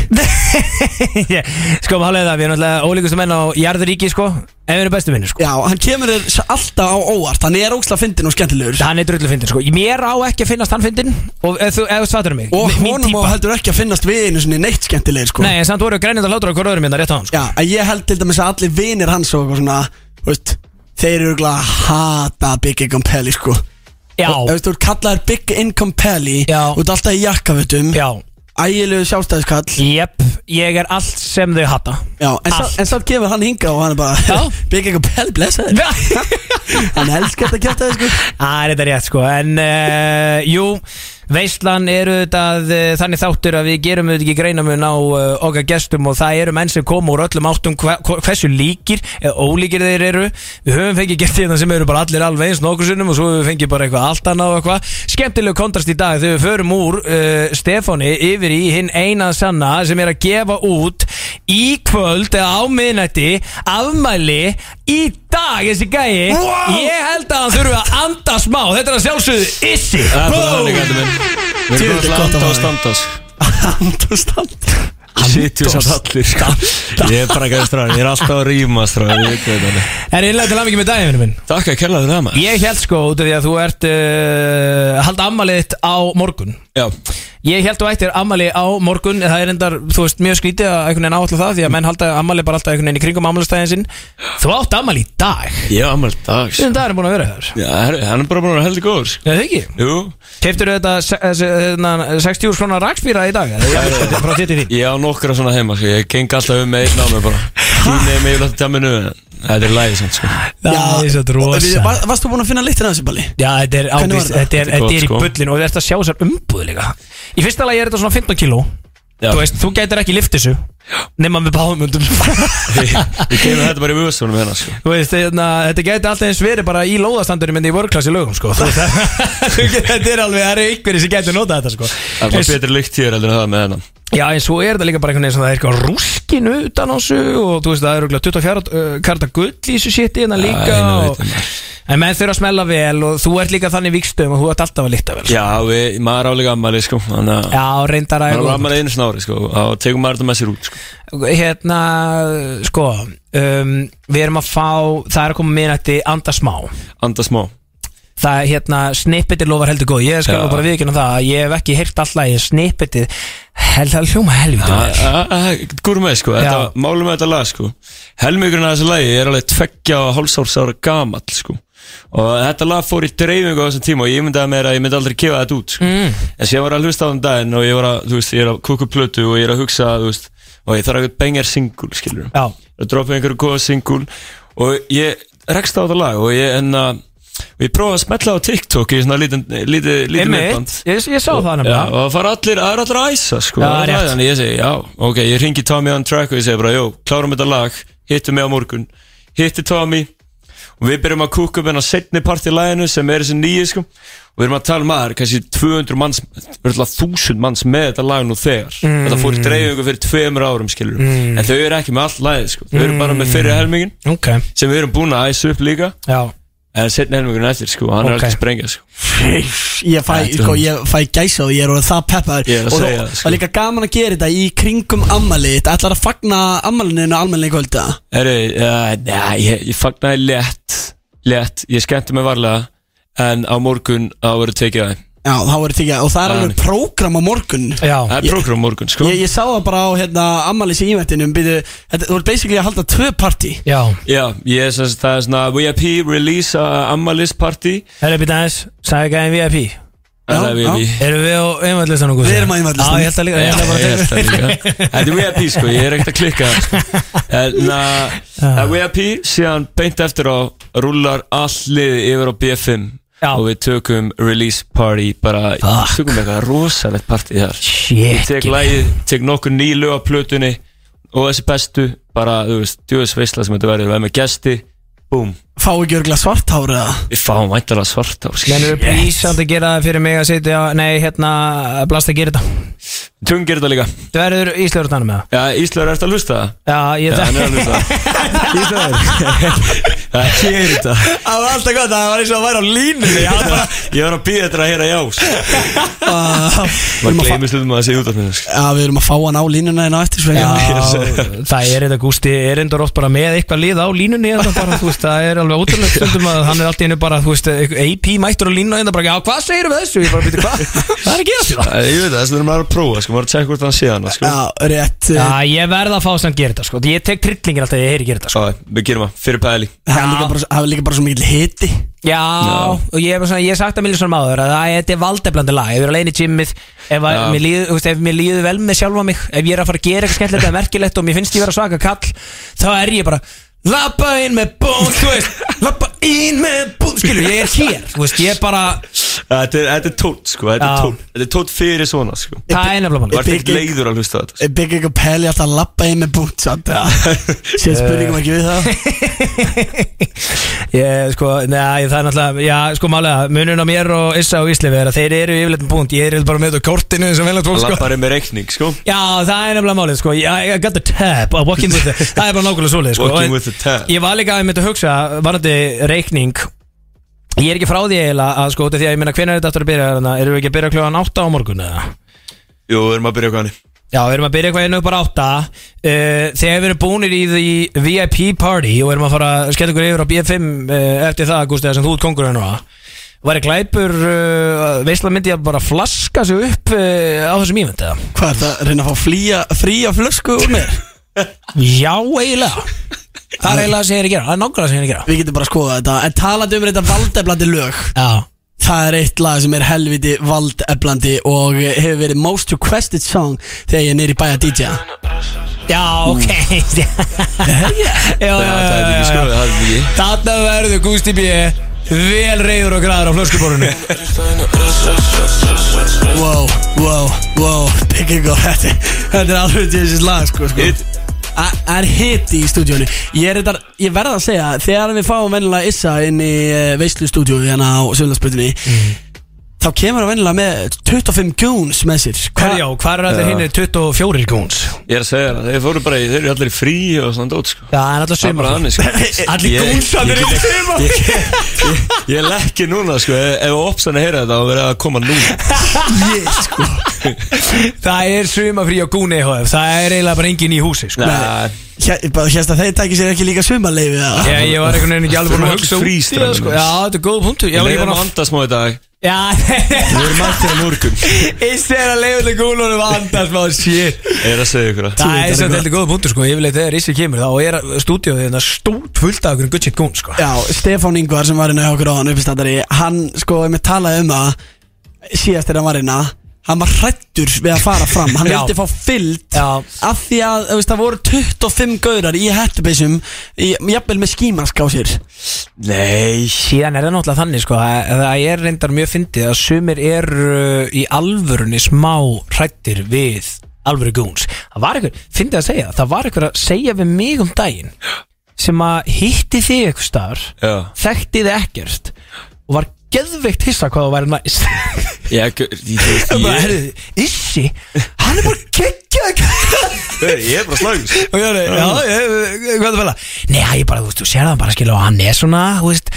[SPEAKER 2] Sko, málega það, við erum alltaf ólíkustu menn á jarðuríki, sko En við erum bestu minni, sko
[SPEAKER 3] Já, hann kemur þér s- alltaf á óvart Hann er óksla fyndin og skemmtilegur
[SPEAKER 2] Hann er drullu fyndin, sko Mér á ekki að finnast hann fyndin Og ef þú, ef þú svartur mig
[SPEAKER 3] Og
[SPEAKER 2] mi- mín
[SPEAKER 3] honum
[SPEAKER 2] típa.
[SPEAKER 3] á heldur ekki að finnast við einu sinni neitt skemmtilegir sko
[SPEAKER 2] Nei, en samt voru grænindar hlátur á hverju öðrum minna rétt á hann, sko
[SPEAKER 3] Já, að ég held til dæmis að allir vinir hans og eitthvað svona þú veist, Þeir eru örugglega að hata Big Income Pelli sko
[SPEAKER 2] Já,
[SPEAKER 3] Þú veist, Þú kallaðir Big Income Pelli
[SPEAKER 2] Já.
[SPEAKER 3] Þú ert alltaf í jakkafutum
[SPEAKER 2] já,
[SPEAKER 3] Ægilegu sjálfstæðiskall
[SPEAKER 2] jep, ég er allt sem þau hata
[SPEAKER 3] Já, en, sá,
[SPEAKER 2] Allt.
[SPEAKER 3] en samt kemur hann hinga og hann er bara
[SPEAKER 2] Já.
[SPEAKER 3] [laughs] Big Income Pelli, blessaður Hann elskar þetta kjátaði sko
[SPEAKER 2] Það er þetta rétt, sko En, uh, jú, Veislan eru þetta þannig þáttur að við gerum auðvitað ekki greinamun á uh, okkar gestum og það eru menn sem koma úr öllum áttum hva, hva- hversu líkir eða ólíkir þeir eru við höfum fengið gert hérna sem eru bara allir alveg eins nokkur sinnum og svo höfum við fengið bara eitthvað allt annað og eitthvað skemmtilegu kontrast í dag þegar við förum úr uh, Stefáni yfir í hinn eina sanna sem er að gefa út í kvöld eða á miðnætti afmæli í dag þessi gæi ég held að hann þurfi að anda smá þetta er að sjálfsögðu issi
[SPEAKER 4] Það er þannig, gæti minn Við erum
[SPEAKER 3] Djöfull er
[SPEAKER 4] bara
[SPEAKER 3] gott að
[SPEAKER 4] landað
[SPEAKER 3] hafa
[SPEAKER 4] og standað
[SPEAKER 3] Andostand
[SPEAKER 9] Sittu samt allir Ég er bara gæði stráður, ég er alltaf að rýma stráður Ég veit hvað þetta er
[SPEAKER 2] En innlega til aðvikið með daginn, vinnu minn
[SPEAKER 9] Takk að kella þér að maður
[SPEAKER 2] Ég held sko, út af því að þú ert uh, Hald ammaliðitt á morgun
[SPEAKER 9] Já,
[SPEAKER 2] Ég held þú ættir ammali á morgun en Það er endar, þú veist, mjög skrítið að einhvern veginn áallu það Því að menn halda ammali bara alltaf einhvern veginn í kringum ammaliðstæðin sinn Þú átt ammali í dag
[SPEAKER 9] ég var ammælt dags
[SPEAKER 2] Þessum dag er búin að vera þar
[SPEAKER 9] Já, herri, hann er bara búin að vera heldur góður
[SPEAKER 2] Nei, það ekki
[SPEAKER 9] Jú,
[SPEAKER 2] Keiftur þetta se- þessi, hérna, 60 svona rakspýra í dag eða? Ég- þetta er Frá þitt í þín
[SPEAKER 9] ég á nokkra svona heima sko. Ég geng alltaf um með einn á mig bara Kýni mig yfir alltaf dæminu Þetta er lægið samt sko.
[SPEAKER 2] Það er svo rosa
[SPEAKER 3] var, Varstu búin að finna litin af þessu balli?
[SPEAKER 2] Já, þetta er
[SPEAKER 3] Hvernig var
[SPEAKER 2] ábyrst,
[SPEAKER 3] þetta?
[SPEAKER 2] þetta er,
[SPEAKER 9] Þetta er
[SPEAKER 2] þetta er í
[SPEAKER 9] gott, sko.
[SPEAKER 2] bullin og þetta sjá þessar umbúð líka Í fyrsta lagi er þetta svona 15 kíló
[SPEAKER 9] Já.
[SPEAKER 2] Þú veist, þú gætir ekki lift þessu nema með
[SPEAKER 9] [laughs]
[SPEAKER 2] báðmundum
[SPEAKER 9] Ég, ég kemur þetta bara í vöðstunum hérna sko.
[SPEAKER 2] Þú veist, hérna, þetta gæti alltaf eins verið bara í lóðastandurinn myndi í vörklass í lögum sko. Þú veist, [laughs] það- þetta er alveg, það eru einhverjir sem gæti nota þetta sko.
[SPEAKER 9] Það er
[SPEAKER 2] Eins-
[SPEAKER 9] betri lykt hér heldur en það með hérna. hennan
[SPEAKER 2] Já, en svo er þetta líka bara einhvern veginn sem það er eitthvað rúskinu utan á þessu og þú veist, það er örugglega 24 uh, karta gull í þessu shiti hérna líka
[SPEAKER 9] ég veit um
[SPEAKER 2] og, En menn þurfa að smella vel og þú ert líka þannig vikstum og þú ert alltaf að lykta vel sko.
[SPEAKER 9] Já, við, maður er álega ammæli sko. Þannig að
[SPEAKER 2] Já, reyndar að
[SPEAKER 9] maður er ammæli einu snári sko. Og tegum maður þetta með sér út sko.
[SPEAKER 2] hérna, sko um, við erum að fá, það er að koma minnætti anda smá,
[SPEAKER 9] Anda smá
[SPEAKER 2] það er hérna snippetið lofar heldur góð, ég skal
[SPEAKER 9] Já.
[SPEAKER 2] nú bara viðkynna það að ég hef ekki heyrt alltaf, ég snippetið held að hljóma helvita
[SPEAKER 9] Ah,
[SPEAKER 2] vel
[SPEAKER 9] Gúr með sko,
[SPEAKER 2] Já.
[SPEAKER 9] þetta, málum með þetta lag sko Helmingurinn af þessu lagi er alveg tveggja og hálfsársára gamall sko Og þetta lag fór í dreifingu á þessum tíma Og ég myndaði mér að ég myndi aldrei gefa þetta út sko. mm. En svo ég var að hlusta á um daginn Og ég var að, þú veist, ég er að kúka upp plötu Og ég er að hugsa, þú veist Og ég þarf eitthvað bengjar singul, skilur
[SPEAKER 2] Já.
[SPEAKER 9] Að droppa einhverju góða singul Og ég rekst á þetta lag Og ég, en að Og ég prófaði að smetla á TikTok í svona lítið, lítið, lítið myndband
[SPEAKER 2] Einmitt, ég, ég sá það
[SPEAKER 9] Já,
[SPEAKER 2] nefnilega
[SPEAKER 9] og það fara allir, það er allir að æsa sko
[SPEAKER 2] Já,
[SPEAKER 9] Það er
[SPEAKER 2] rétt.
[SPEAKER 9] það, Þannig ég segi, já, ok, ég ringi Tommy on track og ég segi bara, jú, klárum þetta lag Hittu mig á morgun, hittu Tommy Og við byrjum að kúka upp hennar setni part í laginu sem er þessi nýju sko Og við erum að tala um maður, kannski 200 manns, verðurlega 1000 manns með þetta lag nú þegar
[SPEAKER 2] Mm.
[SPEAKER 9] Þetta fór í dreifingu fyrir tveimur árum skilur En þau eru ekki með allt lagið sko, þau eru bara með
[SPEAKER 2] Mm.
[SPEAKER 9] fyrir helmingin
[SPEAKER 2] Ok,
[SPEAKER 9] Sem við erum búin að æsa upp líka
[SPEAKER 2] já,
[SPEAKER 9] En setni helmingin eftir sko,
[SPEAKER 2] Ok.
[SPEAKER 9] hann er alveg sprengja sko
[SPEAKER 3] Ég fæ,
[SPEAKER 9] Þetta er
[SPEAKER 3] sko,
[SPEAKER 9] hún.
[SPEAKER 3] ég fæ gæsa og ég er orðið það peppaður
[SPEAKER 9] Ég er að
[SPEAKER 3] Og
[SPEAKER 9] segja
[SPEAKER 3] það-
[SPEAKER 9] það, sko.
[SPEAKER 3] það er líka gaman að gera þetta í kringum ammali Þetta ætlar að fagna ammalinu almenlega í kvölda
[SPEAKER 9] Herri, uh, næ, ég, ég fagnaði létt Létt, ég skemmti mig varlega En á morgun á verið tekið það
[SPEAKER 3] Já, þá er þetta ekki Og það er alveg prógram á morgun
[SPEAKER 2] já
[SPEAKER 9] Það er
[SPEAKER 3] Ég-
[SPEAKER 9] prógram á morgun, sko
[SPEAKER 3] Ég, ég sá það bara á hérna, ammalis í ívættinum byrju, þetta, Þú ert basically að halda tvö partí
[SPEAKER 2] Já,
[SPEAKER 9] Já, ég er sem sagt, það er svona VIP release uh, Ammalis party
[SPEAKER 2] herra býta aðeins, sagði ekki aðeins VIP
[SPEAKER 9] En Það er
[SPEAKER 3] já.
[SPEAKER 9] VIP
[SPEAKER 2] Erum við á einvallistanu?
[SPEAKER 3] Við erum á einvaldslistanum.
[SPEAKER 2] Já, ég held að líka
[SPEAKER 9] Já,
[SPEAKER 2] ég held að bara
[SPEAKER 9] ég
[SPEAKER 2] taka-
[SPEAKER 9] held það líka. Þetta er VIP sko, ég er ekkert að klikka það, sko. En uh, það er VIP síðan beint eftir á rúlar allir yfir á BFM
[SPEAKER 2] Já.
[SPEAKER 9] og við tökum release party bara, tökum eitthvað rosalegt party þar
[SPEAKER 2] Shit,
[SPEAKER 9] tek lægið, tek nokkur nýlu á plötunni og þessi bestu bara, þú veist, djóðsveisla sem þetta verður við erum með gesti, búm
[SPEAKER 3] Fá ekki örgla svarthára
[SPEAKER 9] við fáum væntalega svart á
[SPEAKER 2] Menn eru prísand að gera það fyrir mig að sitja Nei, hérna, blast að gera þetta
[SPEAKER 9] Tung gerir þetta líka
[SPEAKER 2] Þú verður Íslaurutnanum með það
[SPEAKER 9] Já, Íslaur, ertu að hlusta það?
[SPEAKER 2] Já, ég
[SPEAKER 9] Já, hann
[SPEAKER 2] þetta
[SPEAKER 9] er að hlusta
[SPEAKER 3] [laughs]
[SPEAKER 9] það Íslaur Það gerir þetta
[SPEAKER 3] Það var alltaf gott, það var eins og að væri á línu
[SPEAKER 9] Ég var að býða þetta að heyra já sko.
[SPEAKER 3] erum
[SPEAKER 9] Maður
[SPEAKER 3] að fa-
[SPEAKER 9] gleymið slutum að það sé út af mér sko.
[SPEAKER 3] Já, við erum að fá hann á línuna en á eftir svo hérna.
[SPEAKER 2] Já, það er þetta Gústi er endur oft bara með eitthvað lið á línunni hérna bara, þú veist, það er alveg ótrúlega stundum að hann er alltaf einu bara, þú veist, AP mættur á línuna hérna bara, já, hvað segir við þessu? Ég bara býti, hvað?
[SPEAKER 9] [laughs]
[SPEAKER 2] Það er ekki þessu það
[SPEAKER 9] Æ, Ég veit það, þess vegna maður að prófa sko. maður að tjekka hvort hann sé hann sko.
[SPEAKER 3] Já, rétt eh,
[SPEAKER 2] Já,
[SPEAKER 3] Já,
[SPEAKER 2] ég verð að fá sem gera þetta, sko Ég tek trillingin alltaf, þegar ég heyri gera þetta, sko
[SPEAKER 9] Ó, Við gerum það, fyrir pæli
[SPEAKER 3] Það er líka bara, svo- það er líka bara svo mikil hiti
[SPEAKER 2] Já, og ég hef, bara svona, ég hef sagt að millisvonum áður að það- þetta er valdeflandi lag, ef ég er alveg í gymmið ef, að-
[SPEAKER 9] Já.
[SPEAKER 2] mér líður- þú veist, ef mér líður vel með sjálfa mig ef ég er að fara að gera eitthvað skemmtilegt eða merkilegt og mér finnst ég vera svaka kall þá er ég bara Lappa inn með bón, þú veist Lappa inn með bón, skilur, ég er hér Þú veist, ég er bara
[SPEAKER 9] Þetta er, þetta er tótt sko,
[SPEAKER 2] Já.
[SPEAKER 9] þetta er tótt Þetta er tótt fyrir svona sko
[SPEAKER 2] Það er nefnilega
[SPEAKER 9] Þú
[SPEAKER 2] málið
[SPEAKER 9] ert ekkert
[SPEAKER 3] Big-
[SPEAKER 9] leiður að hlusta á þetta sko.
[SPEAKER 3] Er Big Egg og Pelli alltaf að lappa í með búnt samt [laughs] eða? Sér spurningum ekki við það
[SPEAKER 2] Ég, sko, neða, það er náttúrulega, já, sko, málega, munun á mér og Issa og Íslefi er að þeir eru yfirleitt um punkt, ég er bara með þetta á kortinu eins og velja tvo, sko.
[SPEAKER 9] Lappari með reikning sko
[SPEAKER 2] Já, það er nefnilega málið, sko, I I got the tab, I'm walking
[SPEAKER 9] [laughs]
[SPEAKER 2] with the, það er bara nákvæmlega svoleið, sko.
[SPEAKER 9] Walking
[SPEAKER 2] En
[SPEAKER 9] with the tab.
[SPEAKER 2] Ég var líka að mynda að hugsa, varandi reikning, ég er ekki frá því eiginlega að, sko, út af því að ég minna, hvenær er þetta aftur að byrja, þannig, erum við ekki að byrja kljóðan átta á morgun, eða?
[SPEAKER 9] Jú, við erum að byrja eitthvað hann
[SPEAKER 2] Já, við erum að byrja eitthvað inn upp á átta uh, Þegar við erum búinir í því VIP party og erum að fara að skella ykkur yfir á B5 uh, eftir það, Gústi, þar sem þú ert kongurinn og væri glæpur uh, veistla myndi ég að bara flaska sig upp uh, á þessum ívend eða?
[SPEAKER 3] [laughs] Hvað er það, reyna að fá flýja, fría flösku úr mér?
[SPEAKER 2] Já, eiginlega Það er eiginlega sem ég er að gera, það er nákvæmlega sem ég er að gera
[SPEAKER 3] Við getum bara að skoða þetta En talandi um þetta valdeflandi lög
[SPEAKER 2] Já,
[SPEAKER 3] Það er eitt lag sem er helviti valdeflandi Og hefur verið most requested song Þegar ég er nýri bæja DJ
[SPEAKER 2] já, ok Já, já, já,
[SPEAKER 9] Mm.
[SPEAKER 2] já,
[SPEAKER 9] Það er ekki
[SPEAKER 2] já,
[SPEAKER 9] sko,
[SPEAKER 2] já.
[SPEAKER 9] það er ekki
[SPEAKER 2] Þarna verður Gústi B vel reyður og græður á flöskuborunni
[SPEAKER 3] Wow, wow, wow Big Egg og þetta Þetta er alveg þessi lag sko, sko.
[SPEAKER 9] Hit.
[SPEAKER 3] Það það er hiti í stúdíónu Ég, er reyndar- ég verða að segja Þegar við fáum vennilega Issa inn í eh, veislu stúdíó Hérna á Sjöfnlandsbrutinni Þá kemur hann vennilega með 25 goons með sér Hva-
[SPEAKER 2] Hverjá, hvað er allir hinnir 24 góns?
[SPEAKER 9] Ég er að segja það, þeir fóru bara í, þeir eru allir í frí og svona dót sko
[SPEAKER 2] Já, það er alltaf
[SPEAKER 9] Það er
[SPEAKER 2] sumar
[SPEAKER 9] bara þannig sko
[SPEAKER 2] Allir
[SPEAKER 9] Ég-
[SPEAKER 2] gúnsanir
[SPEAKER 9] ég
[SPEAKER 2] í
[SPEAKER 9] get ekki-
[SPEAKER 2] sumar
[SPEAKER 9] Ég, ég, ég lekki núna sko, ef ef Opsan er að heyra þetta þá verður það að koma núna
[SPEAKER 2] [laughs]
[SPEAKER 3] sko?
[SPEAKER 2] Það er sumafrí á gún EHF Það er eiginlega bara engin í húsi sko.
[SPEAKER 9] Nei,
[SPEAKER 3] Hér- bara Hérst að þeir tækir sér ekki líka sumarleifi eða?
[SPEAKER 2] Ég, ég var einhvern veginn ekki alveg búin að
[SPEAKER 9] Þú
[SPEAKER 2] hugsa
[SPEAKER 9] ert
[SPEAKER 2] út í
[SPEAKER 9] fríströmmin.
[SPEAKER 2] það, sko. Já, þetta er góð punktu Ég
[SPEAKER 9] Ég
[SPEAKER 2] var ekki
[SPEAKER 9] leiði
[SPEAKER 2] búin
[SPEAKER 9] maður
[SPEAKER 2] að
[SPEAKER 9] anda smá í dag
[SPEAKER 2] Já,
[SPEAKER 9] Við erum mættir á morgun
[SPEAKER 2] [laughs]
[SPEAKER 9] Ég
[SPEAKER 2] Íssi er að leiða til gúlunum Andast maður shit
[SPEAKER 9] er að segja ykkur það
[SPEAKER 2] Það er svo þetta góð punktu sko Yfirleitt þegar Íssi kemur þá er stúdíóðið þetta stút fullt af okkur guttsitt gún sko
[SPEAKER 3] Já, Stefán Ingvar sem var inn á hjá okkur á hann uppistandari Hann sko, ég með talaði um það Síðast þegar hann var inna Hann var hrættur við að fara fram
[SPEAKER 2] [laughs]
[SPEAKER 3] Hann
[SPEAKER 2] Já.
[SPEAKER 3] vildi fá fyllt
[SPEAKER 2] Já.
[SPEAKER 3] Af því að, þú veist, það voru 25 gaurar í hettubissum Jafnvel með skímask á sér
[SPEAKER 9] Nei
[SPEAKER 2] Síðan er það náttúrulega þannig sko að að það er reyndar mjög fyndið að sumir eru uh, í alvörunni smá hrættir við alvöru goons. Það var einhver, fyndið að segja, það var einhver að segja við mig um daginn sem að hitti þig eitthvað starf,
[SPEAKER 9] Já
[SPEAKER 2] þekkti þig ekkert og var geðveikt hissa hvað það væri næst.
[SPEAKER 9] Ég, ég, ég,
[SPEAKER 2] Það bara,
[SPEAKER 9] ég,
[SPEAKER 2] herðu, Issi, hann er bara geggjað
[SPEAKER 9] ég er bara slagur sko.
[SPEAKER 2] Og ég alveg, já, ég, hvað er það fæla? Nei, já, ég bara, þú veist, þú sér það bara skilja og hann er svona, þú veist,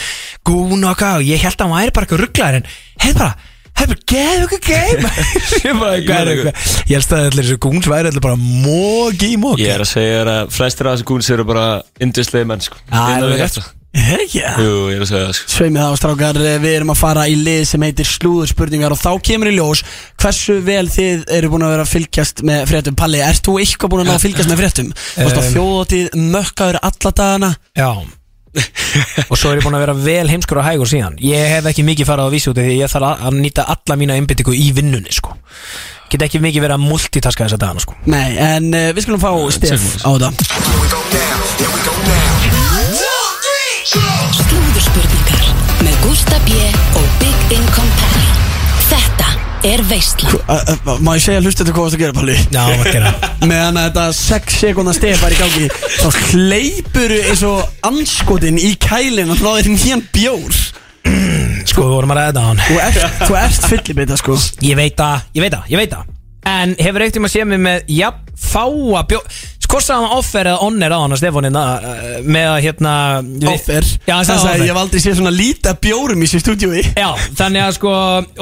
[SPEAKER 2] gún og hvað og ég held að hann væri bara eitthvað rugglar en heið bara, heið bara, geðu ykkur geim Ég bara,
[SPEAKER 9] Ég
[SPEAKER 2] hvað
[SPEAKER 9] meina
[SPEAKER 2] er eitthvað Ég held að allir þessu gúns væri allir bara móki í móki
[SPEAKER 9] Ég er að segja þér að flestir af þessu gúns eru bara indislega menn sko
[SPEAKER 2] Já,
[SPEAKER 9] Innan
[SPEAKER 2] alveg
[SPEAKER 9] við
[SPEAKER 2] rétt.
[SPEAKER 9] hjarta.
[SPEAKER 3] Er ekki það?
[SPEAKER 9] Jú, ég er að segja það sko
[SPEAKER 3] Sveimið þá strákar, eh, við erum að fara í lið sem heitir slúðurspurningar og þá kemur í ljós hversu vel þið eru búin að vera að fylgjast með fréttum Palli, ert þú eitthvað búin að ná að fylgjast með fréttum? Þú veist á
[SPEAKER 2] Em.
[SPEAKER 3] þjóðótið, mökkaður alla dagana
[SPEAKER 2] Já Og svo er ég búin að vera vel heimskur að hægur síðan Ég hef ekki mikið farað á vísi út af Því ég þarf að- að nýta alla mína einbyttingu í vinnunni sko. Get ekki mikið verið að multitaska þessa dagana sko.
[SPEAKER 3] Nei, en uh, við skulum fá Stef á það
[SPEAKER 5] Slúðurspurningar með Gústa B. og Big Income Pally. Þetta er Veistla.
[SPEAKER 3] Uh, uh, Má ég segja hlustu þetta hvað þú ert að gera Palli?
[SPEAKER 2] [laughs] Já, maður gera það
[SPEAKER 3] Meðan að þetta 6 sekundar stef var í gangi Þá hleypuru eins og anskotin í kælin og náður nýjan bjór
[SPEAKER 2] Sko, við vorum að ræða þetta á hann
[SPEAKER 3] Þú ert, þú ert fyllibita sko
[SPEAKER 2] Ég veit það, ég veit það, ég veit það En hefur eitt um að sé mig með Jafn, fáa bjó Hvort sagði hann offer eða onner á hann að Stefanin Með að hérna við-
[SPEAKER 3] Offer
[SPEAKER 2] Já, hann
[SPEAKER 3] Þess
[SPEAKER 2] sagði
[SPEAKER 3] að
[SPEAKER 2] offer
[SPEAKER 3] ég hef aldrei séð svona líta bjórum í sér stúdíói
[SPEAKER 2] Já, þannig að sko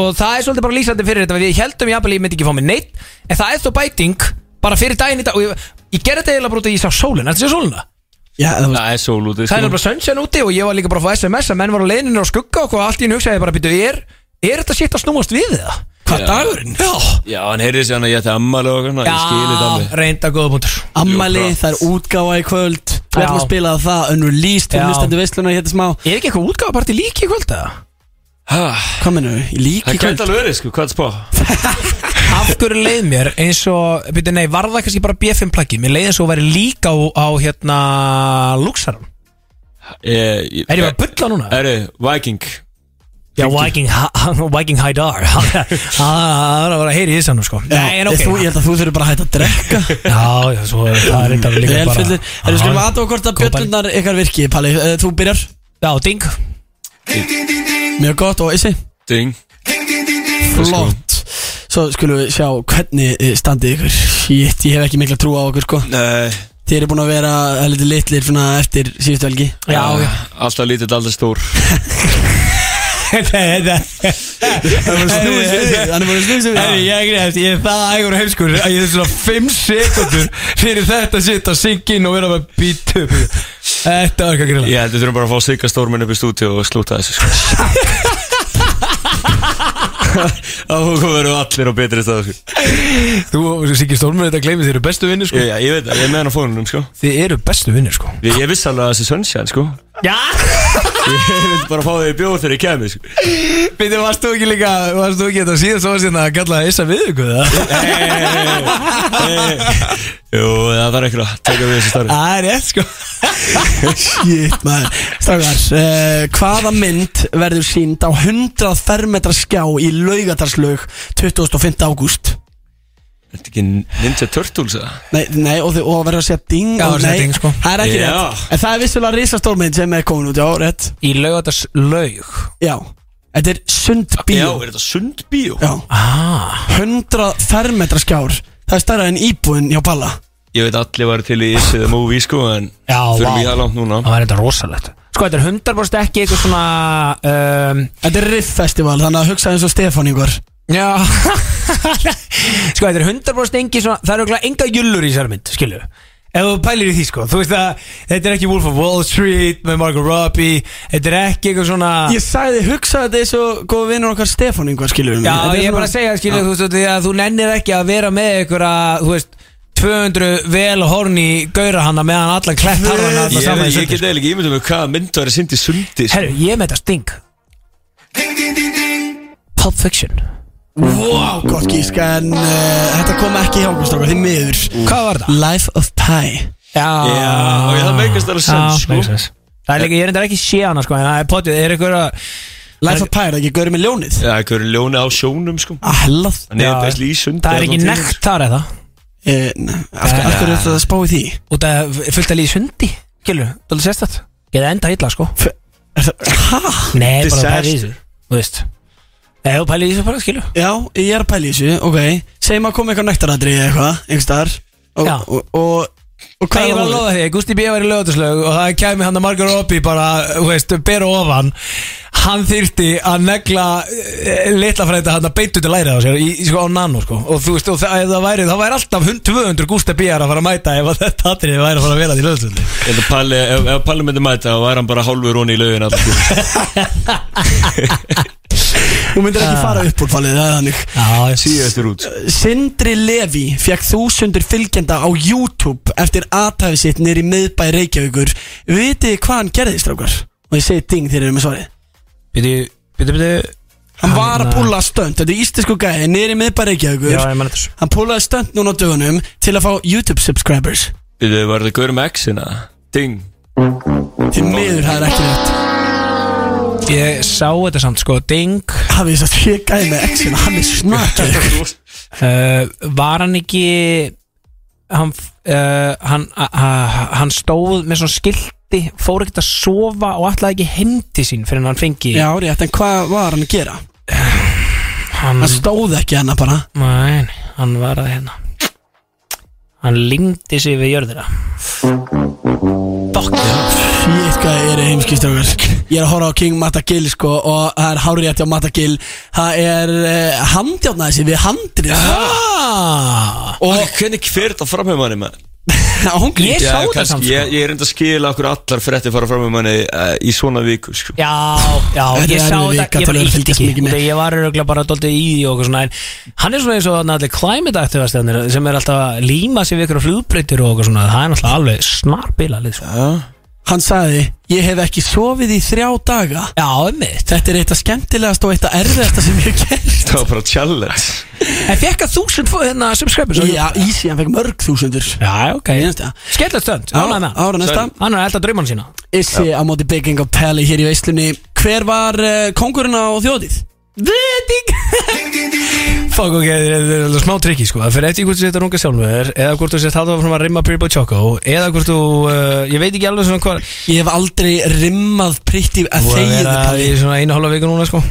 [SPEAKER 2] Og það er svolítið bara lýsandi fyrir þetta Við heldum jafnvel að ég myndi ekki fá mig neitt En það er þó bæting Bara fyrir daginn í dag Og ég, ég gerði þetta eiginlega bara út að ég sá sólina Þetta sé sólina
[SPEAKER 3] Já, þú veist
[SPEAKER 9] Það er sól úti
[SPEAKER 2] Það er
[SPEAKER 3] Mm.
[SPEAKER 9] sko
[SPEAKER 2] bara sunshine úti Og ég var líka bara að fá SMS Að menn var á leiðinu á skugga Og hvað allt í hennu hugsaði ég bara Býtu, er, er þetta shit að snúast við það?
[SPEAKER 3] Hvað dagurinn? Já
[SPEAKER 9] Já, hann heyrði sér hann að ég ætti ammali og hann Ég skilði það
[SPEAKER 2] Já,
[SPEAKER 9] mig
[SPEAKER 2] reynda góða punktur
[SPEAKER 3] Ammali,
[SPEAKER 9] Jú, bra.
[SPEAKER 3] það er útgáfa í kvöld Við
[SPEAKER 2] Já.
[SPEAKER 3] ætlum að spila það Unreleased Þú
[SPEAKER 2] Já.
[SPEAKER 3] hlustandi veislunar hérna smá
[SPEAKER 2] Er ekki eitthvað útgáfaparti líki í kvöld eða?
[SPEAKER 3] Hvað mennum við? Líki
[SPEAKER 9] Það
[SPEAKER 3] í kvöld
[SPEAKER 9] gæti alveg verið sko, hvað er spá?
[SPEAKER 2] Af hverju leið mér eins og byrju, nei, var það kannski bara B5 plaggi Mér leið eins og væri líka á, á hérna Luxarum
[SPEAKER 9] Er
[SPEAKER 2] Er ég bara að bulla núna?
[SPEAKER 9] Herru, Eh, Viking
[SPEAKER 2] Já, Viking, Ha- Ha- Viking Haidar [laughs] Hann hann- hann var að heyra í þessanum sko Nei, en ok
[SPEAKER 3] þú, Ég held að þú þurfir bara að hætta að drekka
[SPEAKER 2] Já, já, svo er það er [laughs] reyndar líka bara
[SPEAKER 3] Elfillir Erum við skulum
[SPEAKER 2] Já,
[SPEAKER 3] aðtóa hvort að
[SPEAKER 2] Kompæni.
[SPEAKER 3] bjöllunar ykkar virki Palli, Eh, þú byrjar
[SPEAKER 2] Já, ding
[SPEAKER 3] Mjög gott og issi
[SPEAKER 9] Ding
[SPEAKER 3] Flott Svo skulum við sjá hvernig eh, standið ykkur Shit, ég hef ekki mikla trú á okkur sko
[SPEAKER 9] Nei
[SPEAKER 3] Þið eru búin að vera heldur litlir svona eftir
[SPEAKER 2] [laughs]
[SPEAKER 3] síðustu helgi
[SPEAKER 2] Já, já
[SPEAKER 9] Eh, Alltaf lítill, alltaf stór
[SPEAKER 2] Þetta
[SPEAKER 3] Það er búin að snúið sér við Það er búin að snúið sér
[SPEAKER 2] Herri,
[SPEAKER 3] við
[SPEAKER 2] ég grefst, ég er það ægur og heimskur að ég er svona 5 sekundur fyrir þetta sitt að syngja inn og vera með bítu Þetta var ekki að grilla
[SPEAKER 9] Ég held við þurfum bara að fá sigga stórminn upp í stúdíu og slúta þessu [laughs] sko Það komur allir á betri stað sko.
[SPEAKER 2] Þú og Siggi Stórmur, þetta gleymið, þið eru bestu vinnir sko
[SPEAKER 9] ég, ég veit það, ég er með hann á fónunum sko
[SPEAKER 2] Þið eru bestu vinnir sko
[SPEAKER 9] Ég, ég vissi alveg að þessi sunshine sko
[SPEAKER 2] Já
[SPEAKER 9] Ég [laughs] vildi bara fá þau í bjóð þegar ég kemi sko
[SPEAKER 2] Býttu, varst þú ekki líka, varst þú ekki þetta síðast og varst hérna að kalla Issa við ykkur það?
[SPEAKER 9] Jú, það þarf ekkur að taka við þessu starfi
[SPEAKER 2] Það er rétt sko
[SPEAKER 3] Shit, maður Strákar, uh, hvaða mynd verður sínd á 100 fermetra skjá í laugatarslaug 25. ágúst?
[SPEAKER 9] Þetta er ekki Ninja Turtles eða?
[SPEAKER 3] Nei, nei, og, þið, og verður að segja ding
[SPEAKER 2] Já,
[SPEAKER 3] og
[SPEAKER 2] segja
[SPEAKER 3] nei,
[SPEAKER 2] ding, sko.
[SPEAKER 3] Það er ekki
[SPEAKER 9] Já.
[SPEAKER 3] rétt En það er vissulega risastórmynd sem er komin út, já, rétt
[SPEAKER 2] Í laugardags laug
[SPEAKER 3] Já, þetta er
[SPEAKER 9] Já,
[SPEAKER 3] sundbíó
[SPEAKER 9] er þetta sundbíó?
[SPEAKER 3] Já,
[SPEAKER 2] Ah.
[SPEAKER 3] 100 fermetra skjár Það er stærra en íbúinn hjá Palla
[SPEAKER 9] Ég veit allir var til í Is the Movie sko En
[SPEAKER 2] Já,
[SPEAKER 9] þurfum
[SPEAKER 2] vá.
[SPEAKER 9] í það langt núna
[SPEAKER 2] Það var þetta rosalegt Sko, þetta er 100% ekki eitthvað svona um,
[SPEAKER 3] Þetta er Riff Festival, þannig að hugsa eins og Stefán yngvar
[SPEAKER 2] Já [laughs] Sko, þetta er 100% engi svona Það eru ekki enga jullur í þessari mynd, skilu Ef þú pælir í því, sko Þú veist að þetta er ekki Wolf of Wall Street með Margot Robbie Þetta er ekki eitthvað svona
[SPEAKER 3] Ég sagði hugsa þetta eins og góð vinnur okkar Stefán yngvar skilur
[SPEAKER 2] Já, ég er bara að segja, skilu, þú veist því að þú nennir ekki að vera með einhverja, þú veist 200 vel horni gaura hana meðan alla klett harfana
[SPEAKER 9] Ég, ég, ég get eiginlega ímyndað með hvað myndu að vera sýnd í sundi sko.
[SPEAKER 2] Herru, ég er með þetta sting Pulp Fiction
[SPEAKER 3] Vá, gott gísk En uh, þetta kom ekki hjá okkur strákar, þið miður
[SPEAKER 2] Hvað var það?
[SPEAKER 3] Life of Pi
[SPEAKER 2] Já,
[SPEAKER 9] Já, ok, það meikast alveg sens, sko.
[SPEAKER 2] meikast sens. Það er líka, ég er reyndar ekki sé hana sko En það er potið, er ykkur að
[SPEAKER 3] Life of Pi er það ekki gaurið með ljónið
[SPEAKER 9] Já, eitthvað er ljóni á sjónum sko
[SPEAKER 2] Ah.
[SPEAKER 3] Að hellað
[SPEAKER 9] Hann er
[SPEAKER 2] Já.
[SPEAKER 9] best í sundi
[SPEAKER 2] Það er ekki
[SPEAKER 9] allan tímann.
[SPEAKER 2] nekt þar eða
[SPEAKER 3] Eh, nei, Af af hverju er þetta að spá í því?
[SPEAKER 2] Út að fullt að líði sundi Gjölu, það er sérstætt Geða enda illa sko
[SPEAKER 3] Er það, hæ?
[SPEAKER 2] Nei, bara
[SPEAKER 9] Disaster.
[SPEAKER 2] að pæla í þessu Þú veist Eða þú pæla í þessu bara, skilu
[SPEAKER 3] Já, ég er að pæla í þessu, ok Segjum að koma eitthvað nektaradri eða eitthvað, einhvers staðar og,
[SPEAKER 2] Já.
[SPEAKER 3] og, og, og
[SPEAKER 2] Nei,
[SPEAKER 3] hvað
[SPEAKER 2] ég var að lofa því, Gusti B. var í lögutaslaug og það kæmi hann að Margar Oppi bara, þú veist, bera ofan hann þyrti að negla eh, litla frænda hann að beita út í lærið á sér í, í- sko, á nano, sko og þú veist, og það, ef það væri, þá væri alltaf 100 200 Gusti B. að fara að mæta ef að [laughs] þetta atrið væri að fara að vera því lögutaslaug
[SPEAKER 9] Ég held að Palli, ef, ef Palli myndi mæta þá væri hann bara hálfur honi í laugin
[SPEAKER 2] [laughs]
[SPEAKER 9] alltaf sko.
[SPEAKER 3] Þú myndir
[SPEAKER 2] Ah.
[SPEAKER 3] ekki fara upp úr fallið, það er þannig
[SPEAKER 2] Já,
[SPEAKER 9] Síðastur út sko.
[SPEAKER 3] Sindri Levi fekk þúsundur fylgjenda á YouTube eftir aðtæfi sitt nýri miðbæ Reykjavíkur Vitið þið hvað hann gerði, strákar? Og ég segi ding þegar ég er með svarið
[SPEAKER 2] byrju, byrju, byrju Ah,
[SPEAKER 3] Hann var að púla stönd, þetta er ístisku gæði, nýri miðbæ Reykjavíkur
[SPEAKER 2] Já, ég mann þetta
[SPEAKER 3] Hann púlaði stönd núna á dögunum til að fá YouTube subscribers
[SPEAKER 9] Við þau var það gaur með X-ina Ding
[SPEAKER 3] Til miður, það er ekki rétt
[SPEAKER 2] Ég sá þetta samt, sko, ding
[SPEAKER 3] Hafið þess að ég gæði með exina, hann er snarkið
[SPEAKER 2] uh, Var hann ekki hann, uh, hann, uh, hann stóð með svona skilti fór ekkert að sofa og ætlaði ekki heim til sín fyrir en hann fengi
[SPEAKER 3] Já, rétt, en hvað var hann að gera?
[SPEAKER 2] hann,
[SPEAKER 3] Hann stóð ekki hana bara
[SPEAKER 2] nein, hann var að hérna hann lingdi sig við jörðina
[SPEAKER 3] Dokk Shit, hvað ég er heimskist okkar Ég er að horfa á King Matagil sko Og það er hárið rétt hjá Matagil Það er uh, handjárnaði sér við handrið
[SPEAKER 2] ah,
[SPEAKER 9] Og hvernig fyrir þetta framhjum manni maður?
[SPEAKER 3] Ángri
[SPEAKER 2] Ég sá þetta samt
[SPEAKER 9] kannski,
[SPEAKER 2] sko
[SPEAKER 9] ég, ég er enda að skila okkur allar frettir fara fram með manni uh, í svona viku sko.
[SPEAKER 2] Já, já,
[SPEAKER 3] Þetta
[SPEAKER 2] ég
[SPEAKER 3] er
[SPEAKER 2] sá
[SPEAKER 3] erfið
[SPEAKER 2] þetta, ég
[SPEAKER 3] vika
[SPEAKER 2] bara
[SPEAKER 3] til að
[SPEAKER 2] ítti
[SPEAKER 3] fylgjast
[SPEAKER 2] ekki
[SPEAKER 3] mikið með.
[SPEAKER 2] Þegar ég var örgulega bara doldið í því og eitthvað svona En hann er svona eins og þarna allir climate aktivastjarnir sem er alltaf að líma sig við ykkur flugbreytir og eitthvað svona Það er náttúrulega alveg snarbila lið sko.
[SPEAKER 3] Hann sagði Ég hef ekki sofið í þrjá daga
[SPEAKER 2] Já, einmitt
[SPEAKER 3] Þetta er eitt af skemmtilegast og eitt af erfiðasta sem ég hef gert
[SPEAKER 9] Það var bara challenge
[SPEAKER 2] En fekk að þúsund fó- hérna subscribers á-
[SPEAKER 3] Já, Easy, hann fekk mörg þúsundur
[SPEAKER 2] já, ok
[SPEAKER 3] Ég finnst það.
[SPEAKER 2] Skellast stönd, ánægð með hann
[SPEAKER 3] Ára næsta
[SPEAKER 2] Hann er að elda drauman sína
[SPEAKER 3] Issi á móti Big Gang of Pally hér í veislunni Hver var uh, kongurinn á þjóðið?
[SPEAKER 2] Fuck ok, þetta er alveg smá trikki sko Það fyrir eftir hvort þú setja runga sjálfur þér, Eða hvort þú setja haldið áfram að rimma Piribo Choco Eða hvort þú, uh, ég veit ekki alveg svona hvað
[SPEAKER 3] Ég hef aldrei rimmað pritti að
[SPEAKER 2] Búið að
[SPEAKER 3] þegið
[SPEAKER 2] vera í
[SPEAKER 3] palli
[SPEAKER 2] svona einu hálfa viku núna sko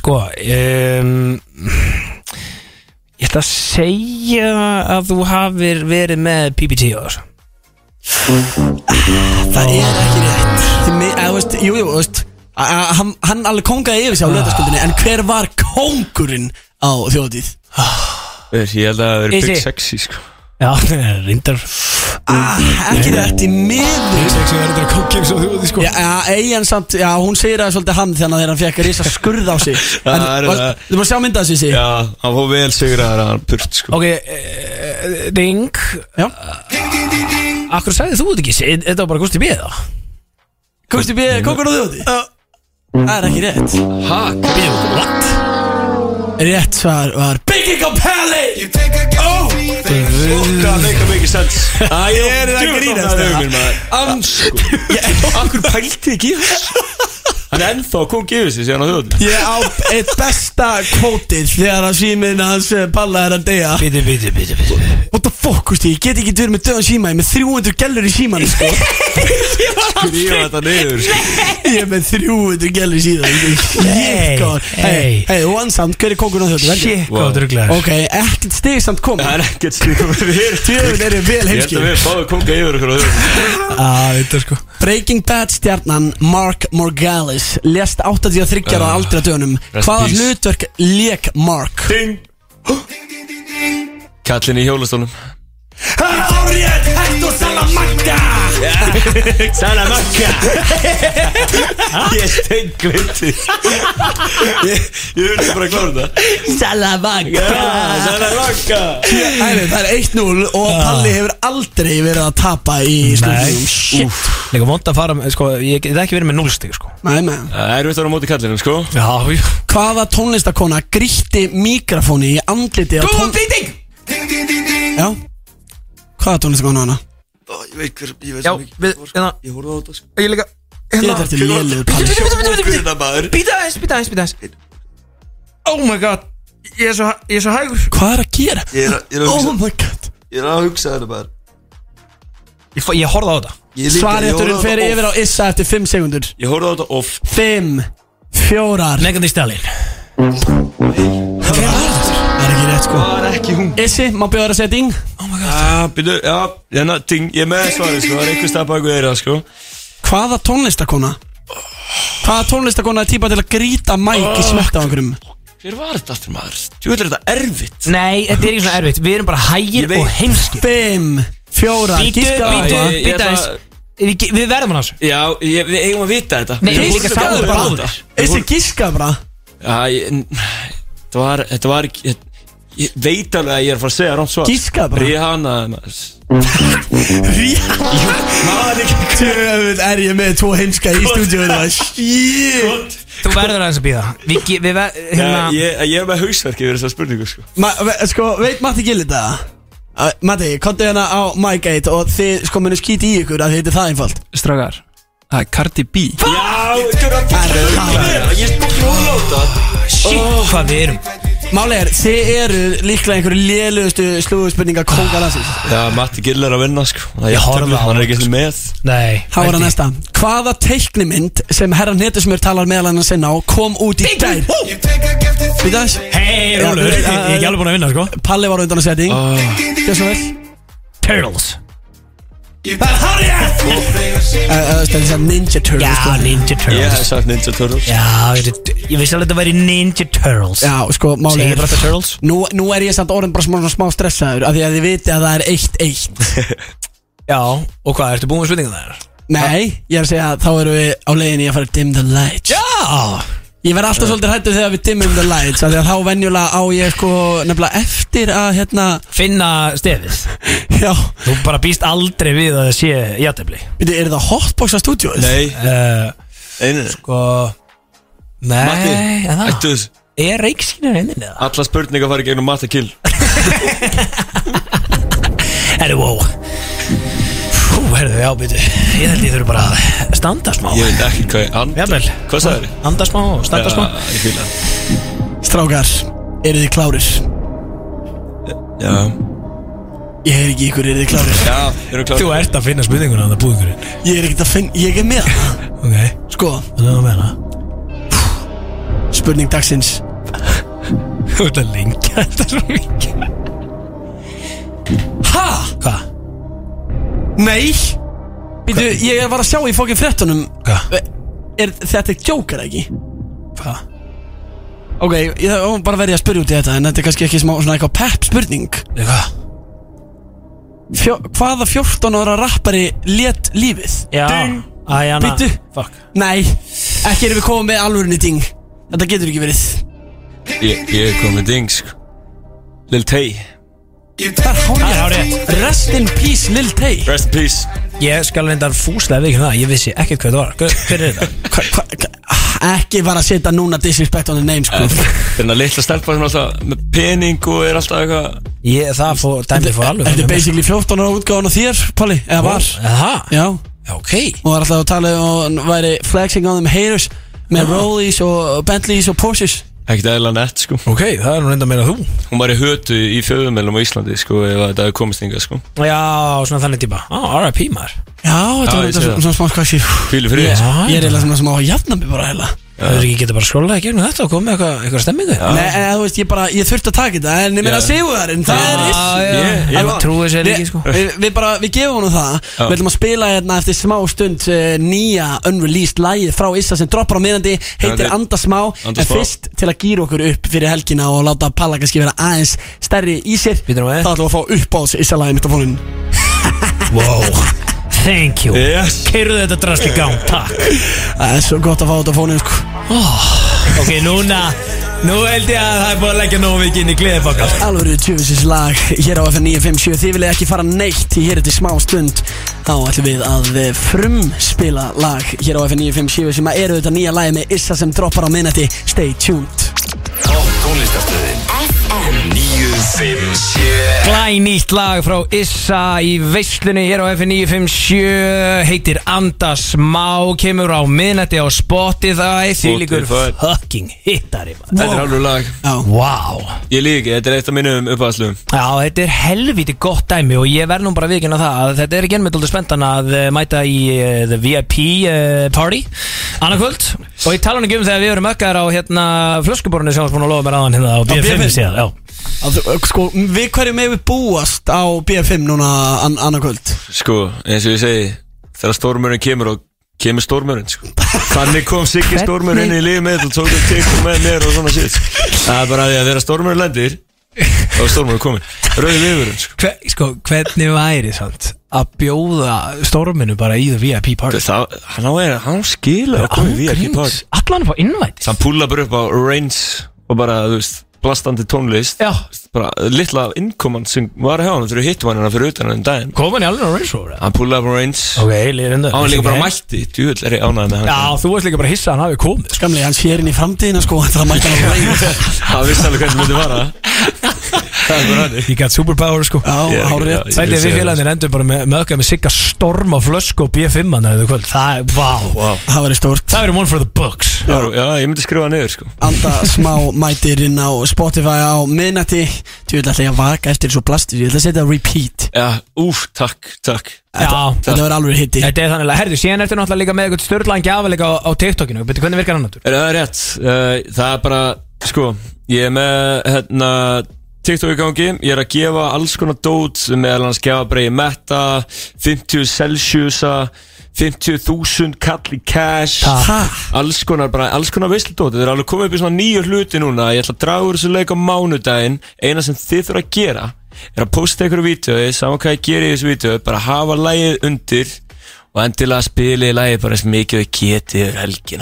[SPEAKER 2] Sko um, Ég ætla að segja að þú hafir verið með PPT á þessu
[SPEAKER 3] Það er ekki rétt Því mig, eða, þú veist, jú, jú, þú veist a- a- Hann, hann alveg kongaði yfir sig á löðaskuldinni En hver var kongurinn á þjóðið?
[SPEAKER 9] Ég held að það hefur verið
[SPEAKER 2] Easy.
[SPEAKER 9] Big Sexy sko
[SPEAKER 2] Já, reyndar
[SPEAKER 3] Ah, ekki rétt í miður
[SPEAKER 2] Sexy er þetta kókjum svo þú
[SPEAKER 3] Já, já, eigin samt, já, hún segir að það er svolítið hann þannig að þegar hann fekk að risa skurð á sig
[SPEAKER 9] Það
[SPEAKER 3] En,
[SPEAKER 9] er
[SPEAKER 3] var-
[SPEAKER 9] það.
[SPEAKER 3] Þú maður sjá mynda þessi, sí
[SPEAKER 9] Já, hann fór vel sigraðar að hann purt sko
[SPEAKER 2] Ok, eh, Ding
[SPEAKER 3] Já.
[SPEAKER 2] Akkur sagði þú þetta ekki Þetta var bara gústi bíða
[SPEAKER 3] Komstu við kongurinn á þjóðið? Það er ekki rétt
[SPEAKER 4] Hæ?
[SPEAKER 3] Bíu, what? Rétt svar var Bygging á Peli
[SPEAKER 9] Það meika mikið sens Æ, ég er það
[SPEAKER 3] djöfull,
[SPEAKER 9] grínast
[SPEAKER 3] opnaði augu
[SPEAKER 9] Það er maður Ansku Akkur pælti ekki í þessu? Hann er ennþá kom gefið sér síðan á þjóðin
[SPEAKER 3] Ég á eitt besta kvótið þegar að síminn hans eh, Balla er að deyja
[SPEAKER 2] Bíti, bíti, bíti, bíti
[SPEAKER 3] What the fuck, húst ég, ég get ekki verið með döðan síma Ég er með 300 gælur í síman
[SPEAKER 9] [laughs]
[SPEAKER 3] sko.
[SPEAKER 9] Grífa þetta niður sko.
[SPEAKER 3] Ég er með 300 gælur í sko. síman
[SPEAKER 2] Hey,
[SPEAKER 3] Hei,
[SPEAKER 2] hey.
[SPEAKER 3] hei, one sound, hver er kongurinn á þjóttu?
[SPEAKER 2] Shit, hvað druglaður
[SPEAKER 3] Ok, ekkert stig samt kom
[SPEAKER 9] Það er ekkert stíðum við erum
[SPEAKER 3] Tjóðin er vel
[SPEAKER 9] Ég held
[SPEAKER 3] heimski
[SPEAKER 9] að við fáum konga yfir okkur á þjóðin
[SPEAKER 2] Það veit það sko
[SPEAKER 3] Breaking Bad stjarnan Mark Morgalis Lest 83 ára uh, aldra dönum
[SPEAKER 9] Ah. rest
[SPEAKER 3] Hvaða
[SPEAKER 9] peace.
[SPEAKER 3] hlutverk lék Mark?
[SPEAKER 9] Ding Kallin í hjólastólum
[SPEAKER 3] Árið, Hector Salamanca
[SPEAKER 9] Salamanca [laughs] Ég steng glimti Ég ég vildi bara klára þetta
[SPEAKER 3] Salamanca
[SPEAKER 9] Salamanca
[SPEAKER 3] Æri, Það er 1-0 og
[SPEAKER 9] Ah.
[SPEAKER 3] Palli hefur aldrei verið að tapa í
[SPEAKER 2] Nei,
[SPEAKER 3] sluttum
[SPEAKER 2] shit Líka vond að fara, með, sko, ég get ekki verið með núlstig sko
[SPEAKER 3] Nei, nei
[SPEAKER 9] Það er veitt að vera á móti kallinum sko
[SPEAKER 2] Já, jú
[SPEAKER 3] Hvaða tónlistakona grýtti mikrofóni í andliti á tón...
[SPEAKER 2] bíting
[SPEAKER 3] Já Hvaða tónlistakona hana?
[SPEAKER 6] Ég veit hver, ég veit
[SPEAKER 2] Já,
[SPEAKER 6] svo mikið
[SPEAKER 2] við, hérna,
[SPEAKER 6] Ég horfði á þetta sko
[SPEAKER 2] ég líka hérna.
[SPEAKER 3] Ég er þetta lélugur
[SPEAKER 2] Bíti,
[SPEAKER 3] Palli
[SPEAKER 2] bíti, bíti, bíti,
[SPEAKER 9] Þetta maður
[SPEAKER 2] bíti aðeins, bíti aðeins, bíti aðeins Oh my god Ég er svo, ég er svo hægur
[SPEAKER 3] Hvað er að gera?
[SPEAKER 6] Ég er að- ég er að
[SPEAKER 3] Oh
[SPEAKER 6] hugsa-
[SPEAKER 3] my god
[SPEAKER 6] ég er að hugsa þetta bara
[SPEAKER 2] Ég, fó- ég horfði á þetta
[SPEAKER 6] Ég líka, ég horfði á
[SPEAKER 3] Svarétturinn
[SPEAKER 6] þetta
[SPEAKER 3] fer
[SPEAKER 6] oft.
[SPEAKER 3] yfir á Issa eftir 5 sekundur
[SPEAKER 9] Ég horfði á þetta oft
[SPEAKER 3] 5 Fjórar
[SPEAKER 2] Megan Thee Stallion
[SPEAKER 3] Það var aftur. Það er ekki rétt sko
[SPEAKER 9] Það er ekki hún
[SPEAKER 3] Issi, má bjóða þér að setja ing
[SPEAKER 6] Uh,
[SPEAKER 9] Já, byrju, já, hérna, ding, ég er með svarið, sko, það er einhver stað baku eira, sko
[SPEAKER 3] Hvaða tónlistakona? Hvaða tónlistakona er típa til að grýta mæk í smetta á einhverjum?
[SPEAKER 9] Hver var þetta aftur maður? Jú, þetta er þetta erfitt
[SPEAKER 2] Nei, þetta er ekki svona erfitt Við erum bara
[SPEAKER 9] Ég
[SPEAKER 2] hægir
[SPEAKER 9] veit.
[SPEAKER 2] og heimskir
[SPEAKER 3] Fimm, fjóra,
[SPEAKER 2] Bítu,
[SPEAKER 3] gíska á
[SPEAKER 2] bítu,
[SPEAKER 3] það.
[SPEAKER 9] ég- ég
[SPEAKER 2] bítu
[SPEAKER 9] ætla-
[SPEAKER 2] aðeins Við við verðum hann á þessu
[SPEAKER 9] Já, ég, við eigum að vita þetta
[SPEAKER 2] Nei,
[SPEAKER 9] Ég
[SPEAKER 2] ég
[SPEAKER 9] voru
[SPEAKER 2] líka
[SPEAKER 9] svo
[SPEAKER 2] sá
[SPEAKER 9] góður
[SPEAKER 2] þetta
[SPEAKER 9] bara á
[SPEAKER 2] báðir.
[SPEAKER 9] þetta.
[SPEAKER 3] Issi, gíska bara
[SPEAKER 9] Já, ég, n- þetta var, þetta var ekki, ég, ég veit alveg að ég er að fara að segja rámt svar
[SPEAKER 3] Gíska bara.
[SPEAKER 9] Rihanna, maður
[SPEAKER 3] Ríðan Tjöfull er ég með tvo heimska í stúdíóinu Shit
[SPEAKER 2] Þú verður aðeins að býða Við, ge- við ver, hérna,
[SPEAKER 9] Ég, ég, ég er með hausverki yfir þessa spurningu, sko
[SPEAKER 3] Ma, ve- Sko, veit Matti Gillit það? Uh, Matti, komdu hérna á Mike 8 og þið sko munið skýti í ykkur að þið heitir það einfalt
[SPEAKER 10] Strágar, það er Cardi B
[SPEAKER 9] Já, þetta er að
[SPEAKER 3] Er það?
[SPEAKER 9] Ég spók hlóla á þetta
[SPEAKER 2] Shit, hvað við erum
[SPEAKER 3] Máli er, þið eru líklega einhverju lélugustu slúðspurninga kongalansins
[SPEAKER 2] Ah,
[SPEAKER 9] Já, Matti Gill er að vinna, sko Það er
[SPEAKER 2] Ég horfði á
[SPEAKER 9] jafntefli, Hann
[SPEAKER 2] hann,
[SPEAKER 9] er ekki einu með
[SPEAKER 2] Nei
[SPEAKER 3] Þá er það næsta Hvaða teiknimynd sem herran Netusmjör talar meðal hann sinna á kom út í gær Við þess
[SPEAKER 2] Hei, Rúlu, ég
[SPEAKER 3] Já,
[SPEAKER 2] ég er ekki alveg búin að vinna, sko
[SPEAKER 3] Palli var undan að setja í Gjör svo vel
[SPEAKER 2] Turtles
[SPEAKER 3] Eh, Stendur sér Ninja Turtles
[SPEAKER 2] Já,
[SPEAKER 3] sko.
[SPEAKER 2] Ninja
[SPEAKER 9] Ég
[SPEAKER 2] Turtles
[SPEAKER 9] hef sagt Ninja Turtles
[SPEAKER 2] Já, þetta- ég vissi alveg að þetta væri Ninja Turtles
[SPEAKER 3] Já, sko, máli
[SPEAKER 2] Segir
[SPEAKER 3] er
[SPEAKER 2] bara þetta Turtles
[SPEAKER 3] nú, nú er ég samt orðin bara smá, smá stressaður af því að þið viti að það er 1-1
[SPEAKER 2] Já, og hvað, ertu búin með spurningan þar?
[SPEAKER 3] Nei, ég er að segja að þá erum við á leiðinni að fara að dim the lights
[SPEAKER 2] Já
[SPEAKER 3] Ég verð alltaf svolítið hættur þegar við dimmum the lights af því að þá venjulega á ég sko nefnilega eftir að hérna
[SPEAKER 2] Finna stefið
[SPEAKER 3] Já,
[SPEAKER 2] Þú bara býst aldrei við að það sé játefli
[SPEAKER 3] veitir, er það hotboxa stúdíóið?
[SPEAKER 9] Nei,
[SPEAKER 2] uh,
[SPEAKER 9] einu
[SPEAKER 2] Sko Nei,
[SPEAKER 9] Matti,
[SPEAKER 2] en það-
[SPEAKER 9] ættu þess
[SPEAKER 2] Er reikskýnir einnig eða?
[SPEAKER 9] Alla spurningar fara í gegnum Matti Gill
[SPEAKER 2] Herri, wow Hú, herðu, já, byrju Ég held ég þurfi bara að standa smá
[SPEAKER 9] Ég veit ekki hvað ég anda
[SPEAKER 2] Jafnvel
[SPEAKER 9] Hvað sagði þið?
[SPEAKER 2] Anda smá og standa smá
[SPEAKER 9] Já, ég fíla það.
[SPEAKER 3] Strákar, eru þið klárir?
[SPEAKER 9] Já
[SPEAKER 3] Ég heyr ekki ykkur, eru þið klárir?
[SPEAKER 9] Já, eru klárir
[SPEAKER 2] Þú ert að finna spurninguna á það búðingurinn
[SPEAKER 3] Ég er ekkert að finn, ég er með það.
[SPEAKER 2] Ok,
[SPEAKER 3] Sko,
[SPEAKER 2] það er að meina
[SPEAKER 3] spurning dagsins
[SPEAKER 2] [laughs] Þú ert að lengja þetta svo mikið
[SPEAKER 3] Ha?
[SPEAKER 2] Hva?
[SPEAKER 3] Nei Býtu, ég var að sjá í fókin fréttunum
[SPEAKER 2] Hva?
[SPEAKER 3] Er þetta ekki jókar ekki?
[SPEAKER 2] Hva?
[SPEAKER 3] Ok, ég þá bara verið að spyrja út í þetta En þetta er kannski ekki smá svona eitthvað pepp spurning
[SPEAKER 2] Ég Hva?
[SPEAKER 3] Fjó, Hvaða 14 ára rappari létt lífið?
[SPEAKER 2] Já
[SPEAKER 3] Ding.
[SPEAKER 2] Æjana
[SPEAKER 3] Bíddu.
[SPEAKER 2] Fuck
[SPEAKER 3] Nei, ekki erum við komið með alvörinni ding Þetta getur ekki verið
[SPEAKER 9] Ég, ég kom með ding sko Lil Tay
[SPEAKER 2] Það er árið
[SPEAKER 3] Rest in peace Lil Tay
[SPEAKER 9] Rest in peace
[SPEAKER 2] Ég skal reyndar fúslega við ekki það Ég vissi ekkert hvað það var Hver- Hver er þetta?
[SPEAKER 3] hva, hva, hva- Ekki bara að setja núna disrespect on the name sko
[SPEAKER 9] Þannig að hérna litla stelpa sem er alltaf með pening og er alltaf eitthvað
[SPEAKER 2] Ég, það fór, dæmi fór alveg
[SPEAKER 3] Þetta er basically 14 ára útgáðan á þér, Palli Eða var
[SPEAKER 2] Það?
[SPEAKER 3] Já
[SPEAKER 2] Ok
[SPEAKER 3] og var alltaf að tala um og væri flexing á þeim haters með Rollies og Bentleys og Porsches
[SPEAKER 9] Ekkert eðla nett sko
[SPEAKER 2] Ok, það er nú reynda meira þú
[SPEAKER 9] Hún var í hötu í fjöðumælum á Íslandi sko Ef þetta hefði komist inga sko
[SPEAKER 2] Já, svona þannig típa Á, R.I.P. maður
[SPEAKER 3] Já, þetta
[SPEAKER 9] Já,
[SPEAKER 3] var
[SPEAKER 9] ég sé
[SPEAKER 3] þetta
[SPEAKER 9] það.
[SPEAKER 3] svona smá skvassir
[SPEAKER 9] Fíli frið sko
[SPEAKER 3] Ég er eiginlega svona smá að jafna mig bara heila
[SPEAKER 2] Það er ekki getið bara að skrolla í gegnum þetta og koma með eitthvað, eitthvað stemmingu Já,
[SPEAKER 3] Nei, en þú veist, ég bara, ég þurfti að taka þetta en ég meina
[SPEAKER 9] Já.
[SPEAKER 3] að segja það, en það er
[SPEAKER 2] já,
[SPEAKER 3] iss
[SPEAKER 2] ég,
[SPEAKER 9] ég-
[SPEAKER 2] ég trúi sér
[SPEAKER 3] Við,
[SPEAKER 2] ekki sko
[SPEAKER 3] við, við bara, við gefum honum það Við ætlum að spila hérna eftir smá stund uh, nýja unreleased lagið frá Issa sem droppar á miðandi, heitir
[SPEAKER 9] þetta er-
[SPEAKER 3] Anda smá
[SPEAKER 9] Anda
[SPEAKER 3] en
[SPEAKER 9] smá.
[SPEAKER 3] fyrst til að gýra okkur upp fyrir helgina og láta Palla kannski vera aðeins stærri í sér þá
[SPEAKER 2] Býtum við.
[SPEAKER 3] ætlum við að fá upp á þessu Issa lagið mitt á fónun
[SPEAKER 2] Wow, thank you
[SPEAKER 9] Yes
[SPEAKER 2] Keirðu þetta drast í gang, takk
[SPEAKER 3] Það er svo gott að fá þetta á fónum sko.
[SPEAKER 2] Ok, núna, nú held ég að það er búin að leggja nógu mikið inn í gleðifakal
[SPEAKER 3] Alvöru tjöfisins lag hér á FN 957 Þið viljið ekki fara neitt í hér eftir smá stund Þá ætlum við að eh, frumspila lag hér á FN 957 sem að eru þetta nýja lagi með Issa sem droppar á minnati Stay tuned
[SPEAKER 7] Topp tónlistarstöðin
[SPEAKER 5] FM
[SPEAKER 7] 957
[SPEAKER 2] Glænýtt lag frá Issa í veislunni hér á F957 heitir Anda Smá kemur á miðnætti á Spotify því líkur
[SPEAKER 9] Spotify.
[SPEAKER 2] fucking hittari maður.
[SPEAKER 9] Þetta er alveg lag
[SPEAKER 3] Já,
[SPEAKER 2] Wow
[SPEAKER 9] Ég lík ekki, þetta er eitt af mínum uppáðslugum
[SPEAKER 2] Já, þetta er helviti gott dæmi og ég verð nú bara viðkynna það að þetta er ekki enn með dóldur spenntan að eh, mæta í uh, the VIP uh, party annarkvöld og ég tala nú ekki um þegar við erum ökkar á hérna flöskuborunni sem var búin að lofa mér aðan hérna á BF5
[SPEAKER 3] BF5?
[SPEAKER 2] síðan, já
[SPEAKER 3] að, þú- sko, við hverju með við búast á BF5 núna an annarkvöld
[SPEAKER 9] Sko, eins og ég segi Þegar stormurinn kemur og kemur stormurinn sko. Þannig kom Siggi
[SPEAKER 2] Hvernig-
[SPEAKER 9] stormurinn í lífið mitt og tók upp tikkum með mér og svona shit sko. Það er bara því að þegar stormurinn lendir þá er stormurinn komin Rauði viðurinn sko.
[SPEAKER 2] Hver, sko, hvernig væri samt að bjóða storminu bara í the VIP party
[SPEAKER 9] Það, hann á er, hann skilur að koma í VIP part
[SPEAKER 2] allan upp á innvætt
[SPEAKER 9] Hann púla bara upp á range og bara, þú veist, blastandi tónlist
[SPEAKER 2] Já,
[SPEAKER 9] bara litla innkoman sem var hjá hann fyrir hittum hann fyrir utan hann um daginn
[SPEAKER 2] kom hann í alveg á Range Rover
[SPEAKER 9] Hann púla upp á range
[SPEAKER 2] Ok, lýrindu
[SPEAKER 9] Hann var líka bara mætti, djúvel er ég ánægð með hann
[SPEAKER 2] Já, þú varst líka bara hissa að hann hafi komið sko.
[SPEAKER 3] Gamli, hans hér inn í framtíðina sko Það mætti hann á reynd
[SPEAKER 9] Það vissi alveg hvernig myndi [laughs] fara Það er bara hannig
[SPEAKER 2] He got superpower sko
[SPEAKER 3] Já,
[SPEAKER 9] Ég-
[SPEAKER 3] hárið
[SPEAKER 9] já,
[SPEAKER 3] rétt
[SPEAKER 9] ég-
[SPEAKER 2] Þetta er
[SPEAKER 9] sé
[SPEAKER 2] við
[SPEAKER 9] það.
[SPEAKER 2] félagin endur bara með mögða með sigga storm á flösku og BF5 hann eða hérna kvöld Það er, vá
[SPEAKER 3] Það væri stórt
[SPEAKER 2] Það verður one for the books
[SPEAKER 9] Já, já, ég myndi skrifa það niður sko
[SPEAKER 3] Anda smá mætir inn á Spotify á minnati Þú vil alltaf ég að vaka eftir svo plastir Ég ætla að setja repeat
[SPEAKER 9] Já, úf, takk, takk
[SPEAKER 2] Já,
[SPEAKER 3] Þetta verður alveg hitti
[SPEAKER 2] þetta er þannig að Herðu, síðan ertu náttúrulega líka með eitthvað störðlan gjafa líka á, á TikTokinu Betur, hvernig virkar hann náttúr?
[SPEAKER 9] Er það rétt? Uh, það er bara, sko Ég er með, hérna TikTok í gangi, ég er að gefa alls konar dót meðal hans gefa bara í metta 50 Celsiusa 50.000 kall í cash
[SPEAKER 2] Ha.
[SPEAKER 3] Ha?
[SPEAKER 9] alls konar, bara alls konar veistludóti þeir eru alveg komið upp í svona nýju hluti núna ég ætla að draga úr þessu leik á mánudaginn eina sem þið þurfa að gera er að posta einhverju vídeoi, saman hvað ég geri í þessu vídeoi bara hafa lægið undir og endilega spilið lægið bara eins mikið við getið yfir helgina